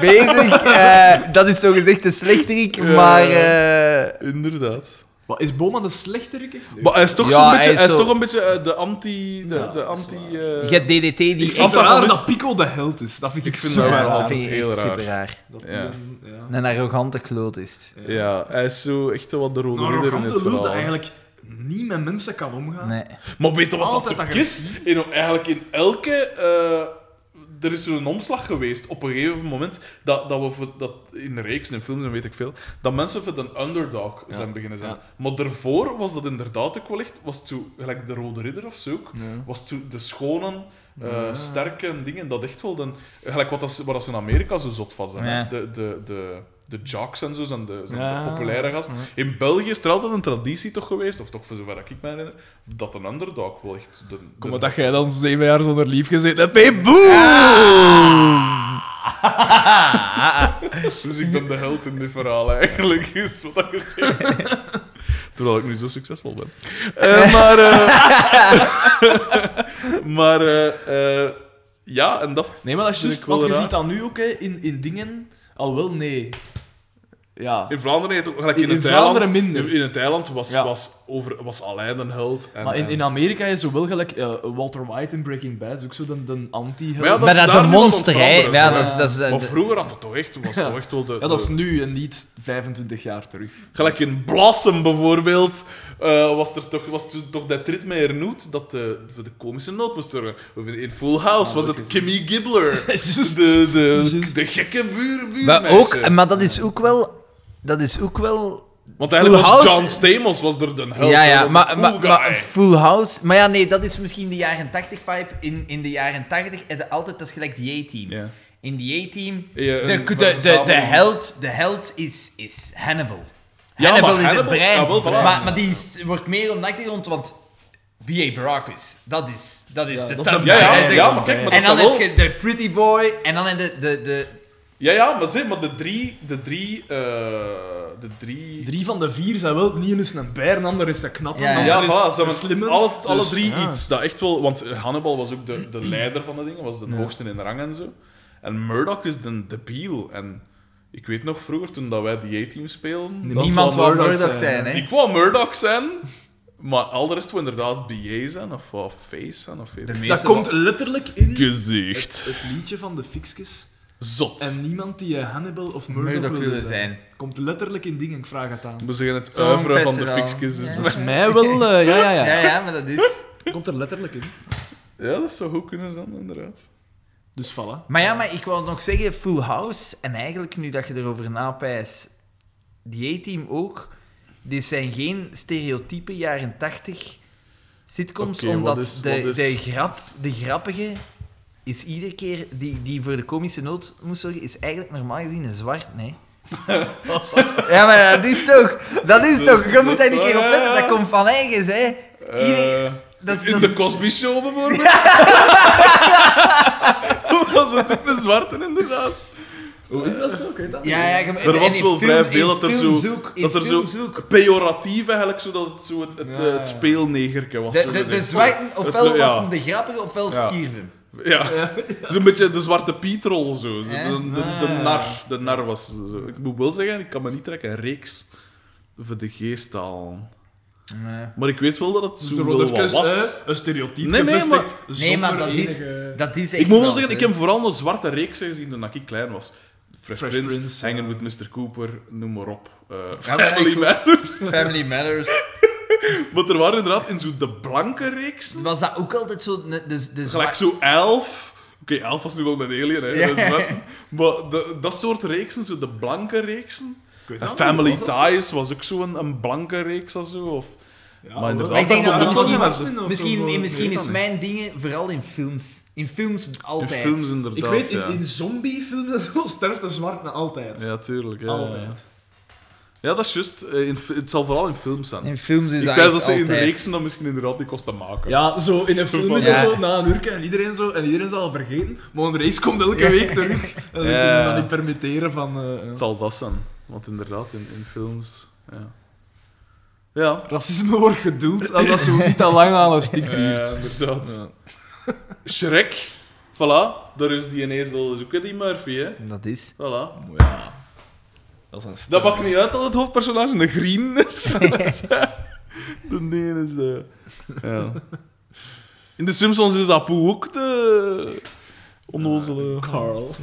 Speaker 3: bezig. Eh, dat is zogezegd de slechterik,
Speaker 2: Ja.
Speaker 3: maar... eh,
Speaker 2: Inderdaad.
Speaker 1: Maar is Boma de slechterik? echt? Nee.
Speaker 2: Maar hij is toch,
Speaker 3: Ja,
Speaker 2: zo'n
Speaker 3: hij
Speaker 2: beetje,
Speaker 3: is
Speaker 2: hij is
Speaker 3: zo-
Speaker 2: toch een beetje eh, de anti... De,
Speaker 1: Ja,
Speaker 2: de
Speaker 1: dat is
Speaker 2: anti
Speaker 1: waar.
Speaker 2: eh,
Speaker 3: je hebt DDT die...
Speaker 1: ik
Speaker 3: echt-
Speaker 1: vind het raar
Speaker 2: dat
Speaker 1: dat Pico de held is. Dat vind ik,
Speaker 2: Ik vind
Speaker 1: zo
Speaker 2: dat wel
Speaker 1: raar.
Speaker 3: dat
Speaker 2: altijd
Speaker 3: vind ik
Speaker 2: heel
Speaker 3: echt
Speaker 2: raar.
Speaker 3: super raar.
Speaker 1: Dat
Speaker 2: Ja.
Speaker 1: die een- ja.
Speaker 3: Een arrogante kloot is het.
Speaker 2: Ja, hij is zo echt wel wat de
Speaker 1: Een
Speaker 2: rode ridder in het
Speaker 1: arrogante lul
Speaker 2: verhaal.
Speaker 1: dat eigenlijk niet met mensen kan omgaan.
Speaker 3: Nee.
Speaker 2: Maar weet je wat dat
Speaker 1: Altijd
Speaker 2: ook is?
Speaker 1: agressief.
Speaker 2: In, eigenlijk in elke... eh, er is zo'n omslag geweest op een gegeven moment dat, dat we voor- dat in reeks, in films en weet ik veel, dat mensen voor de underdog zijn beginnen zijn.
Speaker 1: ja.
Speaker 2: Maar daarvoor was dat inderdaad ook wel echt, was het zo, gelijk de Rode Ridder of zo ook, was het zo de schone, eh, sterke dingen, dat echt wel. Dan, gelijk wat dat, ze- waar dat ze in Amerika zo zot van zijn. hè.
Speaker 4: Ja.
Speaker 2: De, de, de, de jocks en zo zijn de, zijn
Speaker 1: Ja.
Speaker 2: de populaire gasten. In België is er altijd een traditie toch geweest, of toch voor zover ik me herinner, dat een underdog wel echt... De,
Speaker 1: Kom
Speaker 2: de-
Speaker 1: maar dat jij dan zeven jaar zonder lief gezeten hebt. Hey, boe!
Speaker 2: Dus ik ben de held in dit verhaal eigenlijk, is wat dat gezegd wordt. Terwijl ik nu zo succesvol ben. Eh, maar eh, maar eh, eh, ja, en dat...
Speaker 1: Nee, maar dat is
Speaker 2: vind
Speaker 1: juist,
Speaker 2: ik wel
Speaker 1: want je
Speaker 2: raar.
Speaker 1: ziet dat nu ook hè, in, in dingen. Al wel, nee. Ja.
Speaker 2: In Vlaanderen heet het ook gelijk
Speaker 1: In-
Speaker 2: in,
Speaker 1: in
Speaker 2: het eiland.
Speaker 1: Vlaanderen minder.
Speaker 2: In, in het eiland was,
Speaker 1: Ja.
Speaker 2: was, over, was Alain een held. En,
Speaker 1: Maar in, in
Speaker 2: en-
Speaker 1: Amerika is zo wel gelijk eh, Walter White in Breaking Bad. Is ook zo de, de anti-held.
Speaker 2: Maar ja, dat
Speaker 4: Maar
Speaker 2: is
Speaker 4: dat is
Speaker 2: daar nu
Speaker 4: een
Speaker 2: wel
Speaker 4: monster, hè?
Speaker 2: ontveranderd,
Speaker 4: Ja,
Speaker 2: hè.
Speaker 4: dat is, dat is,
Speaker 2: maar
Speaker 4: dat-
Speaker 2: vroeger had het toch echt, was het toch echt wel de...
Speaker 1: Ja, dat is
Speaker 2: de-
Speaker 1: nu en niet 25 jaar terug.
Speaker 2: Gelijk in Blossom bijvoorbeeld, eh, was er toch, was toen toch dat rit met Hernoet dat de, voor de komische noot moest zorgen. Of in in Full House
Speaker 1: Ah,
Speaker 2: was
Speaker 1: dat
Speaker 2: het
Speaker 1: is-
Speaker 2: Kimmy Gibbler.
Speaker 1: Juist.
Speaker 2: De, de,
Speaker 1: Juist.
Speaker 2: de gekke buur,
Speaker 4: maar,
Speaker 2: buurmeisje.
Speaker 4: ook, ehm, maar dat is ook wel... Dat is ook wel...
Speaker 2: Want eigenlijk
Speaker 4: Full
Speaker 2: was
Speaker 4: House-
Speaker 2: John Stamos was er de held.
Speaker 4: ja,
Speaker 2: hè,
Speaker 4: ja,
Speaker 2: was
Speaker 4: maar,
Speaker 2: de
Speaker 4: maar,
Speaker 2: cool
Speaker 4: maar
Speaker 2: guy.
Speaker 4: Full House... Maar ja, nee, dat is misschien de jaren 80 vibe. In, in de jaren 80 heb je altijd... Dat is gelijk die A-team.
Speaker 2: Ja.
Speaker 4: In die A-team...
Speaker 2: Ja,
Speaker 4: De,
Speaker 2: een
Speaker 4: de, de, de,
Speaker 2: verzameling.
Speaker 4: held, de held is, is Hannibal.
Speaker 2: Ja,
Speaker 4: Hannibal
Speaker 2: maar
Speaker 4: is
Speaker 2: Hannibal-
Speaker 4: het brein.
Speaker 2: ja, wel, voilà.
Speaker 4: maar, maar die is- wordt meer om de achtergrond, want B.A. Baracus, dat is, dat is
Speaker 1: Ja,
Speaker 4: de
Speaker 1: dat is
Speaker 4: tough
Speaker 1: een-
Speaker 2: ja,
Speaker 4: guy,
Speaker 2: ja,
Speaker 4: hè,
Speaker 2: ja,
Speaker 4: zeg
Speaker 2: maar kijk, maar dat
Speaker 4: en
Speaker 2: is dan
Speaker 4: dan heb
Speaker 2: wel...
Speaker 4: je de pretty boy, en dan heb je de... de, de
Speaker 2: Ja, ja, maar zeg, maar de drie... De drie... eh, de drie...
Speaker 1: Drie van de vier zijn wel. niet is een bijer, een ander is een knapper.
Speaker 4: Ja, ja.
Speaker 1: een
Speaker 2: Ja,
Speaker 1: ander
Speaker 2: voilà,
Speaker 1: is Dus, ah.
Speaker 2: ze hebben
Speaker 1: een slimme.
Speaker 2: alle, alle drie
Speaker 1: ja.
Speaker 2: iets. Dat echt wel, want eh, Hannibal was ook de, de leider van de dingen, was de hoogste in de rang en zo. En Murdoch is de debiel. En ik weet nog vroeger, toen dat wij die A-team speelden...
Speaker 1: Nee,
Speaker 2: dat-
Speaker 4: niemand
Speaker 1: wou
Speaker 4: wil
Speaker 1: Murdoch
Speaker 4: Murdoch
Speaker 1: zijn,
Speaker 4: zijn, hè.
Speaker 2: Ik wou Murdoch zijn, maar al de rest wil inderdaad BA zijn, of, of Face zijn, of weet
Speaker 4: de
Speaker 2: ik.
Speaker 1: Dat
Speaker 4: meeste
Speaker 1: komt letterlijk in
Speaker 2: Gezicht.
Speaker 1: het liedje van de Fixkes.
Speaker 2: Zot.
Speaker 1: En niemand die eh, Hannibal of
Speaker 4: wel
Speaker 1: Murdoch,
Speaker 4: Murdoch
Speaker 1: wilde
Speaker 4: willen
Speaker 1: zijn.
Speaker 4: zijn.
Speaker 1: Komt letterlijk in dingen, ik vraag het aan.
Speaker 2: We zeggen het
Speaker 4: Zo'n
Speaker 2: oeuvre van de
Speaker 4: festival.
Speaker 2: fixkes. Dus...
Speaker 4: Ja.
Speaker 1: Dat is mij wel, eh, ja, ja, ja.
Speaker 4: Ja, ja, maar dat is...
Speaker 1: Komt er letterlijk in.
Speaker 2: Ja, dat zou goed kunnen zijn, inderdaad.
Speaker 1: Dus voilà.
Speaker 4: Maar ja, maar ik wou nog zeggen, Full House, en eigenlijk nu dat je erover napijst, die A-team ook, dit zijn geen stereotype jaren 80 sitcoms,
Speaker 2: Oké, wat
Speaker 4: omdat
Speaker 2: is-
Speaker 4: de,
Speaker 2: wat is-
Speaker 4: de grap, de grappige is iedere keer, die, die voor de komische noot moest zorgen, is eigenlijk normaal gezien een zwart, nee. ja, maar dat is toch, dat is
Speaker 2: Dat
Speaker 4: toch,
Speaker 2: is-
Speaker 4: je
Speaker 2: dat
Speaker 4: moet daar
Speaker 2: is
Speaker 4: een keer
Speaker 2: waar,
Speaker 4: op letten,
Speaker 2: ja.
Speaker 4: dat komt van eigens, hè. Iedereen-
Speaker 2: Eh,
Speaker 4: dat is-
Speaker 2: in
Speaker 4: dat
Speaker 2: de
Speaker 4: is-
Speaker 2: Cosby Show bijvoorbeeld. was het ook een zwarte, inderdaad.
Speaker 1: Hoe is dat zo? Ik weet dat
Speaker 4: Ja, ja, je- en
Speaker 2: Er was
Speaker 4: in
Speaker 2: wel
Speaker 4: film-
Speaker 2: vrij
Speaker 4: in
Speaker 2: veel dat er zo,
Speaker 4: films ook, in
Speaker 2: dat er zo
Speaker 4: films ook.
Speaker 2: pejoratief eigenlijk, zodat het zo het, het,
Speaker 1: Ja,
Speaker 2: eh,
Speaker 1: ja.
Speaker 2: het speelnegerke was.
Speaker 4: De,
Speaker 2: zo
Speaker 4: de, de
Speaker 2: gezegd.
Speaker 4: zwarten, ofwel
Speaker 2: Het- eh, ja.
Speaker 4: was hem de grappige, ofwel
Speaker 2: Ja.
Speaker 4: stierf hem.
Speaker 2: Ja, zo'n beetje de zwarte Pietrol zo. zo
Speaker 4: Ja.
Speaker 2: de,
Speaker 1: Ah,
Speaker 2: de, de nar, de nar was zo. Ik moet wel zeggen, ik kan me niet trekken, een reeks voor de geest al. Maar ik weet wel dat
Speaker 1: Dus
Speaker 2: het zo wel wat was.
Speaker 1: eh, een stereotype
Speaker 2: Nee, nee, maar-
Speaker 1: gevestigd
Speaker 4: Nee, maar
Speaker 1: zonder
Speaker 4: dat is,
Speaker 1: enige-
Speaker 4: dat is echt
Speaker 2: Ik moet wel
Speaker 4: wel
Speaker 2: zeggen,
Speaker 4: zo.
Speaker 2: ik heb vooral een zwarte reeks gezien toen ik klein was. Fresh,
Speaker 1: Fresh
Speaker 2: Prince,
Speaker 1: Prince,
Speaker 2: Hanging with Mr. Cooper, noem maar op. Eh,
Speaker 4: Ja, maar
Speaker 2: Family
Speaker 4: ik-
Speaker 2: Matters.
Speaker 4: Family Matters.
Speaker 2: Maar er waren inderdaad in zo de blanke reeks,
Speaker 4: Was dat ook altijd zo... De, de, de zwa-
Speaker 2: gelijk zo Elf. Oké, Elf was nu wel een alien, hè. dat is zwart. Maar de- dat soort reeksen, zo de blanke reeksen.
Speaker 1: Ik weet
Speaker 2: En
Speaker 1: dat
Speaker 2: Family
Speaker 1: niet, wat dat
Speaker 2: Ties was ook zo'n een, een blanke reeks of zo. Of...
Speaker 1: is.
Speaker 2: maar inderdaad,
Speaker 1: Maar
Speaker 4: ik denk dat
Speaker 1: komt
Speaker 4: dat
Speaker 1: wel
Speaker 4: misschien-
Speaker 1: een zin of zo
Speaker 4: Misschien,
Speaker 1: voor-
Speaker 4: eh, misschien
Speaker 1: ik weet
Speaker 4: is
Speaker 1: dat
Speaker 4: mijn dingen vooral in films. In films
Speaker 2: In
Speaker 4: altijd.
Speaker 2: films
Speaker 1: niet.
Speaker 2: inderdaad,
Speaker 1: Ik weet,
Speaker 2: ja.
Speaker 1: in, in zombiefilms en zo sterft de zwart na altijd.
Speaker 2: Ja, tuurlijk. Ja,
Speaker 1: Altijd.
Speaker 2: ja dat is juist. Eh, in fi- Het zal vooral in films zijn.
Speaker 4: In films is
Speaker 2: Ik
Speaker 4: dat
Speaker 2: wijs dat
Speaker 4: echt
Speaker 2: ze in de
Speaker 4: altijd.
Speaker 2: reeksen dan misschien inderdaad die kosten maken.
Speaker 1: Ja, zo in een
Speaker 2: Zo
Speaker 1: film
Speaker 2: van-
Speaker 1: is dat
Speaker 4: Ja.
Speaker 1: zo na een uur en iedereen zo en iedereen zal vergeten. Maar een race komt elke week terug en dan
Speaker 2: Ja.
Speaker 1: kunnen we dat niet permitteren van eh,
Speaker 2: Het
Speaker 1: eh,
Speaker 2: zal dat zijn. Want inderdaad, in, in films... Ja. ja.
Speaker 1: racisme wordt geduld als dat zo niet te lang aan een stik duurt.
Speaker 2: Ja, inderdaad. Shrek. Voilà. Daar is die ineens al zoeken, die Murphy, hè.
Speaker 4: Dat is.
Speaker 2: Voilà.
Speaker 1: Maar ja, dat is een
Speaker 2: Dat
Speaker 1: stuk.
Speaker 2: maakt niet uit dat het hoofdpersonage een green is. de nee is... eh, ja. In de Simpsons is Apu ook de... Onnozele...
Speaker 1: Ah, Carl.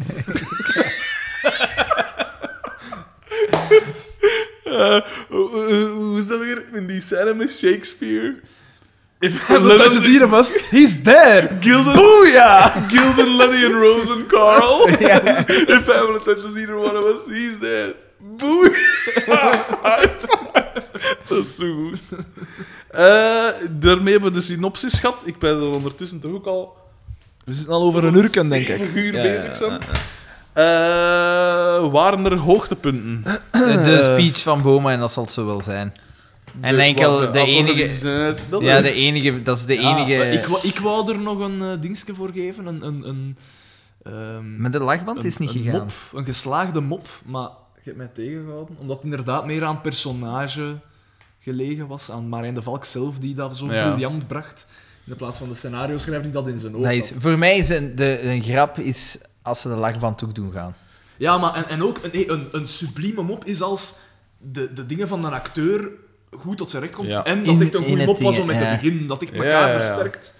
Speaker 2: Eh, hoe- hoe- hoe is dat weer? In die scène met Shakespeare...
Speaker 1: If heaven touches either of us, he's dead!
Speaker 2: Gilden...
Speaker 1: Booyah!
Speaker 2: Gilden, Lenny and Rose and Carl. If Pamela touches either one of us, he's dead. Boei. Dat is zo goed. Eh, daarmee hebben we de synopsis gehad. Ik ben er ondertussen toch ook al
Speaker 1: We zitten al over een uur, denk ik.
Speaker 2: Zeven uur
Speaker 4: Ja, ja,
Speaker 2: bezig
Speaker 4: ja,
Speaker 2: zijn.
Speaker 4: ja.
Speaker 2: Eh, waren er hoogtepunten?
Speaker 4: De, de speech van Boma, en dat zal het zo wel zijn. En enkel
Speaker 2: wat
Speaker 4: de enige-
Speaker 2: organisatie- dat
Speaker 4: Ja,
Speaker 2: is-
Speaker 4: de enige, dat is de
Speaker 1: Ja,
Speaker 4: enige...
Speaker 1: Ik, wou- ik wou er nog een eh, dingetje voor geven. Een, een, een, ehm,
Speaker 4: Maar de lachband
Speaker 1: een-
Speaker 4: is niet
Speaker 1: een
Speaker 4: gegaan.
Speaker 1: Mop, een geslaagde mop, maar je hebt mij tegengehouden. Omdat het inderdaad meer aan het personage gelegen was. Aan Marijn de Valk zelf, die dat zo
Speaker 2: Ja.
Speaker 1: briljant bracht. In plaats van de scenario schrijver die dat in zijn hoofd
Speaker 4: Dat is,
Speaker 1: had.
Speaker 4: voor mij is een, de, een grap is als ze de lachband toe doen gaan.
Speaker 1: Ja, maar en, en ook een, nee, een, een sublieme mop is als de, de dingen van een acteur goed tot zijn recht komt.
Speaker 2: Ja.
Speaker 1: En dat
Speaker 4: In-
Speaker 1: echt een
Speaker 4: in
Speaker 1: goede
Speaker 4: het
Speaker 1: mop was
Speaker 4: ding,
Speaker 1: om met
Speaker 4: ja.
Speaker 1: het begin. Dat echt
Speaker 2: Ja,
Speaker 1: elkaar
Speaker 2: ja, ja.
Speaker 1: versterkt.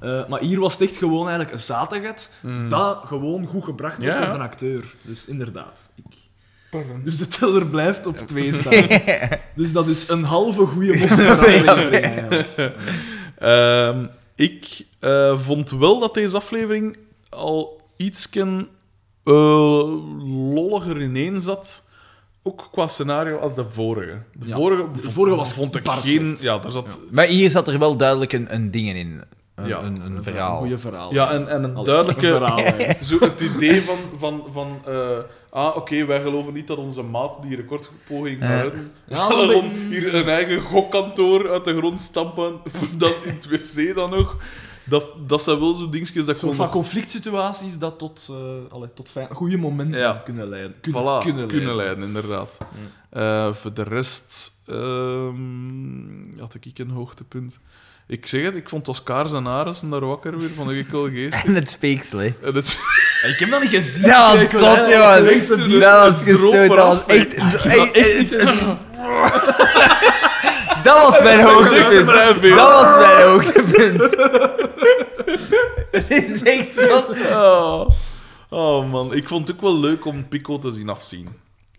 Speaker 1: Eh, maar hier was het echt gewoon eigenlijk een zatigheid.
Speaker 2: Mm.
Speaker 1: dat gewoon goed gebracht wordt
Speaker 2: Ja.
Speaker 1: door een acteur. Dus inderdaad. Ik... Dus de teller blijft op twee staan. dus dat is een halve goede mop. per aflevering eigenlijk.
Speaker 2: Ehm, ik eh, vond wel dat deze aflevering al ietsken eh, lolliger ineen zat. Ook qua scenario als de vorige. De
Speaker 1: Ja.
Speaker 2: vorige,
Speaker 1: De vorige was
Speaker 2: vond ik
Speaker 1: bar
Speaker 2: geen.
Speaker 1: slecht.
Speaker 2: Ja, daar zat.
Speaker 4: Maar hier zat er wel duidelijk een, een ding in. Een,
Speaker 2: Ja,
Speaker 4: een, een verhaal.
Speaker 1: Een goede verhaal.
Speaker 2: Ja, en, en een
Speaker 1: Allee,
Speaker 2: duidelijke.
Speaker 1: een verhaal, hè.
Speaker 2: Zo het idee van, van, van eh, ah, oké, wij geloven niet dat onze maat die recordpoging
Speaker 4: Eh.
Speaker 2: naar redden.
Speaker 1: Ja,
Speaker 2: Alle
Speaker 1: dat
Speaker 2: gewoon
Speaker 1: ben-
Speaker 2: hier een eigen gokkantoor uit de grond stampen, dan in het wc dan nog. Dat, dat zijn wel zo dingetjes dat
Speaker 1: Zo
Speaker 2: gewoon
Speaker 1: van conflict situaties dat tot, eh allee, tot fijn, goede momenten
Speaker 2: Ja.
Speaker 1: kunnen leiden. Kunnen,
Speaker 2: Voilà,
Speaker 1: kunnen
Speaker 2: kunnen, leiden. inderdaad. Eh, voor de rest ehm, had ik een hoogtepunt. Ik zeg het, ik vond Oscar zijn en daar wakker weer, vond ik wel geest.
Speaker 4: En het speeksel, hè.
Speaker 2: En het
Speaker 1: Ik heb dat niet gezien.
Speaker 4: Dat was
Speaker 1: Ik wil
Speaker 4: zot,
Speaker 1: eigenlijk
Speaker 4: jongen.
Speaker 1: echt zo
Speaker 2: Het-
Speaker 4: Dat was
Speaker 1: dat echt niet-
Speaker 2: het droop eraf,
Speaker 4: gestoord. Dat was echt... Dat was mijn
Speaker 2: echt
Speaker 4: hoogtepunt.
Speaker 2: vrij veel.
Speaker 4: Dat was mijn hoogtepunt. Het is echt zot.
Speaker 2: Oh. Oh, man, ik vond het ook wel leuk om Pico te zien afzien.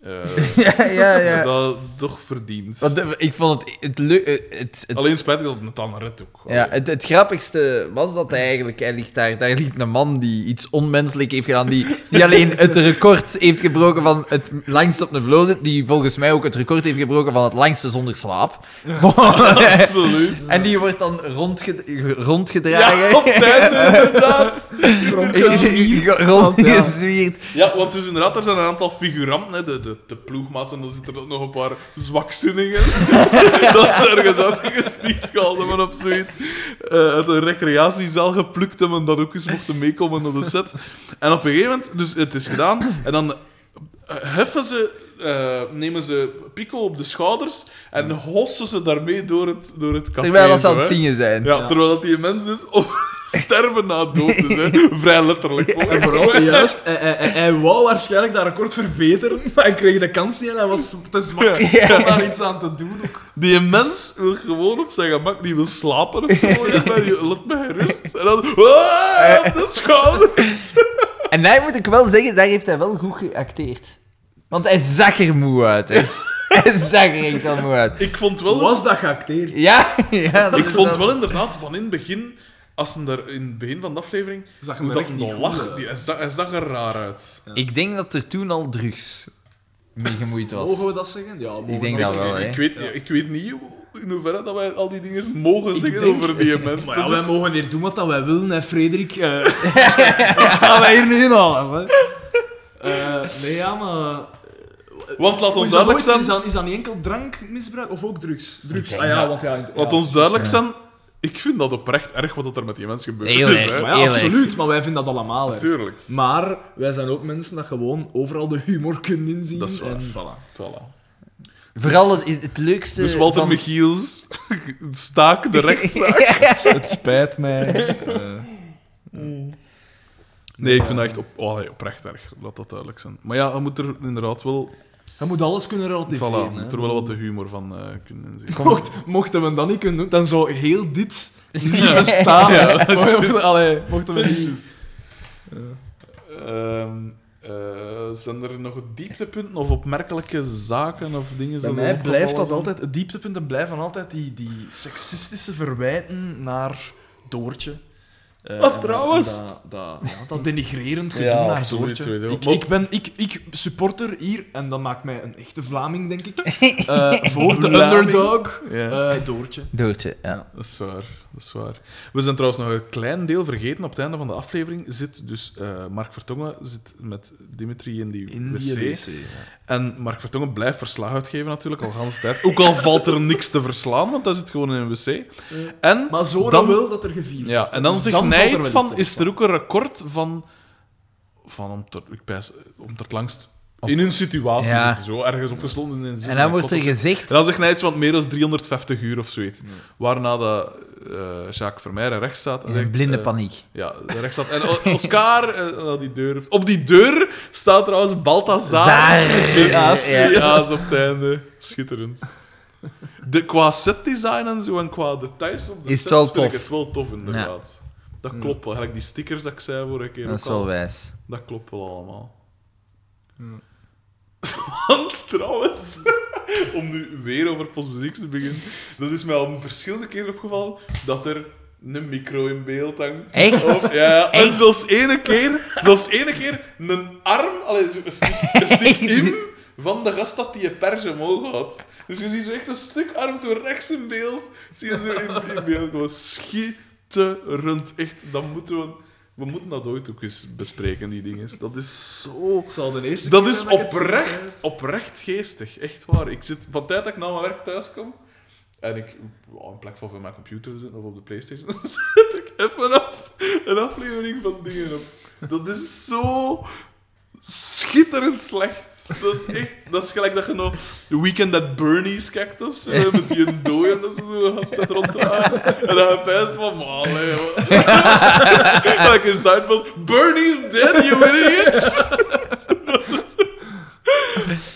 Speaker 2: Eh,
Speaker 4: Ja, ja, ja.
Speaker 2: Dat toch verdiend.
Speaker 4: Want, eh, ik vond het... het, leu- eh, het, het
Speaker 2: Alleen spijtig dat het met Anne Red ook.
Speaker 4: Ja, het, het grappigste was dat hij eigenlijk... Hij ligt daar, daar ligt een man die iets onmenselijk heeft gedaan. Die niet alleen het record heeft gebroken van het langst op de vloer zit, Die volgens mij ook het record heeft gebroken van het langste zonder slaap.
Speaker 2: Absoluut.
Speaker 4: en die wordt dan rondge, ge- rondgedragen.
Speaker 2: Ja, op het einde, inderdaad.
Speaker 4: Rondgezwierd.
Speaker 2: Ja, want dus inderdaad, er zijn een aantal figuranten, hè, de, de, de ploegmaats, en dan zitten er ook nog een paar zwakzinnigen. dat is ergens uitgestierd gehaald hebben of zoiets. Eh, uit een recreatiezaal geplukt hebben en dat ook eens mochten meekomen naar de set. En op een gegeven moment, dus het is gedaan, en dan eh, heffen ze, eh, nemen ze Pico op de schouders en hossen ze daarmee door het, door het café.
Speaker 4: Terwijl dat ze
Speaker 2: zo,
Speaker 4: aan het
Speaker 2: hè.
Speaker 4: zingen zijn.
Speaker 2: Ja, terwijl dat die mens dus op sterven na dood is, hè. Vrij letterlijk.
Speaker 1: En
Speaker 2: volgens
Speaker 1: vooral,
Speaker 2: mij.
Speaker 1: juist, hij, hij, hij- hij wou waarschijnlijk dat record verbeteren, maar hij kreeg de kans niet en hij was te zwak om daar iets aan te doen. Ook.
Speaker 2: Die mens wil gewoon op zijn gemak, die wil slapen of zo. Ja, maar die- Laat mij gerust. En dan, "Ah, op de schouders.
Speaker 4: En daar moet ik wel zeggen, daar heeft hij wel goed geacteerd. Want hij zag er moe uit, hè. hij zag er echt wel moe uit.
Speaker 2: Ik vond wel,
Speaker 1: Was dat geacteerd?
Speaker 4: Ja, ja. dat
Speaker 2: ik
Speaker 4: is
Speaker 2: vond
Speaker 4: dan-
Speaker 2: wel inderdaad van in het begin, als ze daar in het begin van de aflevering,
Speaker 1: Zag hem
Speaker 2: hoe
Speaker 1: er
Speaker 2: dat
Speaker 1: echt niet
Speaker 2: nog
Speaker 1: goed
Speaker 2: lag,
Speaker 1: uit.
Speaker 2: die- hij, zag, hij zag er raar uit.
Speaker 4: Ik denk dat er toen al drugs mee gemoeid was.
Speaker 2: Oh,
Speaker 1: Mogen we dat zeggen? Ja, mogen we
Speaker 4: denk
Speaker 1: dat
Speaker 4: dat wel, Oh, hè.
Speaker 2: ik, weet, niet- ik weet niet hoe- in hoeverre dat wij al die dingen mogen
Speaker 1: Ik
Speaker 2: zeggen
Speaker 1: denk-
Speaker 2: over die mens.
Speaker 1: Maar
Speaker 2: Dat
Speaker 1: ja,
Speaker 2: is
Speaker 1: wij mogen weer doen wat dat wij willen, hè, Frederik. eh gaan wij hier nu in alles, hè? Eh, nee, ja, maar...
Speaker 2: ook- Want laat
Speaker 1: Hoe
Speaker 2: ons
Speaker 1: Is dat,
Speaker 2: duidelijk
Speaker 1: ooit-
Speaker 2: zijn,
Speaker 1: is, dat, is dat niet enkel drankmisbruik of ook drugs? Drugs,
Speaker 4: denk
Speaker 1: ah ja,
Speaker 4: dat-
Speaker 1: want ja... in-
Speaker 2: laat
Speaker 1: ja,
Speaker 2: ons duidelijk zijn, ik vind dat oprecht erg wat er met die mens gebeurd
Speaker 4: Heel
Speaker 2: is.
Speaker 4: erg,
Speaker 2: hè.
Speaker 1: Maar ja,
Speaker 4: Eerlijk.
Speaker 1: absoluut, maar wij vinden dat allemaal, hè.
Speaker 2: Tuurlijk.
Speaker 1: Maar wij zijn ook mensen dat gewoon overal de humor kunnen inzien.
Speaker 2: Dat is waar.
Speaker 1: En, voilà.
Speaker 2: Voilà.
Speaker 4: Vooral het, het leukste.
Speaker 2: Dus Walter
Speaker 4: van-
Speaker 2: Michiels staak de rechtszaak.
Speaker 1: Het spijt mij. Eh,
Speaker 2: Nee, ik vind dat echt op, oh, nee, oprecht erg, laat dat duidelijk zijn. Maar ja, je moet er inderdaad wel,
Speaker 1: je moet alles kunnen relativeren.
Speaker 2: voilà,
Speaker 1: hè.
Speaker 2: moet er wel wat de humor van eh, kunnen zien.
Speaker 1: Mocht, mochten we hem dat niet kunnen doen, dan zou heel dit niet bestaan.
Speaker 2: Ja,
Speaker 1: hè.
Speaker 2: dat is
Speaker 1: Mochten we-
Speaker 2: juist.
Speaker 1: allee, mochten we
Speaker 2: Dat is
Speaker 1: niet...
Speaker 2: juist. Eh, Ehm, eh, zijn er nog dieptepunten of opmerkelijke zaken of dingen?
Speaker 1: Bij
Speaker 2: zo
Speaker 1: mij
Speaker 2: opgevallen
Speaker 1: blijft dat
Speaker 2: zijn?
Speaker 1: altijd... Het dieptepunten blijven altijd die, die seksistische verwijten naar Doortje. Eh,
Speaker 2: Of
Speaker 1: en
Speaker 2: trouwens.
Speaker 1: Dat, dat, ja, dat denigrerend gedoe
Speaker 2: Ja,
Speaker 1: naar het
Speaker 2: absoluut,
Speaker 1: woordje.
Speaker 2: sowieso.
Speaker 1: Ik,
Speaker 2: Maar-
Speaker 1: ik ben ik, ik supporter hier, en dat maakt mij een echte Vlaming, denk ik, eh, voor de underdog,
Speaker 2: Ja.
Speaker 1: eh, Doortje.
Speaker 3: Doortje, ja.
Speaker 2: Dat is waar, dat is waar. We zijn trouwens nog een klein deel vergeten. Op het einde van de aflevering zit dus eh, Mark Vertongen zit met Dimitri in die
Speaker 1: In
Speaker 2: wc.
Speaker 1: die wc. ja.
Speaker 2: En Mark Vertongen blijft verslag uitgeven natuurlijk, al de hele tijd. Ook al valt er niks te verslaan, want dat zit gewoon in een wc. En
Speaker 1: Maar zo
Speaker 2: dan-
Speaker 1: dan wil dat er gevierd
Speaker 2: Ja,
Speaker 1: wordt.
Speaker 2: en dan
Speaker 1: Dus
Speaker 2: zegt
Speaker 1: valt er wel
Speaker 2: Nijt
Speaker 1: iets
Speaker 2: van,
Speaker 1: te
Speaker 2: is er ook een record van, van om, tot, ik pijs, om tot langst in een situatie
Speaker 3: Ja.
Speaker 2: zitten, zo ergens opgeslonden in een zin-
Speaker 3: En dan wordt er
Speaker 2: en
Speaker 3: gezegd...
Speaker 2: dan zegt Nijt van meer dan 350 uur of zoiets. Waarna de, eh Jacques Vermeijren rechts staat. En
Speaker 3: In
Speaker 2: zegt,
Speaker 3: blinde
Speaker 2: eh,
Speaker 3: paniek.
Speaker 2: Ja, rechts staat. En O- Oscar, eh, aan die deur. Op die deur staat trouwens Balthazar.
Speaker 3: Zaar.
Speaker 2: Ja, s-
Speaker 3: Ja.
Speaker 2: ja, is op het einde. Schitterend. De, qua setdesign en zo en qua details op de
Speaker 3: Is het
Speaker 2: sets
Speaker 3: wel
Speaker 2: vind ik
Speaker 3: tof.
Speaker 2: het wel tof, inderdaad. Dat klopt wel. Gelijk die stickers dat ik zei vorige keer
Speaker 3: Dat is
Speaker 2: ook al.
Speaker 3: wel wijs.
Speaker 2: Dat klopt wel allemaal. Want trouwens, om nu weer over postmuziek te beginnen, dat is mij al een verschillende keer opgevallen dat er een micro in beeld hangt.
Speaker 3: Echt?
Speaker 2: Of- ja, ja. En
Speaker 3: Echt?
Speaker 2: zelfs ene keer, zelfs ene keer een arm, allee, zo een stuk, een stuk in van de gast dat die je pers omhoog had. Dus je ziet zo echt een stuk arm zo rechts in beeld. Zie je zo in, in beeld. Gewoon schitterend. Echt, dat moeten we... We moeten dat ooit ook eens bespreken, die dingen. Dat is zo...
Speaker 1: Het zal de eerste
Speaker 2: Dat
Speaker 1: keer
Speaker 2: is
Speaker 1: zijn ik het zie.
Speaker 2: oprecht, oprecht geestig. Echt waar. Ik zit van tijd dat ik na mijn werk thuis kom en ik oh, in plek van voor mijn computer te zitten of op de PlayStation, dan zet ik even af een aflevering van dingen op. Dat is zo schitterend slecht. Dat is echt, dat is gelijk dat je nog The Weekend at Bernie's kijkt of zo, met die dooi en dat ze zo gaan staan ronddraaien. En dan heb je van, man, hè, wat- Gelijk in Seinfeld, Bernie's dead, you idiots!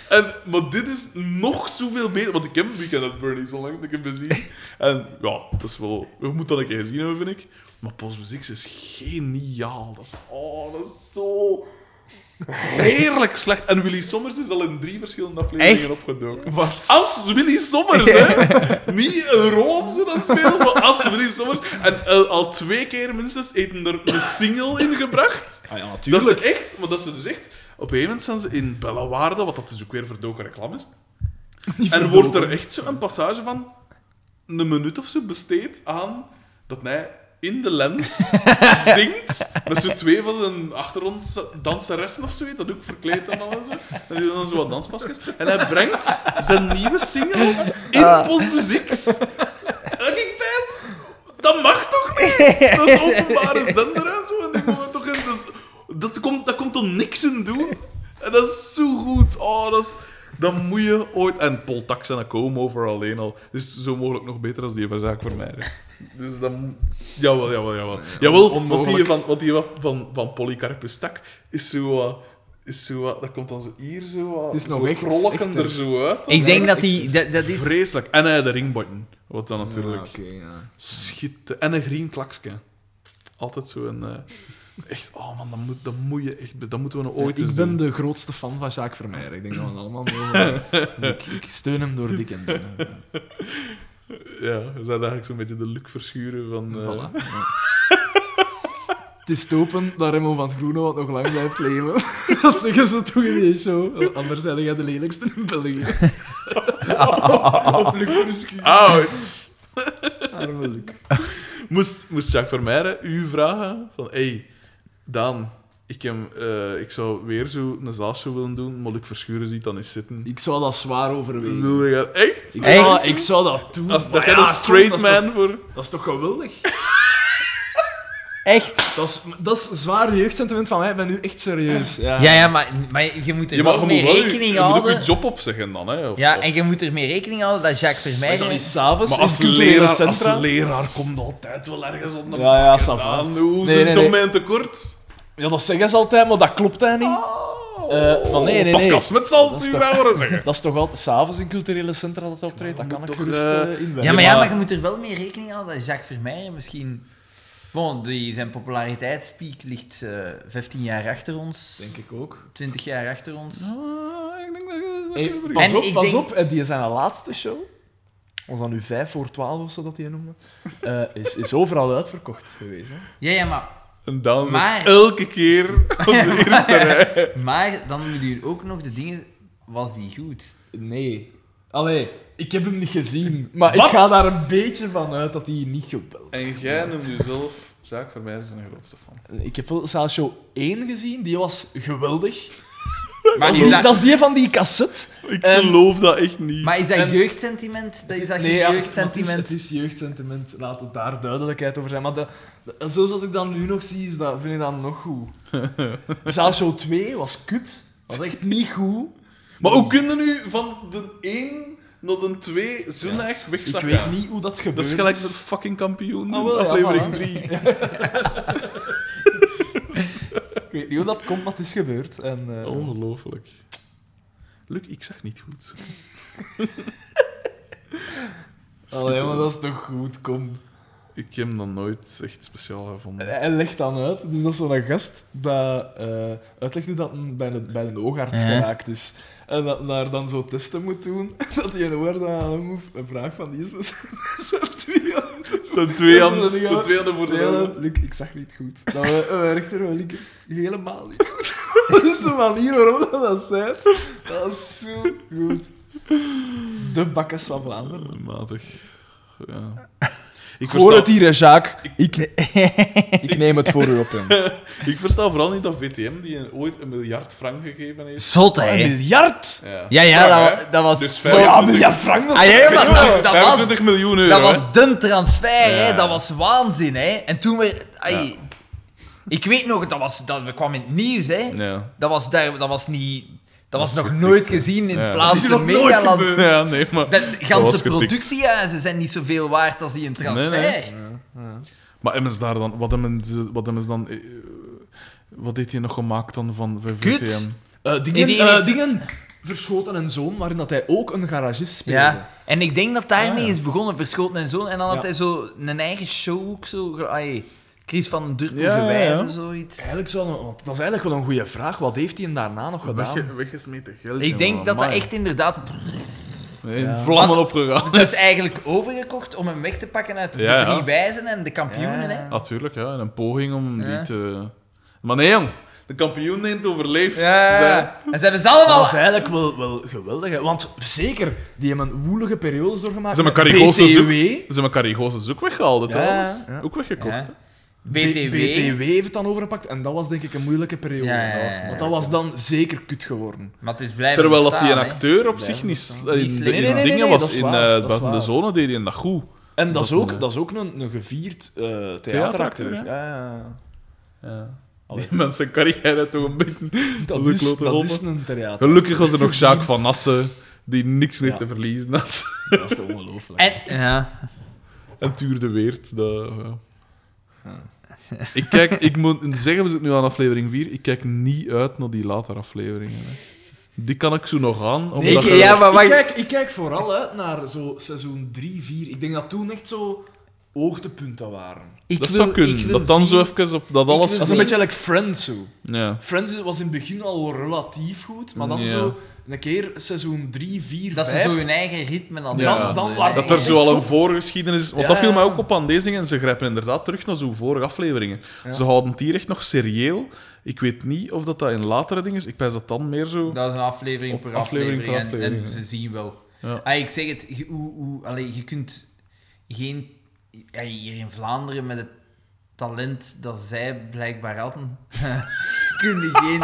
Speaker 2: En, maar dit is nog zoveel beter, want ik heb Weekend at Bernie's onlangs een keer bezien. En ja, dat is wel... We moeten dat een keer zien, hebben, vind ik. Maar postmuziek is geniaal. Dat is, oh, dat is zo... Heerlijk slecht. En Willy Sommers is al in drie verschillende afleveringen
Speaker 3: Echt?
Speaker 2: opgedoken.
Speaker 1: Wat?
Speaker 2: Als Willy Sommers, hè? Niet een rol op ze dat spelen, maar als Willy Sommers. En eh, al twee keer minstens eten er een single in gebracht.
Speaker 1: Ah ja,
Speaker 2: Dat
Speaker 1: natuurlijk.
Speaker 2: ze echt, maar dat ze dus echt. Op een gegeven moment zijn ze in Bellawaarde, wat dat dus ook weer verdoken reclame is. En wordt er echt zo een passage van een minuut of zo besteed aan dat hij in de lens zingt met zo'n twee van zijn achtergronddanseressen of zo, dat ook verkleed en al en zo. En die doen dan zo wat danspasjes. En hij brengt zijn nieuwe single in postmuzieks. En ik pijs, dat mag toch niet? Dat is openbare zender en zo. En die mogen toch in. Dus, dat, komt, dat komt toch niks in doen? En dat is zo goed. Oh, dat is. Dat moet je ooit. En Paul Tax en Come over alleen al. Is zo mogelijk nog beter als die van Zaak Vermeijden. Dus dan. Jawel, jawel, jawel. Jawel, want die
Speaker 1: onmogelijk.
Speaker 2: van, want die van, van, van Polycarpus Tak is zo. wat- is zo, wat- dat komt dan zo hier zo. wat-
Speaker 1: Het is
Speaker 2: zo
Speaker 1: nog echt-
Speaker 2: krolken
Speaker 1: echter.
Speaker 2: er zo uit.
Speaker 3: Ik denk dat die... Dat, dat is...
Speaker 2: Vreselijk. En hij de ringbotten. Wat dan natuurlijk.
Speaker 1: Ja, oké, ja.
Speaker 2: Schitter. En een green klaksken. Altijd zo een... eh, echt, oh man, dat moet, dat moet je echt... be- Dat moeten we nou ooit
Speaker 1: ik
Speaker 2: eens
Speaker 1: ben
Speaker 2: doen.
Speaker 1: de grootste fan van Jacques Vermeijer. Ik denk dat we het allemaal mogen weten. Dus ik, ik steun hem door dik en dun.
Speaker 2: Ja, we zijn eigenlijk zo'n beetje de luk verschuren van... eh,
Speaker 1: Voilà. Ja. Het is te open dat Remo van het Groene wat nog lang blijft leven. Dat zeggen ze toch in die show. Anders zijn jij de lelijkste in België. Op Luc Verschuur.
Speaker 2: Ouch!
Speaker 1: Arme Luc.
Speaker 2: Moest, moest Jacques Vermeijden u vragen van... hey, Daan, ik, hem, eh, ik zou weer zo een zaalshow willen doen, maar ik verschuren ziet dan eens zitten.
Speaker 1: Ik zou dat zwaar overwegen.
Speaker 2: Wil je dat echt?
Speaker 1: Ik
Speaker 3: Echt?
Speaker 1: zou, ik zou dat doen.
Speaker 2: Als, dat
Speaker 1: Maar
Speaker 2: jij
Speaker 1: ja,
Speaker 2: een straight
Speaker 1: kom, dat is
Speaker 2: man voor...
Speaker 1: toch- Dat is toch geweldig?
Speaker 3: Echt?
Speaker 1: Dat is, dat is zwaar jeugdsentiment van mij. Ik ben nu echt serieus. Ja,
Speaker 3: Ja, ja, maar, maar je moet er
Speaker 2: Je mag
Speaker 3: wel
Speaker 2: je moet
Speaker 3: mee
Speaker 2: wel je-
Speaker 3: rekening
Speaker 2: je moet ook
Speaker 3: houden.
Speaker 2: je job opzeggen dan, hè. Of,
Speaker 3: Ja,
Speaker 2: of-
Speaker 3: en je moet er mee rekening houden dat Jacques
Speaker 1: Maar
Speaker 3: Vermeijden...
Speaker 1: zo niet s'avonds
Speaker 2: Maar
Speaker 1: in
Speaker 2: als
Speaker 1: culturele
Speaker 2: leraar, als
Speaker 1: centra?
Speaker 2: leraar komt altijd wel ergens onder.
Speaker 1: Ja, ja, ça va.
Speaker 2: Hoe
Speaker 1: Nee,
Speaker 2: zit
Speaker 1: nee,
Speaker 2: toch
Speaker 1: nee.
Speaker 2: mijn tekort?
Speaker 1: Ja, dat zeggen ze altijd, maar dat klopt hij niet.
Speaker 2: Oh.
Speaker 1: Eh, maar nee, nee,
Speaker 2: Pascal
Speaker 1: nee.
Speaker 2: Smit zal
Speaker 1: Dat
Speaker 2: het
Speaker 1: is
Speaker 2: u
Speaker 1: toch-
Speaker 2: wel horen zeggen.
Speaker 1: Dat is toch altijd s'avonds in culturele centra dat hij optreedt? Dat kan
Speaker 2: moet
Speaker 1: ik
Speaker 2: toch,
Speaker 1: gerust
Speaker 2: eh,
Speaker 1: eh, inwerken.
Speaker 3: Ja, maar, ja,
Speaker 2: maar-
Speaker 3: maar je moet er wel mee rekening houden dat Jacques Vermeijden misschien... Bon, die, zijn populariteitspiek ligt eh 15 jaar achter ons,
Speaker 1: Denk ik ook.
Speaker 3: 20 jaar achter ons.
Speaker 2: Ah, ik denk dat je-
Speaker 1: Hey,
Speaker 2: dat je-
Speaker 1: pas
Speaker 3: En
Speaker 1: op,
Speaker 3: ik
Speaker 1: pas
Speaker 3: denk-
Speaker 1: op. eh, Die zijn laatste show. was dat nu 5 voor 12 of zo dat die noemde, eh, is, is overal uitverkocht geweest. Hè?
Speaker 4: Ja, ja, maar,
Speaker 2: En dan
Speaker 4: Maar-
Speaker 2: elke keer op de eerste rij.
Speaker 4: maar dan moeten jullie ook nog de dingen... Was die goed?
Speaker 1: Nee. Allee, ik heb hem niet gezien, maar
Speaker 2: Wat?
Speaker 1: ik ga daar een beetje van uit dat hij niet gebeld
Speaker 2: En jij noemt jezelf, Zaak Vermeijden is een grootste fan.
Speaker 1: Ik heb wel Show 1 gezien, die was
Speaker 3: Ah,
Speaker 1: geweldig.
Speaker 4: Maar
Speaker 1: Dat
Speaker 4: is
Speaker 1: is, die,
Speaker 4: dat-
Speaker 1: dat is die van die cassette.
Speaker 2: Ik
Speaker 1: Ehm,
Speaker 2: geloof dat echt niet.
Speaker 4: Maar is dat
Speaker 1: En-
Speaker 4: jeugdsentiment? Dat is dat geen
Speaker 1: ja,
Speaker 4: jeugdsentiment?
Speaker 1: Het is, het is jeugdsentiment, laat het daar duidelijkheid over zijn. Maar de, de- zoals als ik dat nu nog zie, is dat, vind ik dat nog goed. Show 2 was kut, was echt niet goed.
Speaker 2: Maar hoe kunnen nu van de 1 naar de 2 zo echt
Speaker 1: Ik
Speaker 2: wegzakken?
Speaker 1: weet niet hoe dat gebeurt.
Speaker 2: Dat is gelijk met fucking kampioen,
Speaker 1: Ah, wel, ja,
Speaker 2: aflevering
Speaker 1: voilà.
Speaker 2: 3.
Speaker 1: Ik weet niet hoe dat komt, maar het is gebeurd. En, eh,
Speaker 2: Ongelooflijk. Luc, ik zag niet goed.
Speaker 1: Allee, maar dat is toch goed, kom.
Speaker 2: Ik heb hem dan nooit echt speciaal gevonden.
Speaker 1: Hij legt dan uit, dus dat is zo'n gast dat eh, uitlegt hoe dat een, bij, een, bij een oogarts
Speaker 4: Ja.
Speaker 1: geraakt is. En dat daar dan zo testen moet doen, dat hij een oor aan hem hoeft. Een vraag van die is met zijn- zijn twee handen.
Speaker 2: Zo'n twee
Speaker 1: Dat is wel
Speaker 2: handen,
Speaker 1: een
Speaker 2: zo'n twee handen voor de
Speaker 1: Twee
Speaker 2: ogen.
Speaker 1: handen. Luc, ik zag niet goed. Dat we, we rechter wel linker helemaal niet goed. dat is de manier waarop dat dat zei. Dat is zo goed. De bakkes van Vlaanderen.
Speaker 2: Eh, Matig. Ja. Ik,
Speaker 1: Ik hoor
Speaker 2: versta,
Speaker 1: het hier, hè, Jacques. Ik, ik neem het voor u op hem.
Speaker 2: ik versta vooral niet dat VTM die een- ooit een miljard frank gegeven heeft.
Speaker 4: eh, Zot,
Speaker 1: Een
Speaker 4: hè?
Speaker 1: miljard!
Speaker 2: Ja,
Speaker 4: Ja, ja,
Speaker 2: Frank,
Speaker 4: dat,
Speaker 2: hè?
Speaker 4: wa- dat was
Speaker 2: Dus
Speaker 1: Zo,
Speaker 2: vijf-
Speaker 4: zo...
Speaker 1: ja, een miljard frank, dat is
Speaker 4: Ah, ja, ja, maar dat, dat was,
Speaker 2: 25 miljoen euro.
Speaker 4: dat
Speaker 2: hè?
Speaker 4: was dun transfer,
Speaker 2: Ja.
Speaker 4: hè? Dat was waanzin, hè? En toen we... ai, Ik weet nog, dat, was, dat kwam in het nieuws, hè?
Speaker 2: Ja.
Speaker 4: Dat was, daar, dat was niet... Dat was
Speaker 2: is
Speaker 4: nog
Speaker 2: getikt,
Speaker 4: nooit
Speaker 2: hè.
Speaker 4: gezien in
Speaker 2: Ja.
Speaker 4: het
Speaker 2: Dat
Speaker 1: is hier
Speaker 4: Vlaamse
Speaker 1: nog nooit
Speaker 4: megaland.
Speaker 1: gebeurd.
Speaker 2: ja, nee, maar...
Speaker 4: De
Speaker 2: was
Speaker 4: ganse
Speaker 2: getikt.
Speaker 4: productiehuizen zijn niet zoveel waard als die in transfer.
Speaker 2: Nee, nee. Maar hebben ze daar dan... Wat hebben ze, wat hebben ze dan... eh, Wat heeft hij nog gemaakt dan van van
Speaker 4: Kut.
Speaker 2: VTM?
Speaker 1: Eh, dingen,
Speaker 4: Nee,
Speaker 1: nee,
Speaker 4: nee, nee.
Speaker 1: dingen verschoten en zoon, waarin dat hij ook een garagist speelde.
Speaker 4: Ja, en ik denk dat daarmee
Speaker 2: Ah, ja.
Speaker 4: is begonnen, Verschoten en zo. En dan
Speaker 1: Ja.
Speaker 4: had hij zo een eigen show ook zo. ge- ai, Chris van den Durpel
Speaker 2: Ja, ja,
Speaker 4: gewijzen,
Speaker 2: ja.
Speaker 4: zoiets.
Speaker 1: Eigenlijk zou een- want dat is eigenlijk wel een goede vraag. Wat heeft hij daarna nog gedaan?
Speaker 2: Wegge- weggesmeten geld.
Speaker 4: Ik denk
Speaker 2: jongen,
Speaker 4: dat dat
Speaker 2: amai.
Speaker 4: echt inderdaad...
Speaker 2: Nee, in
Speaker 1: Ja.
Speaker 2: vlammen opgegaan
Speaker 4: Dat is eigenlijk overgekocht om hem weg te pakken uit de
Speaker 2: Ja, ja.
Speaker 4: drie wijzen en de kampioenen,
Speaker 1: Ja.
Speaker 4: hè.
Speaker 2: Natuurlijk, ja. En een poging om
Speaker 4: Ja.
Speaker 2: die te... Maar nee, jong. De kampioen heeft overleefd. Zij-
Speaker 4: En ze hebben
Speaker 1: Dat
Speaker 4: ze
Speaker 1: is
Speaker 4: allemaal...
Speaker 1: eigenlijk wel, wel geweldig. hè. Want zeker, die hebben een woelige periode doorgemaakt.
Speaker 2: Ze hebben
Speaker 1: met
Speaker 2: Carrigo's
Speaker 1: BTW.
Speaker 2: Ze hebben Carrigo's ook weggehaald, hè,
Speaker 1: Ja.
Speaker 2: trouwens.
Speaker 1: Ja.
Speaker 2: Ook weggekocht.
Speaker 4: Ja.
Speaker 2: hè.
Speaker 1: B-
Speaker 4: BTW.
Speaker 1: BTW heeft het dan overgepakt. En dat was denk ik een moeilijke periode.
Speaker 4: Ja, ja, ja,
Speaker 1: Dat was-
Speaker 4: ja,
Speaker 1: Want
Speaker 4: ja.
Speaker 1: dat was dan zeker kut geworden.
Speaker 4: Maar het is blijven
Speaker 2: Terwijl dat
Speaker 4: bestaan,
Speaker 2: die een
Speaker 4: hè.
Speaker 2: acteur op
Speaker 1: Ja,
Speaker 2: zich niet s- in,
Speaker 4: Niet
Speaker 2: de-
Speaker 4: slim.
Speaker 2: in
Speaker 4: Nee, nee,
Speaker 1: nee,
Speaker 2: dingen
Speaker 1: nee, dat
Speaker 2: was.
Speaker 1: is
Speaker 2: In
Speaker 1: waar,
Speaker 2: eh,
Speaker 1: dat is
Speaker 2: Buiten de
Speaker 1: waar.
Speaker 2: Zone deed hij dat goed.
Speaker 1: En dat,
Speaker 2: Dat
Speaker 1: is ook,
Speaker 2: een-
Speaker 1: dat is ook een, een gevierd eh, theateracteur.
Speaker 2: Theateracteur,
Speaker 1: Ja, ja, ja. Allee.
Speaker 2: Die mensen carrière toch een beetje...
Speaker 1: Dat,
Speaker 2: de
Speaker 1: is,
Speaker 2: klote
Speaker 1: dat
Speaker 2: rollen.
Speaker 1: is een theater.
Speaker 2: Gelukkig was er nog Jacques van Nassen, die niks meer
Speaker 1: Ja.
Speaker 2: te verliezen had.
Speaker 1: Dat is toch ongelooflijk.
Speaker 4: En, ja.
Speaker 2: En Tuur de Weert. Dat, ja. Ik, kijk, ik moet zeggen, we zitten nu aan aflevering 4. Ik kijk niet uit naar die latere afleveringen. Hè. Die kan ik zo nog aan.
Speaker 4: Ik-
Speaker 2: Omdat je-
Speaker 4: ja, maar wacht.
Speaker 1: Ik kijk, ik kijk vooral uit naar zo seizoen 3, 4. Ik denk dat toen echt zo hoogtepunten waren.
Speaker 4: Ik
Speaker 2: dat
Speaker 4: wil-
Speaker 2: zou kunnen.
Speaker 4: ik wil
Speaker 2: dat dan zo
Speaker 4: zien-
Speaker 2: even op
Speaker 1: dat
Speaker 2: dat
Speaker 4: Dus
Speaker 2: alles.
Speaker 1: is een beetje like Friends zo.
Speaker 2: Ja.
Speaker 1: Friends was in het begin al relatief goed, maar dan
Speaker 2: Ja.
Speaker 1: zo een keer seizoen 3, 4,
Speaker 4: Dat
Speaker 1: 5.
Speaker 4: ze zo hun eigen ritme aan het
Speaker 2: Ja.
Speaker 4: doen,
Speaker 1: Dan-
Speaker 4: hè.
Speaker 1: dan-
Speaker 2: Dat er zo al een voorgeschiedenis is. Want dat
Speaker 1: Ja.
Speaker 2: viel mij ook op aan deze dingen. Ze grijpen inderdaad terug naar zo'n vorige afleveringen.
Speaker 1: Ja.
Speaker 2: Ze houden het hier echt nog serieel. Ik weet niet of dat, dat in latere dingen is. Ik pijs dat dan meer zo.
Speaker 4: Dat is een aflevering
Speaker 2: Op
Speaker 4: per
Speaker 2: aflevering
Speaker 4: aflevering,
Speaker 2: per
Speaker 4: en- en,
Speaker 2: aflevering,
Speaker 4: ze zien wel.
Speaker 2: Ja.
Speaker 4: Ah, ik zeg het, je, hoe, hoe, allee, je kunt geen... ja, hier in Vlaanderen met het talent dat zij blijkbaar hadden, kun je geen,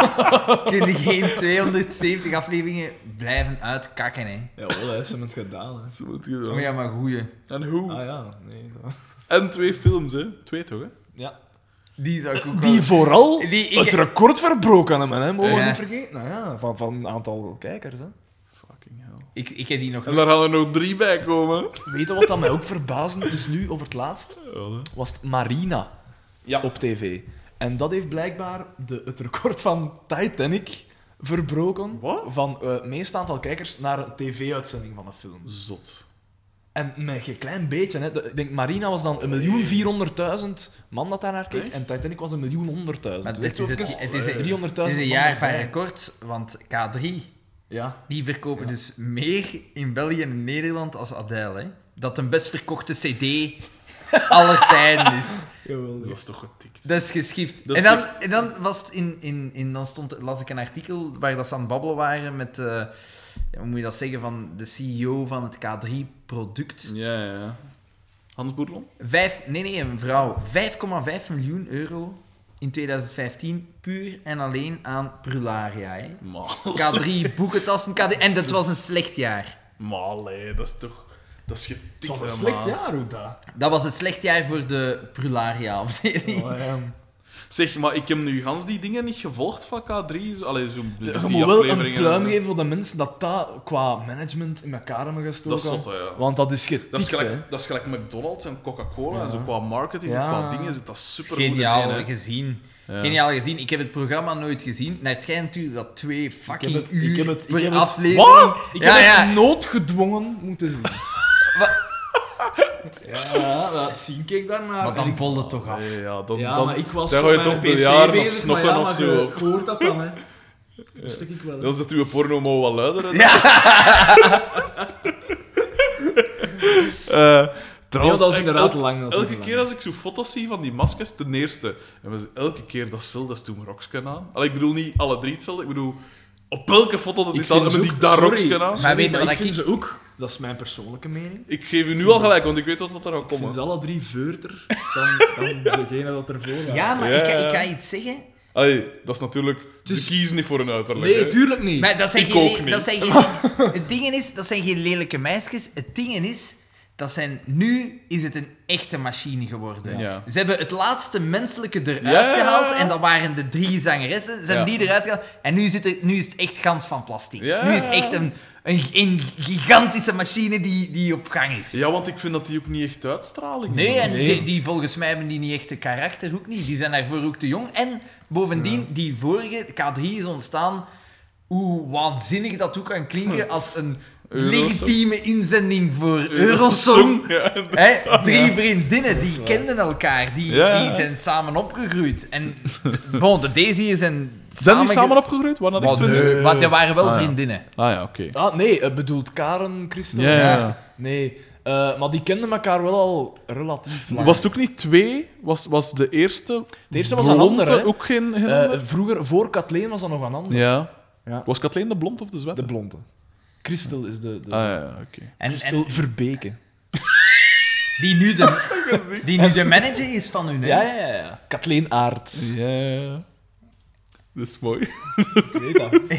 Speaker 4: kun je geen 270 afleveringen blijven uitkakken. Hè.
Speaker 1: Jawel, hè, ze hebben het gedaan. Hè.
Speaker 2: Zo moet je
Speaker 4: Maar
Speaker 2: doen.
Speaker 4: ja, maar goeie.
Speaker 2: En hoe?
Speaker 1: Ah ja, nee. dat-
Speaker 2: En twee films, hè? Twee toch, hè?
Speaker 1: Ja.
Speaker 4: Die zou ik ook
Speaker 1: Die
Speaker 4: wel-
Speaker 1: vooral
Speaker 4: Die- ik-
Speaker 1: het record verbroken hebben, hè, mogen we
Speaker 4: Ja.
Speaker 1: niet vergeten. Nou ja, van, van een aantal kijkers. Hè.
Speaker 2: Fucking hell.
Speaker 4: Ik, ik heb die nog
Speaker 2: En daar gaan er nog drie bij komen.
Speaker 1: Weet je wat dat mij ook verbaasde is nu, over het laatst? was het Marina
Speaker 2: Ja.
Speaker 1: op tv. En dat heeft blijkbaar de, het record van Titanic verbroken.
Speaker 2: Wat?
Speaker 1: Van eh, het meest aantal kijkers naar een tv-uitzending van een film.
Speaker 2: Zot.
Speaker 1: En met een klein beetje. Hè. De- Ik denk, Marina was dan 1.400.000 man dat daar naar keek.
Speaker 2: Echt?
Speaker 1: En Titanic was 1.100.000.
Speaker 4: Maar
Speaker 1: Dus
Speaker 4: dit
Speaker 1: ook
Speaker 4: is het-
Speaker 1: eens
Speaker 4: het is een-
Speaker 1: 300.000
Speaker 4: Het is een
Speaker 1: man
Speaker 4: jaar van
Speaker 1: erbij.
Speaker 4: records, want K3,
Speaker 1: Ja.
Speaker 4: die verkopen
Speaker 1: Ja.
Speaker 4: dus meer in België en Nederland als Adele. Hè. dat de best verkochte CD aller tijden is.
Speaker 2: Dat
Speaker 1: Geweldig.
Speaker 2: was toch getikt.
Speaker 4: Dat is geschift.
Speaker 2: Dat
Speaker 4: en,
Speaker 2: is
Speaker 4: dan, en dan was het in, in, in dan stond, las ik een artikel waar dat ze aan het babbelen waren met, eh, ja, hoe moet je dat zeggen, van de CEO van het K3-product.
Speaker 2: Ja, ja, ja. Hans Boerlon?
Speaker 4: Vijf, nee, nee, een vrouw. 5,5 miljoen euro in 2015 puur en alleen aan prularia. hè.
Speaker 2: Mal.
Speaker 4: K3, boekentassen, K3. En
Speaker 2: Dus-
Speaker 4: dat was een slecht jaar.
Speaker 2: Mal, hè. Dat is toch... Dat is getikt,
Speaker 1: Het was een
Speaker 2: hè,
Speaker 1: slecht
Speaker 2: maat.
Speaker 1: jaar, hoe dat?
Speaker 4: Dat was een slecht jaar voor de prularia-afdeling.
Speaker 1: Oh, ja.
Speaker 2: Zeg, maar ik heb nu gans die dingen niet gevolgd van K3. Zo- Allee, zo die
Speaker 1: Je moet wel een
Speaker 2: afleveringen en
Speaker 1: pluim
Speaker 2: zo.
Speaker 1: geven voor de mensen dat dat qua management in elkaar hebben gestoken.
Speaker 2: Dat is zot, hè, ja.
Speaker 1: Want dat is getikt,
Speaker 2: Dat is,
Speaker 1: hè.
Speaker 2: gelijk, dat is gelijk McDonald's en Coca-Cola en zo qua marketing
Speaker 1: Ja.
Speaker 2: en qua dingen zit dat super goed
Speaker 4: Geniaal
Speaker 2: in. hè.
Speaker 4: gezien.
Speaker 2: Ja.
Speaker 4: Geniaal gezien. Ik heb het programma nooit gezien. Naar het schijnt duurde dat twee fucking
Speaker 1: het- ik
Speaker 4: uur
Speaker 1: heb het- ik
Speaker 4: per
Speaker 1: heb het-
Speaker 4: aflevering.
Speaker 2: Wat?
Speaker 1: Ik
Speaker 4: ja,
Speaker 1: heb
Speaker 4: ja.
Speaker 1: het noodgedwongen moeten zien. ja, dat zien ik daarnaar.
Speaker 4: Maar
Speaker 1: En
Speaker 4: dan
Speaker 1: ik-
Speaker 4: bolde het toch af.
Speaker 2: Nee, ja, dan,
Speaker 1: Ja,
Speaker 2: dan,
Speaker 1: maar ik was
Speaker 2: dan
Speaker 1: zo
Speaker 2: ga je
Speaker 1: met
Speaker 2: toch
Speaker 1: mijn
Speaker 2: bejaarden of
Speaker 1: bezig,
Speaker 2: snokken
Speaker 1: maar ja,
Speaker 2: of
Speaker 1: maar
Speaker 2: zo.
Speaker 1: Je hoort dat dan, hè. Dat stuk ik wel. hè.
Speaker 2: Dan zet uw porno maar wat luider. hè. Eh, trouwens,
Speaker 1: Ja, dat is
Speaker 2: ik-
Speaker 1: inderdaad
Speaker 2: elk-
Speaker 1: lang, dat is
Speaker 2: elke
Speaker 1: lang.
Speaker 2: keer als ik zo foto's zie van die maskers, ten eerste, en we z- elke keer dat Sil, dat is toen roksken aan. Allee, ik bedoel niet alle drie hetzelfde, ik bedoel op elke foto dat die
Speaker 1: Ik
Speaker 2: staat,
Speaker 1: vind
Speaker 2: hebben
Speaker 1: ze
Speaker 2: die
Speaker 1: ook-
Speaker 2: daar
Speaker 1: sorry,
Speaker 2: roksken aan.
Speaker 1: sorry,
Speaker 4: Maar weet je wat
Speaker 1: ik
Speaker 4: ik-
Speaker 1: vind ze ook. Dat is mijn persoonlijke mening.
Speaker 2: Ik geef u nu al gelijk, want ik weet wat dat er gaat
Speaker 1: Ik vind
Speaker 2: komen.
Speaker 1: ze alle drie veurter dan, dan degene dat ervoor gaat.
Speaker 4: Ja, maar
Speaker 2: Ja,
Speaker 4: ik,
Speaker 2: ja.
Speaker 4: ik ga iets zeggen.
Speaker 2: Allee, dat is natuurlijk...
Speaker 1: Dus-
Speaker 2: Ze kiezen niet voor een uiterlijk.
Speaker 1: Nee,
Speaker 2: hè.
Speaker 1: tuurlijk niet.
Speaker 4: Maar dat zijn
Speaker 2: Ik
Speaker 4: geen,
Speaker 2: ook
Speaker 4: le- dat zijn geen, het ding is, dat zijn geen lelijke meisjes. Het ding is, dat zijn, nu is het een echte machine geworden.
Speaker 2: Ja.
Speaker 4: Ze hebben het laatste menselijke eruit
Speaker 2: Ja, ja, ja, ja.
Speaker 4: gehaald. En dat waren de drie zangeressen. Ze hebben
Speaker 2: Ja.
Speaker 4: die eruit gehaald. En nu, zit het, nu is het echt gans van plastic.
Speaker 2: Ja.
Speaker 4: Nu is het echt een, een, een gigantische machine die, die op gang is.
Speaker 2: Ja, want ik vind dat die ook niet echt uitstraling
Speaker 4: Nee,
Speaker 2: hebben.
Speaker 4: en Die, die volgens mij hebben die niet echt de karakter, ook niet. Die zijn daarvoor ook te jong. En bovendien, die vorige, K3 is ontstaan, hoe waanzinnig dat ook kan klinken als een
Speaker 2: Eurosong.
Speaker 4: legitieme inzending voor Eurosong.
Speaker 2: Ja,
Speaker 4: Hè, drie vriendinnen, die kenden elkaar, die,
Speaker 2: Ja.
Speaker 4: die zijn samen opgegroeid. En bon, de Daisy is een
Speaker 2: Zijn die samen opgegroeid? Waren dat
Speaker 4: Maar
Speaker 2: echt vrienden?
Speaker 4: nee, want er waren wel
Speaker 2: Ah, ja.
Speaker 4: vriendinnen.
Speaker 2: Ah ja, oké.
Speaker 1: Ah, nee, het bedoelt Karen, Christel.
Speaker 2: Ja, ja, ja.
Speaker 1: Nee, Eh, maar die kenden elkaar wel al relatief lang.
Speaker 2: Was het ook niet twee? Was, was de eerste...
Speaker 1: De eerste was een
Speaker 2: blonde
Speaker 1: ander, hè?
Speaker 2: ook geen... geen
Speaker 1: Eh,
Speaker 2: ander?
Speaker 1: vroeger, voor Kathleen was dat nog een ander.
Speaker 2: Ja.
Speaker 1: Ja.
Speaker 2: Was Kathleen de blond of de zwarte?
Speaker 1: De blonde. Christel is de... de
Speaker 2: Ah ja, ja, oké.
Speaker 4: En,
Speaker 1: Christel
Speaker 4: en
Speaker 1: Verbeke.
Speaker 4: die nu de, die nu de manager is van hun. hè.
Speaker 1: Ja, ja, ja. Kathleen Aerts.
Speaker 2: Ja, ja, ja. Dat is mooi.
Speaker 1: Ik weet dat.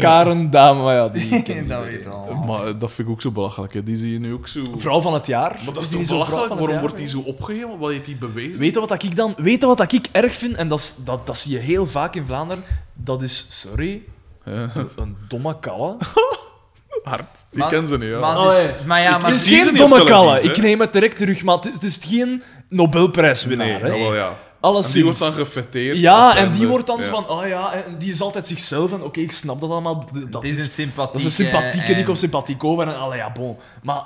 Speaker 1: Karen Dame, maar ja, die ken ik
Speaker 4: dat
Speaker 1: niet.
Speaker 4: weet je al.
Speaker 2: Maar eh, dat vind ik ook zo belachelijk. Hè. Die zie je nu ook zo...
Speaker 1: Vrouw van het jaar.
Speaker 2: Maar dat is
Speaker 1: die
Speaker 2: toch
Speaker 1: zo'n vrouw
Speaker 2: belachelijk?
Speaker 1: van
Speaker 2: Waarom
Speaker 1: het
Speaker 2: wordt die
Speaker 1: jaar?
Speaker 2: zo opgeheven? Wat heeft die bewezen?
Speaker 1: Weet je wat dat ik dan... Weet je wat dat ik erg vind? En dat, is- dat, dat zie je heel vaak in Vlaanderen. Dat is, sorry,
Speaker 2: Ja,
Speaker 1: een domme kalle.
Speaker 2: Hard. Ik
Speaker 4: Maar-
Speaker 2: ken ze niet, ja.
Speaker 4: Maar,
Speaker 1: Oh,
Speaker 4: het is-
Speaker 1: ja.
Speaker 4: maar ja,
Speaker 2: Ik
Speaker 4: maar
Speaker 1: het is
Speaker 2: zie ze
Speaker 1: geen
Speaker 2: niet op
Speaker 1: domme
Speaker 2: televisie,
Speaker 1: kalle.
Speaker 2: hè?
Speaker 1: Ik neem het direct terug, maar het is, het is geen Nobelprijswinnaar.
Speaker 2: Nee,
Speaker 1: hè.
Speaker 2: jawel, ja. En
Speaker 1: Alleszins.
Speaker 2: die wordt dan gefeteerd. als
Speaker 1: Ja, en
Speaker 2: zijnde-
Speaker 1: die wordt dan zo
Speaker 2: ja.
Speaker 1: van, oh ja, en die is altijd zichzelf. En oké, ik snap dat allemaal. d- Dat
Speaker 4: het is een sympathieke.
Speaker 1: dat is een sympathieke, die
Speaker 4: en-
Speaker 1: komt sympathiek over. En allee, ja, bon. Maar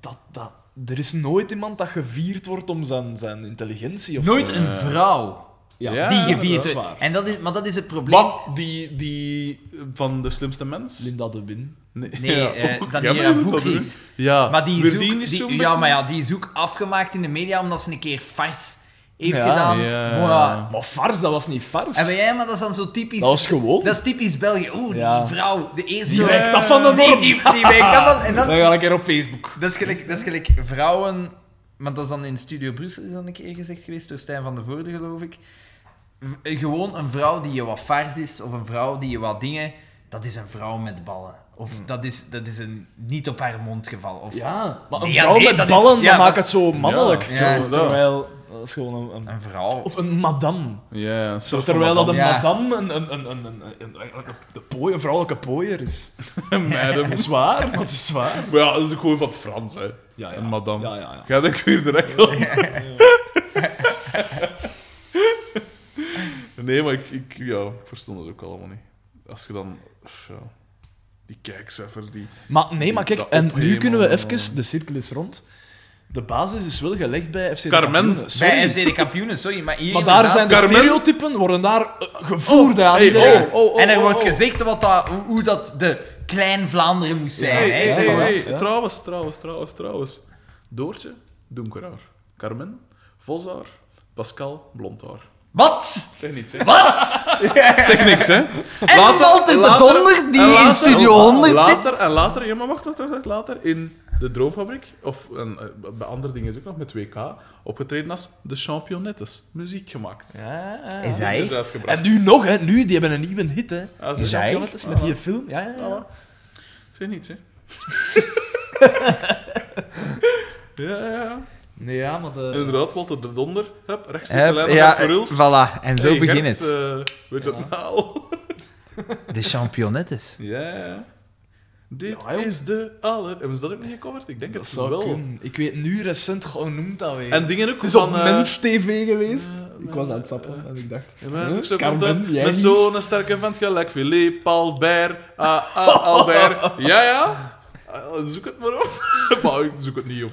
Speaker 1: dat, dat, er is nooit iemand dat gevierd wordt om zijn, zijn intelligentie of
Speaker 4: Nooit
Speaker 1: zo.
Speaker 4: een vrouw
Speaker 2: Ja,
Speaker 4: Eh, die
Speaker 1: dat
Speaker 4: gevierd
Speaker 1: is
Speaker 4: wordt.
Speaker 1: waar.
Speaker 4: En dat is, maar dat is het probleem.
Speaker 2: Maar die, die van de slimste mens?
Speaker 1: Linda de Win.
Speaker 4: Nee, eh,
Speaker 2: ook.
Speaker 4: dan
Speaker 2: Ja,
Speaker 4: die,
Speaker 2: maar
Speaker 4: eh,
Speaker 2: dat
Speaker 4: Boekries.
Speaker 2: is- Ja,
Speaker 4: Maar die is, ook,
Speaker 2: Verdien is
Speaker 4: die-
Speaker 2: zo'n
Speaker 4: ja,
Speaker 2: beetje-
Speaker 4: maar ja, die is ook afgemaakt in de media omdat ze een keer fars heeft
Speaker 1: Ja.
Speaker 4: gedaan.
Speaker 2: Ja.
Speaker 4: Boah.
Speaker 1: Maar fars, dat was niet fars.
Speaker 4: En jij, maar dat is dan zo typisch.
Speaker 1: Dat was gewoon.
Speaker 4: dat is typisch België. Oeh,
Speaker 1: Ja.
Speaker 4: die vrouw, de eerste.
Speaker 1: Die wijkt af van de
Speaker 4: Nee, die,
Speaker 1: norm.
Speaker 4: die, die wijkt af van. En dan,
Speaker 1: Dan ga ik er op Facebook.
Speaker 4: Dat is gelijk, dat is gelijk vrouwen. Maar dat is dan in Studio Brussel is dat een keer gezegd geweest door Stijn van de Voorde, geloof ik. V- eh, gewoon een vrouw die je wat vaars is, of een vrouw die je wat dingen. Dat is een vrouw met ballen. Of
Speaker 2: Hmm.
Speaker 4: dat, is, dat is een niet op haar mond geval. Of
Speaker 1: Ja, maar een
Speaker 4: Ja,
Speaker 1: vrouw
Speaker 4: nee,
Speaker 1: met
Speaker 4: dat is-
Speaker 1: ballen,
Speaker 4: ja,
Speaker 1: dat
Speaker 4: maar-
Speaker 1: maakt het zo mannelijk.
Speaker 2: Ja,
Speaker 1: zo,
Speaker 4: ja,
Speaker 2: dat.
Speaker 1: terwijl, dat is gewoon een... een-
Speaker 4: een vrouw.
Speaker 1: Of een madame.
Speaker 2: Ja, een soort van
Speaker 1: Terwijl dat een
Speaker 4: madame. Ja.
Speaker 1: madame een, een, een, een, een, een, een, een- een pooi- een vrouwelijke pooier is.
Speaker 2: madame. Madame.
Speaker 1: Dat is waar, maar het is waar.
Speaker 2: Maar ja, dat is ook gewoon van het Frans, hè.
Speaker 1: Ja, ja.
Speaker 2: Een madame.
Speaker 1: Ja, ja, ja.
Speaker 2: Ga ik weer direct op. Nee, maar ik, ik, ja, ik verstond het ook allemaal niet. Als je dan... pff, Ja, die kijkcijfers, die...
Speaker 1: Maar nee, maar kijk,
Speaker 2: Dat
Speaker 1: en nu
Speaker 2: ophemelen.
Speaker 1: kunnen we even, de cirkel is rond. De basis is wel gelegd bij FC de
Speaker 2: Carmen.
Speaker 1: Kampioenen. Sorry.
Speaker 4: Bij FC de kampioenen, sorry, maar hier.
Speaker 1: Maar daar zijn
Speaker 4: inderdaad-
Speaker 1: de
Speaker 2: Carmen.
Speaker 1: stereotypen, worden daar eh, gevoerd aan
Speaker 2: hey,
Speaker 1: iedereen.
Speaker 2: oh, oh, oh,
Speaker 4: en er
Speaker 2: oh,
Speaker 4: wordt
Speaker 2: oh.
Speaker 4: gezegd wat dat, hoe hoe dat de
Speaker 3: klein Vlaanderen moest zijn.
Speaker 2: hey, hey,
Speaker 3: hè?
Speaker 2: hey,
Speaker 1: voilà,
Speaker 2: hey,
Speaker 1: ja.
Speaker 2: Trouwens, trouwens, trouwens, trouwens. Doortje, donkeraar. Carmen, Voshaar. Pascal, blondhaar.
Speaker 3: Wat?
Speaker 2: Zeg niets, hè.
Speaker 3: Wat?
Speaker 2: Zeg niks, hè.
Speaker 3: En Walter de Donder, die
Speaker 2: en Oh,
Speaker 3: in Studio 100 zit.
Speaker 2: later, En later, ja, maar wacht, wacht, wacht, wacht, later, in de Droomfabriek, of en, eh, bij andere dingen is ook nog, met WK, opgetreden als de Championettes. Muziek gemaakt.
Speaker 3: Is
Speaker 2: Dit
Speaker 3: hij?
Speaker 2: is uitgebracht.
Speaker 4: En nu nog, hè. Nu, die hebben een nieuwe hit, hè.
Speaker 2: Ah,
Speaker 4: Die
Speaker 2: ze-
Speaker 3: hij?
Speaker 4: championettes met die film. Ja, ja, ja.
Speaker 2: Voilà. Zeg niets, hè. ja, ja, ja.
Speaker 4: Nee, ja, maar de...
Speaker 2: Inderdaad, Walter de Donder. Hup, rechtstreeks de
Speaker 3: Hup,
Speaker 2: lijn naar
Speaker 3: ja,
Speaker 2: voor Ulst.
Speaker 3: voilà. En zo
Speaker 2: Hey,
Speaker 3: begint
Speaker 2: Gert,
Speaker 3: het.
Speaker 2: eh, weet je het nou?
Speaker 3: De championettes.
Speaker 2: Ja, ja. Dit
Speaker 1: Ja, joh.
Speaker 2: is de aller... Hebben ze dat ook niet gecoverd? Ik denk
Speaker 1: Dat
Speaker 2: het
Speaker 1: zou
Speaker 2: wel.
Speaker 1: kunnen. Ik weet nu recent gewoon noemt dat weer.
Speaker 2: En dingen ook
Speaker 1: het is op
Speaker 2: van... eh,
Speaker 1: Ment TV geweest.
Speaker 2: eh,
Speaker 1: ik
Speaker 2: eh,
Speaker 1: was aan het sappen
Speaker 2: eh,
Speaker 1: en ik dacht...
Speaker 2: ja, maar het
Speaker 1: huh,
Speaker 2: is ook zo
Speaker 1: Carmen,
Speaker 2: content.
Speaker 1: jij
Speaker 2: Met
Speaker 1: niet?
Speaker 2: zo'n sterke vent gelijk Philippe, Albert, ah, ah, Albert. Ja, ja. Ah, Zoek het maar op. maar ik zoek het niet op.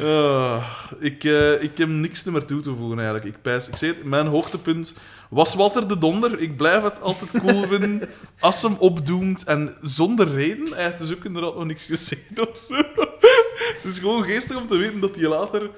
Speaker 2: Eh, ik, eh, ik heb niks meer toe te voegen eigenlijk. Ik pijs, ik zei het, mijn hoogtepunt was Walter de Donder. Ik blijf het altijd cool vinden als hem opdoemt en zonder reden. Hij heeft dus ook inderdaad nog niks gezegd of zo. Het is gewoon geestig om te weten dat hij later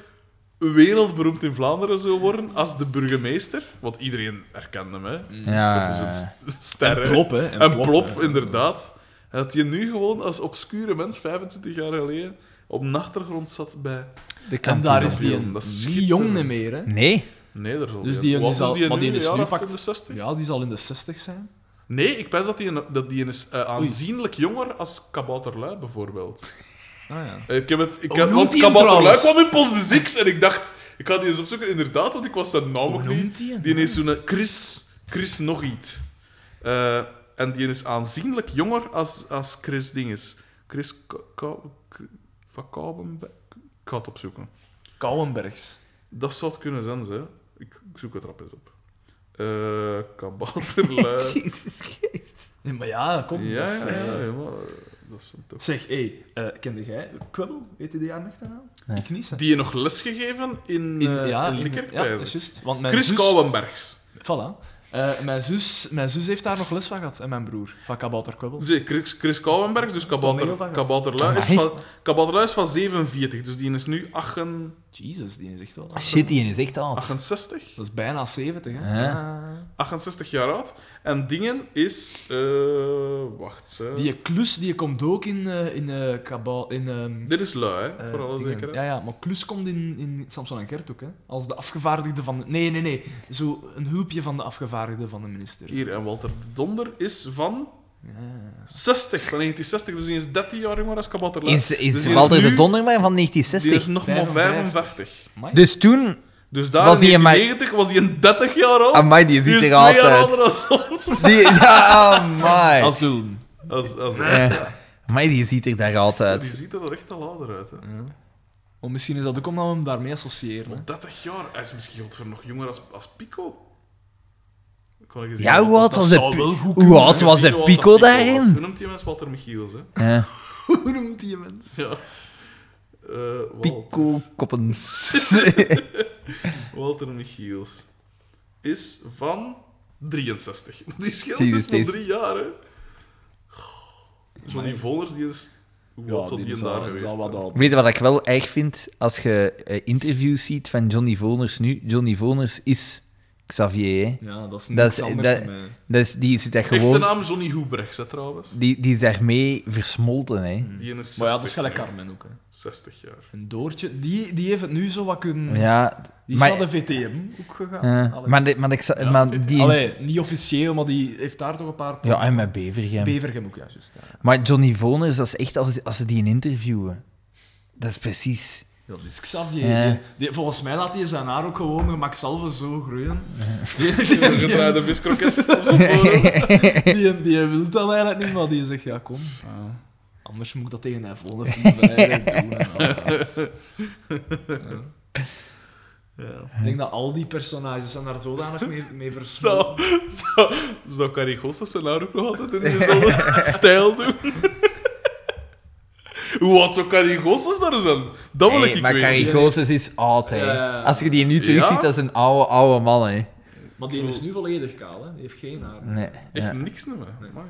Speaker 2: wereldberoemd in Vlaanderen zou worden als de burgemeester. Want iedereen herkende hem, hè. Dat is een
Speaker 3: Ja.
Speaker 2: st- ster,
Speaker 1: Ah, En
Speaker 2: hè.
Speaker 1: plop, hè.
Speaker 2: En plop,
Speaker 1: hè.
Speaker 2: inderdaad. En dat je nu gewoon als obscure mens, 25 jaar geleden, op nachtergrond zat bij...
Speaker 3: De
Speaker 1: En daar is die
Speaker 2: kampioen.
Speaker 1: een,
Speaker 2: Dat is
Speaker 1: niet jong
Speaker 2: schitterend.
Speaker 1: meer, hè.
Speaker 3: Nee.
Speaker 2: Nee, daar zal
Speaker 1: Dus
Speaker 2: een-
Speaker 1: die
Speaker 2: hoe
Speaker 1: jongen
Speaker 2: oud
Speaker 1: is al- maar die
Speaker 2: Een
Speaker 1: is
Speaker 2: jaar
Speaker 1: nu
Speaker 2: of
Speaker 1: pakt-
Speaker 2: 65?
Speaker 1: Ja, die zal in de 60 zijn.
Speaker 2: Nee, ik pijs dat die, een- dat die een is eh, aanzienlijk jonger als Kabouterlui, bijvoorbeeld. Eh,
Speaker 1: Ah ja.
Speaker 2: Ik heb het... Ik
Speaker 1: Hoe
Speaker 2: heb,
Speaker 1: noemt
Speaker 2: want
Speaker 1: die hem
Speaker 2: Kabouterlui
Speaker 1: trouwens?
Speaker 2: kwam in postmuziek en ik dacht... Ik ga die eens opzoeken. Inderdaad, want ik was zijn naam
Speaker 1: Hoe
Speaker 2: ook niet...
Speaker 1: noemt die hem?
Speaker 2: Die is zo'n eh, Chris, Chris nog iets. Eh, en die is aanzienlijk jonger als, als Chris Dinges. Chris Ka- Ka- van Kouwenberg. Ik ga het opzoeken.
Speaker 1: Kouwenbergs.
Speaker 2: Dat zou het kunnen zijn, ze. Ik, ik zoek het rap eens op. Eh kabouterlui.
Speaker 1: Nee, maar ja, kom.
Speaker 2: ja,
Speaker 1: dat is,
Speaker 2: ja,
Speaker 1: eh,
Speaker 2: ja, ja, maar, eh, dat is hem toch.
Speaker 1: Zeg, hé, hey, eh, kende jij Kwebbel? Weet je die haar naam?
Speaker 3: Nee.
Speaker 1: Ik niet, hè.
Speaker 2: Die je nog lesgegeven
Speaker 1: In-
Speaker 2: in, eh
Speaker 1: ja, in- ja,
Speaker 2: Likkerpijzen.
Speaker 1: dat is juist. Want mijn
Speaker 2: Chris
Speaker 1: zus,
Speaker 2: Kouwenbergs.
Speaker 1: Voilà. Eh, mijn, zus, mijn zus heeft daar nog les van gehad, en mijn broer, van Kabouter Kwebbel.
Speaker 2: Zie, Dus, eh, Chris, Chris Kouwenbergs, dus kabouter,
Speaker 1: Toneel van het.
Speaker 2: kabouterlui, is
Speaker 3: Amai.
Speaker 2: van, kabouterlui is van 47, dus die is nu 8...
Speaker 1: Jesus, die is echt wel...
Speaker 4: Ah,
Speaker 3: Shit, die is echt oud.
Speaker 2: 68?
Speaker 1: Dat is bijna 70, hè.
Speaker 3: Hè?
Speaker 1: Ja.
Speaker 2: 68 jaar oud. En Dingen is... eh, wacht, ze.
Speaker 1: Die klus die komt ook in, eh, in, eh, Kabou- in ehm,
Speaker 2: Dit is lui, hè?
Speaker 1: eh,
Speaker 2: voor alle
Speaker 1: dingen.
Speaker 2: zekerheid.
Speaker 1: Ja, ja, maar klus komt in, in Samson en Gert ook, hè. Als de afgevaardigde van... De... Nee, nee, nee. Zo een hulpje van de afgevaardigde van de minister.
Speaker 2: Hier, en Walter de Donder is van
Speaker 1: Ja.
Speaker 2: 60, van 1960. Dus die is 13 jaar jonger als Kabouter Lui.
Speaker 3: Is, is
Speaker 2: Dus die
Speaker 3: Walter de
Speaker 2: nu-
Speaker 3: Donderman van
Speaker 2: Die is
Speaker 3: 1960?
Speaker 2: nog maar
Speaker 1: 55.
Speaker 2: 55.
Speaker 1: Amai.
Speaker 3: Dus toen...
Speaker 2: Dus daar
Speaker 3: Was
Speaker 2: in
Speaker 3: die in mei-
Speaker 2: 1990 was hij een 30 jaar oud.
Speaker 3: Amai, die
Speaker 2: Die
Speaker 3: ziet
Speaker 2: is
Speaker 3: er
Speaker 2: twee jaar ouder
Speaker 3: altijd.
Speaker 2: als ons.
Speaker 3: Die, Ah, ja, amai.
Speaker 1: Als zullen.
Speaker 2: Als- als-
Speaker 3: Eh, amai, die ziet er daar
Speaker 2: Die
Speaker 3: altijd.
Speaker 2: ziet er echt al ouder uit. Hè.
Speaker 1: Want misschien is dat ook omdat we hem daarmee associëren. Hè.
Speaker 2: Op 30 jaar. Hij is misschien godver nog jonger als, als Pico. Kon ik eens
Speaker 3: Ja,
Speaker 2: zien
Speaker 3: hoe oud
Speaker 2: dat-
Speaker 3: was de
Speaker 1: zou wel
Speaker 3: Pi-
Speaker 1: goed
Speaker 3: Hoe
Speaker 1: kunnen,
Speaker 3: oud
Speaker 2: Ja,
Speaker 3: was de
Speaker 2: hoe oud
Speaker 3: Pico
Speaker 2: dat was. Hoe
Speaker 3: daarin?
Speaker 2: noemt die mens Walter Michiels, hè?
Speaker 3: Ja.
Speaker 1: Hoe noemt die mens?
Speaker 2: Ja. Eh, Wal-
Speaker 3: Pico Koppens.
Speaker 2: Walter Michiels is van 63. Die scheelt
Speaker 3: Jesus
Speaker 2: dus maar
Speaker 3: Christ.
Speaker 2: drie jaar, hè. Johnny Voners, die is... Hoe oud zou die en daar geweest
Speaker 1: wat
Speaker 2: zijn?
Speaker 1: al.
Speaker 3: Weet je wat ik wel erg vind als je eh, interviews ziet van Johnny Voners nu? Johnny Voners is Xavier. hè.
Speaker 1: Ja, dat is
Speaker 3: Dat
Speaker 1: niks
Speaker 3: is-
Speaker 1: anders
Speaker 3: dat-
Speaker 1: dan mij.
Speaker 3: Dat is, die zit daar
Speaker 2: Echte
Speaker 3: gewoon.
Speaker 2: naam Johnny Hoebrechts, hè, trouwens.
Speaker 3: Die, die is daarmee versmolten. Hè.
Speaker 2: Die is 60,
Speaker 1: Hmm. Maar ja, dat is gelijk
Speaker 2: nu.
Speaker 1: Carmen ook. Hè.
Speaker 2: 60 jaar.
Speaker 1: Een Doortje, die, die heeft het nu zo wat kunnen...
Speaker 3: Ja,
Speaker 1: Die
Speaker 3: maar-
Speaker 1: is naar de VTM ook gegaan.
Speaker 3: eh,
Speaker 1: Allee.
Speaker 3: maar, de, maar, ik, zou-
Speaker 2: Ja,
Speaker 3: maar
Speaker 2: vind-
Speaker 3: die.
Speaker 1: Allee, niet officieel, maar die heeft daar toch een paar...
Speaker 3: Ja, en met Bevergem.
Speaker 1: Bevergem ook, ja, juist. Ja.
Speaker 3: maar Johnny Voners, dat is echt als, als ze die interviewen. Dat is precies.
Speaker 1: Dat is Xavier.
Speaker 3: Ja.
Speaker 1: Die- die- volgens mij laat hij zijn haar ook gewoon gemakzelf zo groeien.
Speaker 2: Die gedraaide viskroket.
Speaker 1: Die, die wil dat eigenlijk niet, maar die zegt, ja, kom. Anders moet ik dat tegen hij volgende vrienden doen.
Speaker 2: Dus. Ja.
Speaker 1: Ik denk dat al die personages zijn daar zodanig mee, mee versmolten.
Speaker 2: Zou, zou, zou Carrie Gossens zijn haar ook nog altijd in dezelfde stijl doen? Hoe oud zou Carrie Gossens daar zijn? Dat wil ik
Speaker 3: maar
Speaker 2: weten.
Speaker 3: Carrie Gozes is oud. Hè.
Speaker 1: Ja, ja, ja.
Speaker 3: Als je die nu terugziet,
Speaker 2: Ja?
Speaker 3: dat is een oude, oude man. Hè.
Speaker 1: Maar die is nu volledig kaal, hè. Die heeft geen haar.
Speaker 3: Nee.
Speaker 2: Echt
Speaker 3: ja.
Speaker 2: niks meer.
Speaker 1: Nee.
Speaker 2: Amai.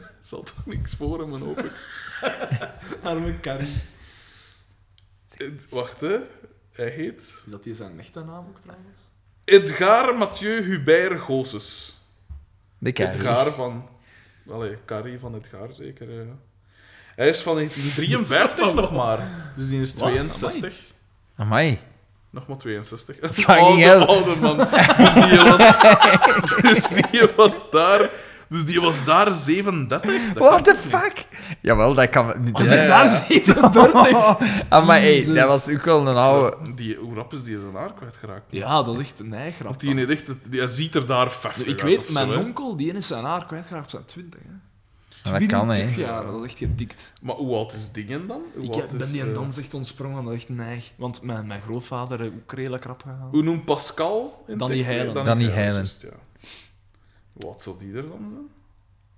Speaker 2: zal toch niks voor hem, hoop ik.
Speaker 1: Arme Carrie.
Speaker 2: Ed- Wacht, hè. Hij heet
Speaker 1: Is dat die zijn echte naam ook, trouwens?
Speaker 2: Edgar Mathieu Hubert Gosses.
Speaker 3: De kaart.
Speaker 2: Edgar van... Allee, Carrie van Edgar, zeker. ja. Hij is van 1953 nog maar. Dus die is
Speaker 1: Wat?
Speaker 2: 62.
Speaker 3: Amai.
Speaker 2: Nog maar 62.
Speaker 3: Fucking
Speaker 2: oude,
Speaker 3: hell.
Speaker 2: oude man. Dus die was, dus die was daar... Dus die was daar 37. Dat
Speaker 3: What
Speaker 2: kan
Speaker 3: the
Speaker 2: toch niet?
Speaker 3: fuck? Jawel, dat kan niet.
Speaker 2: Was hij daar
Speaker 3: 37? Amai, hey,
Speaker 1: Jezus.
Speaker 3: dat was ook wel een oude...
Speaker 2: Die, hoe rap is die zijn haar kwijtgeraakt?
Speaker 1: Ja, dat is echt een neigrap.
Speaker 2: Want die, heeft echt, het- die ziet er daar 50
Speaker 1: Ik
Speaker 2: uit
Speaker 1: weet,
Speaker 2: of
Speaker 1: mijn
Speaker 2: zo, hè.
Speaker 1: onkel, die is zijn haar kwijtgeraakt op zijn 20. Hè.
Speaker 3: Dat kan, hè.
Speaker 1: 20 jaar, dat is echt gedikt.
Speaker 2: Maar hoe oud is Dingen dan? Hoe
Speaker 1: Ik
Speaker 2: oud
Speaker 1: heb- ben
Speaker 2: is,
Speaker 1: die
Speaker 2: eh,
Speaker 1: een dans echt ontsprongen, dat is echt neig. Want mijn, mijn grootvader heeft ook redelijk rap gegaan.
Speaker 2: Hoe noemt Pascal? In
Speaker 1: Danny
Speaker 2: het echt,
Speaker 1: Heilen.
Speaker 2: eh,
Speaker 3: Danny Heilen.
Speaker 2: juist, ja. Wat zal die er dan zijn?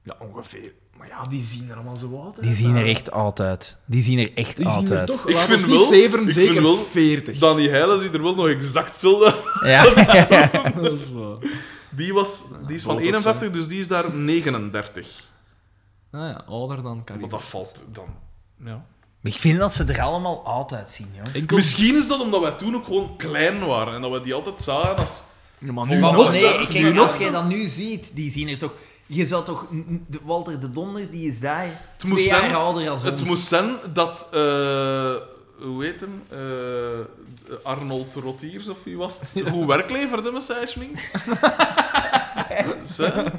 Speaker 1: Ja, ongeveer. Maar ja, die zien er allemaal zo uit. hè.
Speaker 3: Die zien er echt oud uit. Die zien er echt
Speaker 1: Die
Speaker 3: oud
Speaker 1: zien er
Speaker 3: uit.
Speaker 1: toch, ik
Speaker 2: Ik vind
Speaker 1: vind
Speaker 2: wel-
Speaker 1: niet zeveren,
Speaker 2: ik
Speaker 1: zeker
Speaker 2: vind wel-
Speaker 1: 40.
Speaker 2: Danny Heilen ziet er wel nog exact hetzelfde uit.
Speaker 3: Ja.
Speaker 1: Dat is waar.
Speaker 2: Die, was, die is van
Speaker 1: Botox,
Speaker 2: 51, dus die is daar 39.
Speaker 1: Nou ja, ouder dan Karim.
Speaker 2: Maar dat valt dan... Ja.
Speaker 3: Ik vind dat ze er allemaal oud uitzien, joh.
Speaker 1: Enkel...
Speaker 2: Misschien is dat omdat wij toen ook gewoon klein waren en dat we die altijd zagen als...
Speaker 1: Ja, maar nu
Speaker 2: Volgens
Speaker 3: Maar
Speaker 2: nog,
Speaker 3: goed,
Speaker 2: dat
Speaker 3: nee,
Speaker 2: is
Speaker 3: kijk,
Speaker 2: nu
Speaker 3: als
Speaker 2: nog.
Speaker 3: jij dat nu ziet, die zien er toch... Je zou toch... n- de- Walter de Donder, die is daar
Speaker 2: moest
Speaker 3: twee jaar
Speaker 2: zijn-
Speaker 3: ouder dan ons.
Speaker 2: Het moest zijn dat... eh, hoe heet hem? Eh, Arnold Rotiers of wie was het? Hoe werk leverde met zijn schmink? Zij-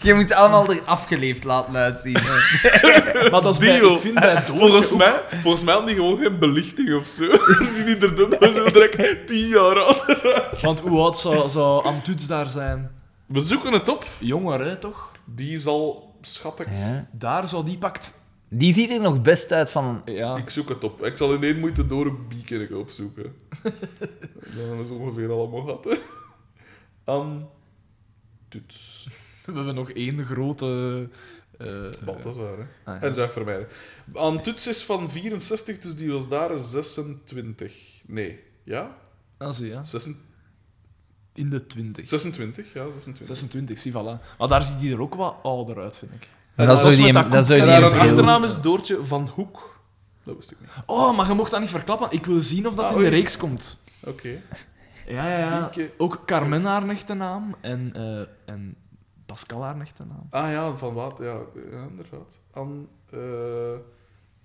Speaker 3: Je moet allemaal er afgeleefd laten uitzien. hè.
Speaker 1: Maar dat is bij,
Speaker 2: Dio.
Speaker 1: ik vind bij Doortje
Speaker 2: Volgens
Speaker 1: ook-
Speaker 2: mij, volgens mij hadden die gewoon geen belichting of zo. Ze zien die er dan maar zo direct tien jaar oud.
Speaker 1: Want hoe oud zou, zou Antuts daar zijn?
Speaker 2: We zoeken het op.
Speaker 1: Jonger, hè, toch?
Speaker 2: Die zal, schat ik...
Speaker 3: Ja.
Speaker 1: Daar zou die pakt...
Speaker 3: Die ziet er nog best uit van...
Speaker 1: Ja.
Speaker 2: Ik zoek het op. Ik zal in één moeite door een biekerk opzoeken. Dan is het ongeveer allemaal gehad. hè. Aan... Toets.
Speaker 1: We hebben nog één grote... eh,
Speaker 2: Balthazar, hè.
Speaker 1: ah, ja.
Speaker 2: En Jacques Vermeijden. Aan Toets is van 64, dus die was daar 26. Nee. Ja?
Speaker 1: Ah, zie je.
Speaker 2: 26,
Speaker 1: In de 20.
Speaker 2: 26 ja, 26.
Speaker 1: 26, zie, voilà. Maar daar ziet hij er ook wat ouder uit, vind ik.
Speaker 3: Maar dat
Speaker 1: dat
Speaker 3: zou
Speaker 1: is
Speaker 3: die,
Speaker 1: met
Speaker 3: dat
Speaker 1: dat
Speaker 3: zou
Speaker 2: En
Speaker 3: die
Speaker 2: haar
Speaker 3: een bril-
Speaker 2: achternaam is Doortje van Hoek. Dat wist ik niet.
Speaker 1: Oh, maar je mocht dat niet verklappen. Ik wil zien of dat
Speaker 2: Ah,
Speaker 1: in de
Speaker 2: oei.
Speaker 1: reeks komt.
Speaker 2: Oké.
Speaker 1: Ja, ja,
Speaker 2: Lieke.
Speaker 1: Ook Carmen haar echte naam en, eh, en Pascal haar echte naam.
Speaker 2: Ah ja, van wat? Ja, ja, inderdaad. Aan... eh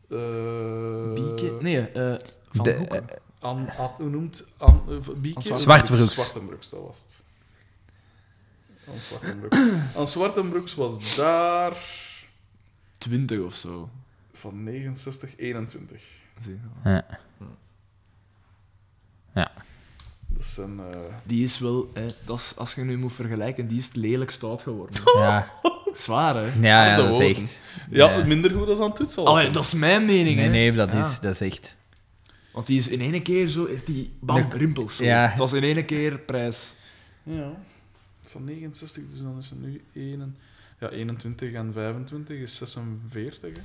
Speaker 2: eh,
Speaker 1: Bieke... Nee, eh Van
Speaker 3: De-
Speaker 1: Hoeken.
Speaker 2: Aan, aan, hoe noemt aan, eh, Bieke?
Speaker 1: Aan Zwartenbroeks.
Speaker 2: Zwartenbroeks,
Speaker 3: Zwartenbroeks.
Speaker 2: dat was het. Aan Zwartenbroeks. aan Zwartenbroeks was daar
Speaker 1: 20 of zo.
Speaker 2: van 69, 21.
Speaker 1: Zie je wel.
Speaker 2: Dat zijn... eh,
Speaker 1: Die is wel, hè, dat is, als je nu moet vergelijken, die is het lelijkst oud geworden.
Speaker 3: Ja,
Speaker 1: Zwaar, hè?
Speaker 3: ja, ja,
Speaker 2: harde
Speaker 3: dat is
Speaker 2: woorden.
Speaker 3: echt...
Speaker 2: Ja,
Speaker 3: Ja.
Speaker 2: minder goed dan aan Toets al.
Speaker 1: Allee, dat is mijn mening,
Speaker 3: Oh, Nee,
Speaker 1: hè?
Speaker 3: nee, dat
Speaker 1: Ja.
Speaker 3: is, dat is echt...
Speaker 1: Want die is in één keer zo, heeft die bam,
Speaker 3: Nee.
Speaker 1: rimpels. zo.
Speaker 3: Ja.
Speaker 1: Het was in één keer prijs.
Speaker 2: Ja. Van 69, dus dan is er nu 1, ja, 21 en 25 is 46. Hè.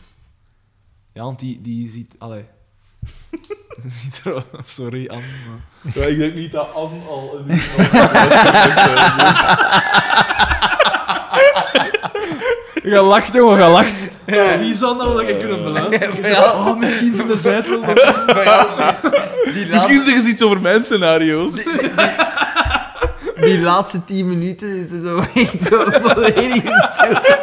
Speaker 1: Ja, want die, die ziet, allee. Ze ziet er wel- sorry, aan. Maar...
Speaker 2: Ja, ik denk niet dat Anne al een uur aan het luisteren is, hè, dus-
Speaker 1: Je lacht, jongen, je lacht. Die zou nou dat je kunnen beluisteren. Je zegt,
Speaker 3: Ja.
Speaker 1: oh, misschien vinden zij het wel. nog."
Speaker 3: Die
Speaker 2: Misschien zeggen ze iets over mijn scenario's.
Speaker 3: Die laatste tien minuten is er zo echt zo volledig stil.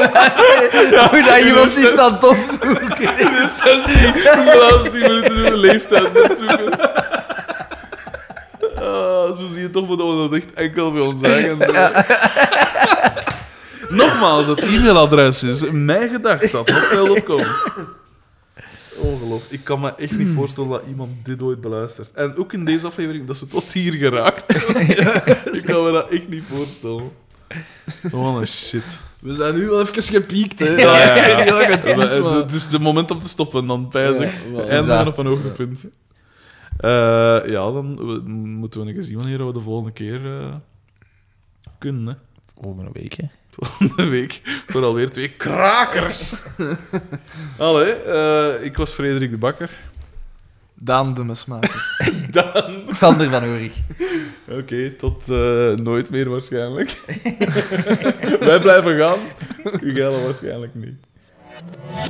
Speaker 3: Hoe dat iemand
Speaker 2: in de
Speaker 3: iets aan het opzoeken.
Speaker 2: In essentie, de laatste 10 minuten doen we leeftijd opzoeken. Ah, zo zie je toch maar dat we dat echt enkel bij ons eigen doen. Nogmaals, het e-mailadres is mijn gedacht dat hotmail.com. Ongelooflijk. Ik kan me echt niet voorstellen dat iemand dit ooit beluistert. En ook in deze aflevering dat ze tot hier geraakt. Ik kan me dat echt niet voorstellen. Oh, Wat een shit.
Speaker 1: We zijn nu wel even gepiekt, hè.
Speaker 2: Ja, ja, ja.
Speaker 1: Ik weet niet of je het
Speaker 2: Ja, maar,
Speaker 1: ziet,
Speaker 2: eh,
Speaker 1: maar...
Speaker 2: Het is de moment om te stoppen, dan pijs ik.
Speaker 1: Ja, wel.
Speaker 2: en
Speaker 3: Ja.
Speaker 2: dan op een hoogtepunt. Eh, ja, dan we- moeten we eens zien wanneer we de volgende keer eh, kunnen. Hè.
Speaker 3: Over een week, hè.
Speaker 2: Volgende week voor alweer twee krakers. Allee, eh, ik was Frederik de Bakker.
Speaker 1: Daan de mesmaker.
Speaker 2: gedaan.
Speaker 3: Sander van Oerik.
Speaker 2: Oké, tot eh, nooit meer waarschijnlijk. Wij blijven gaan. U gaat dat waarschijnlijk niet.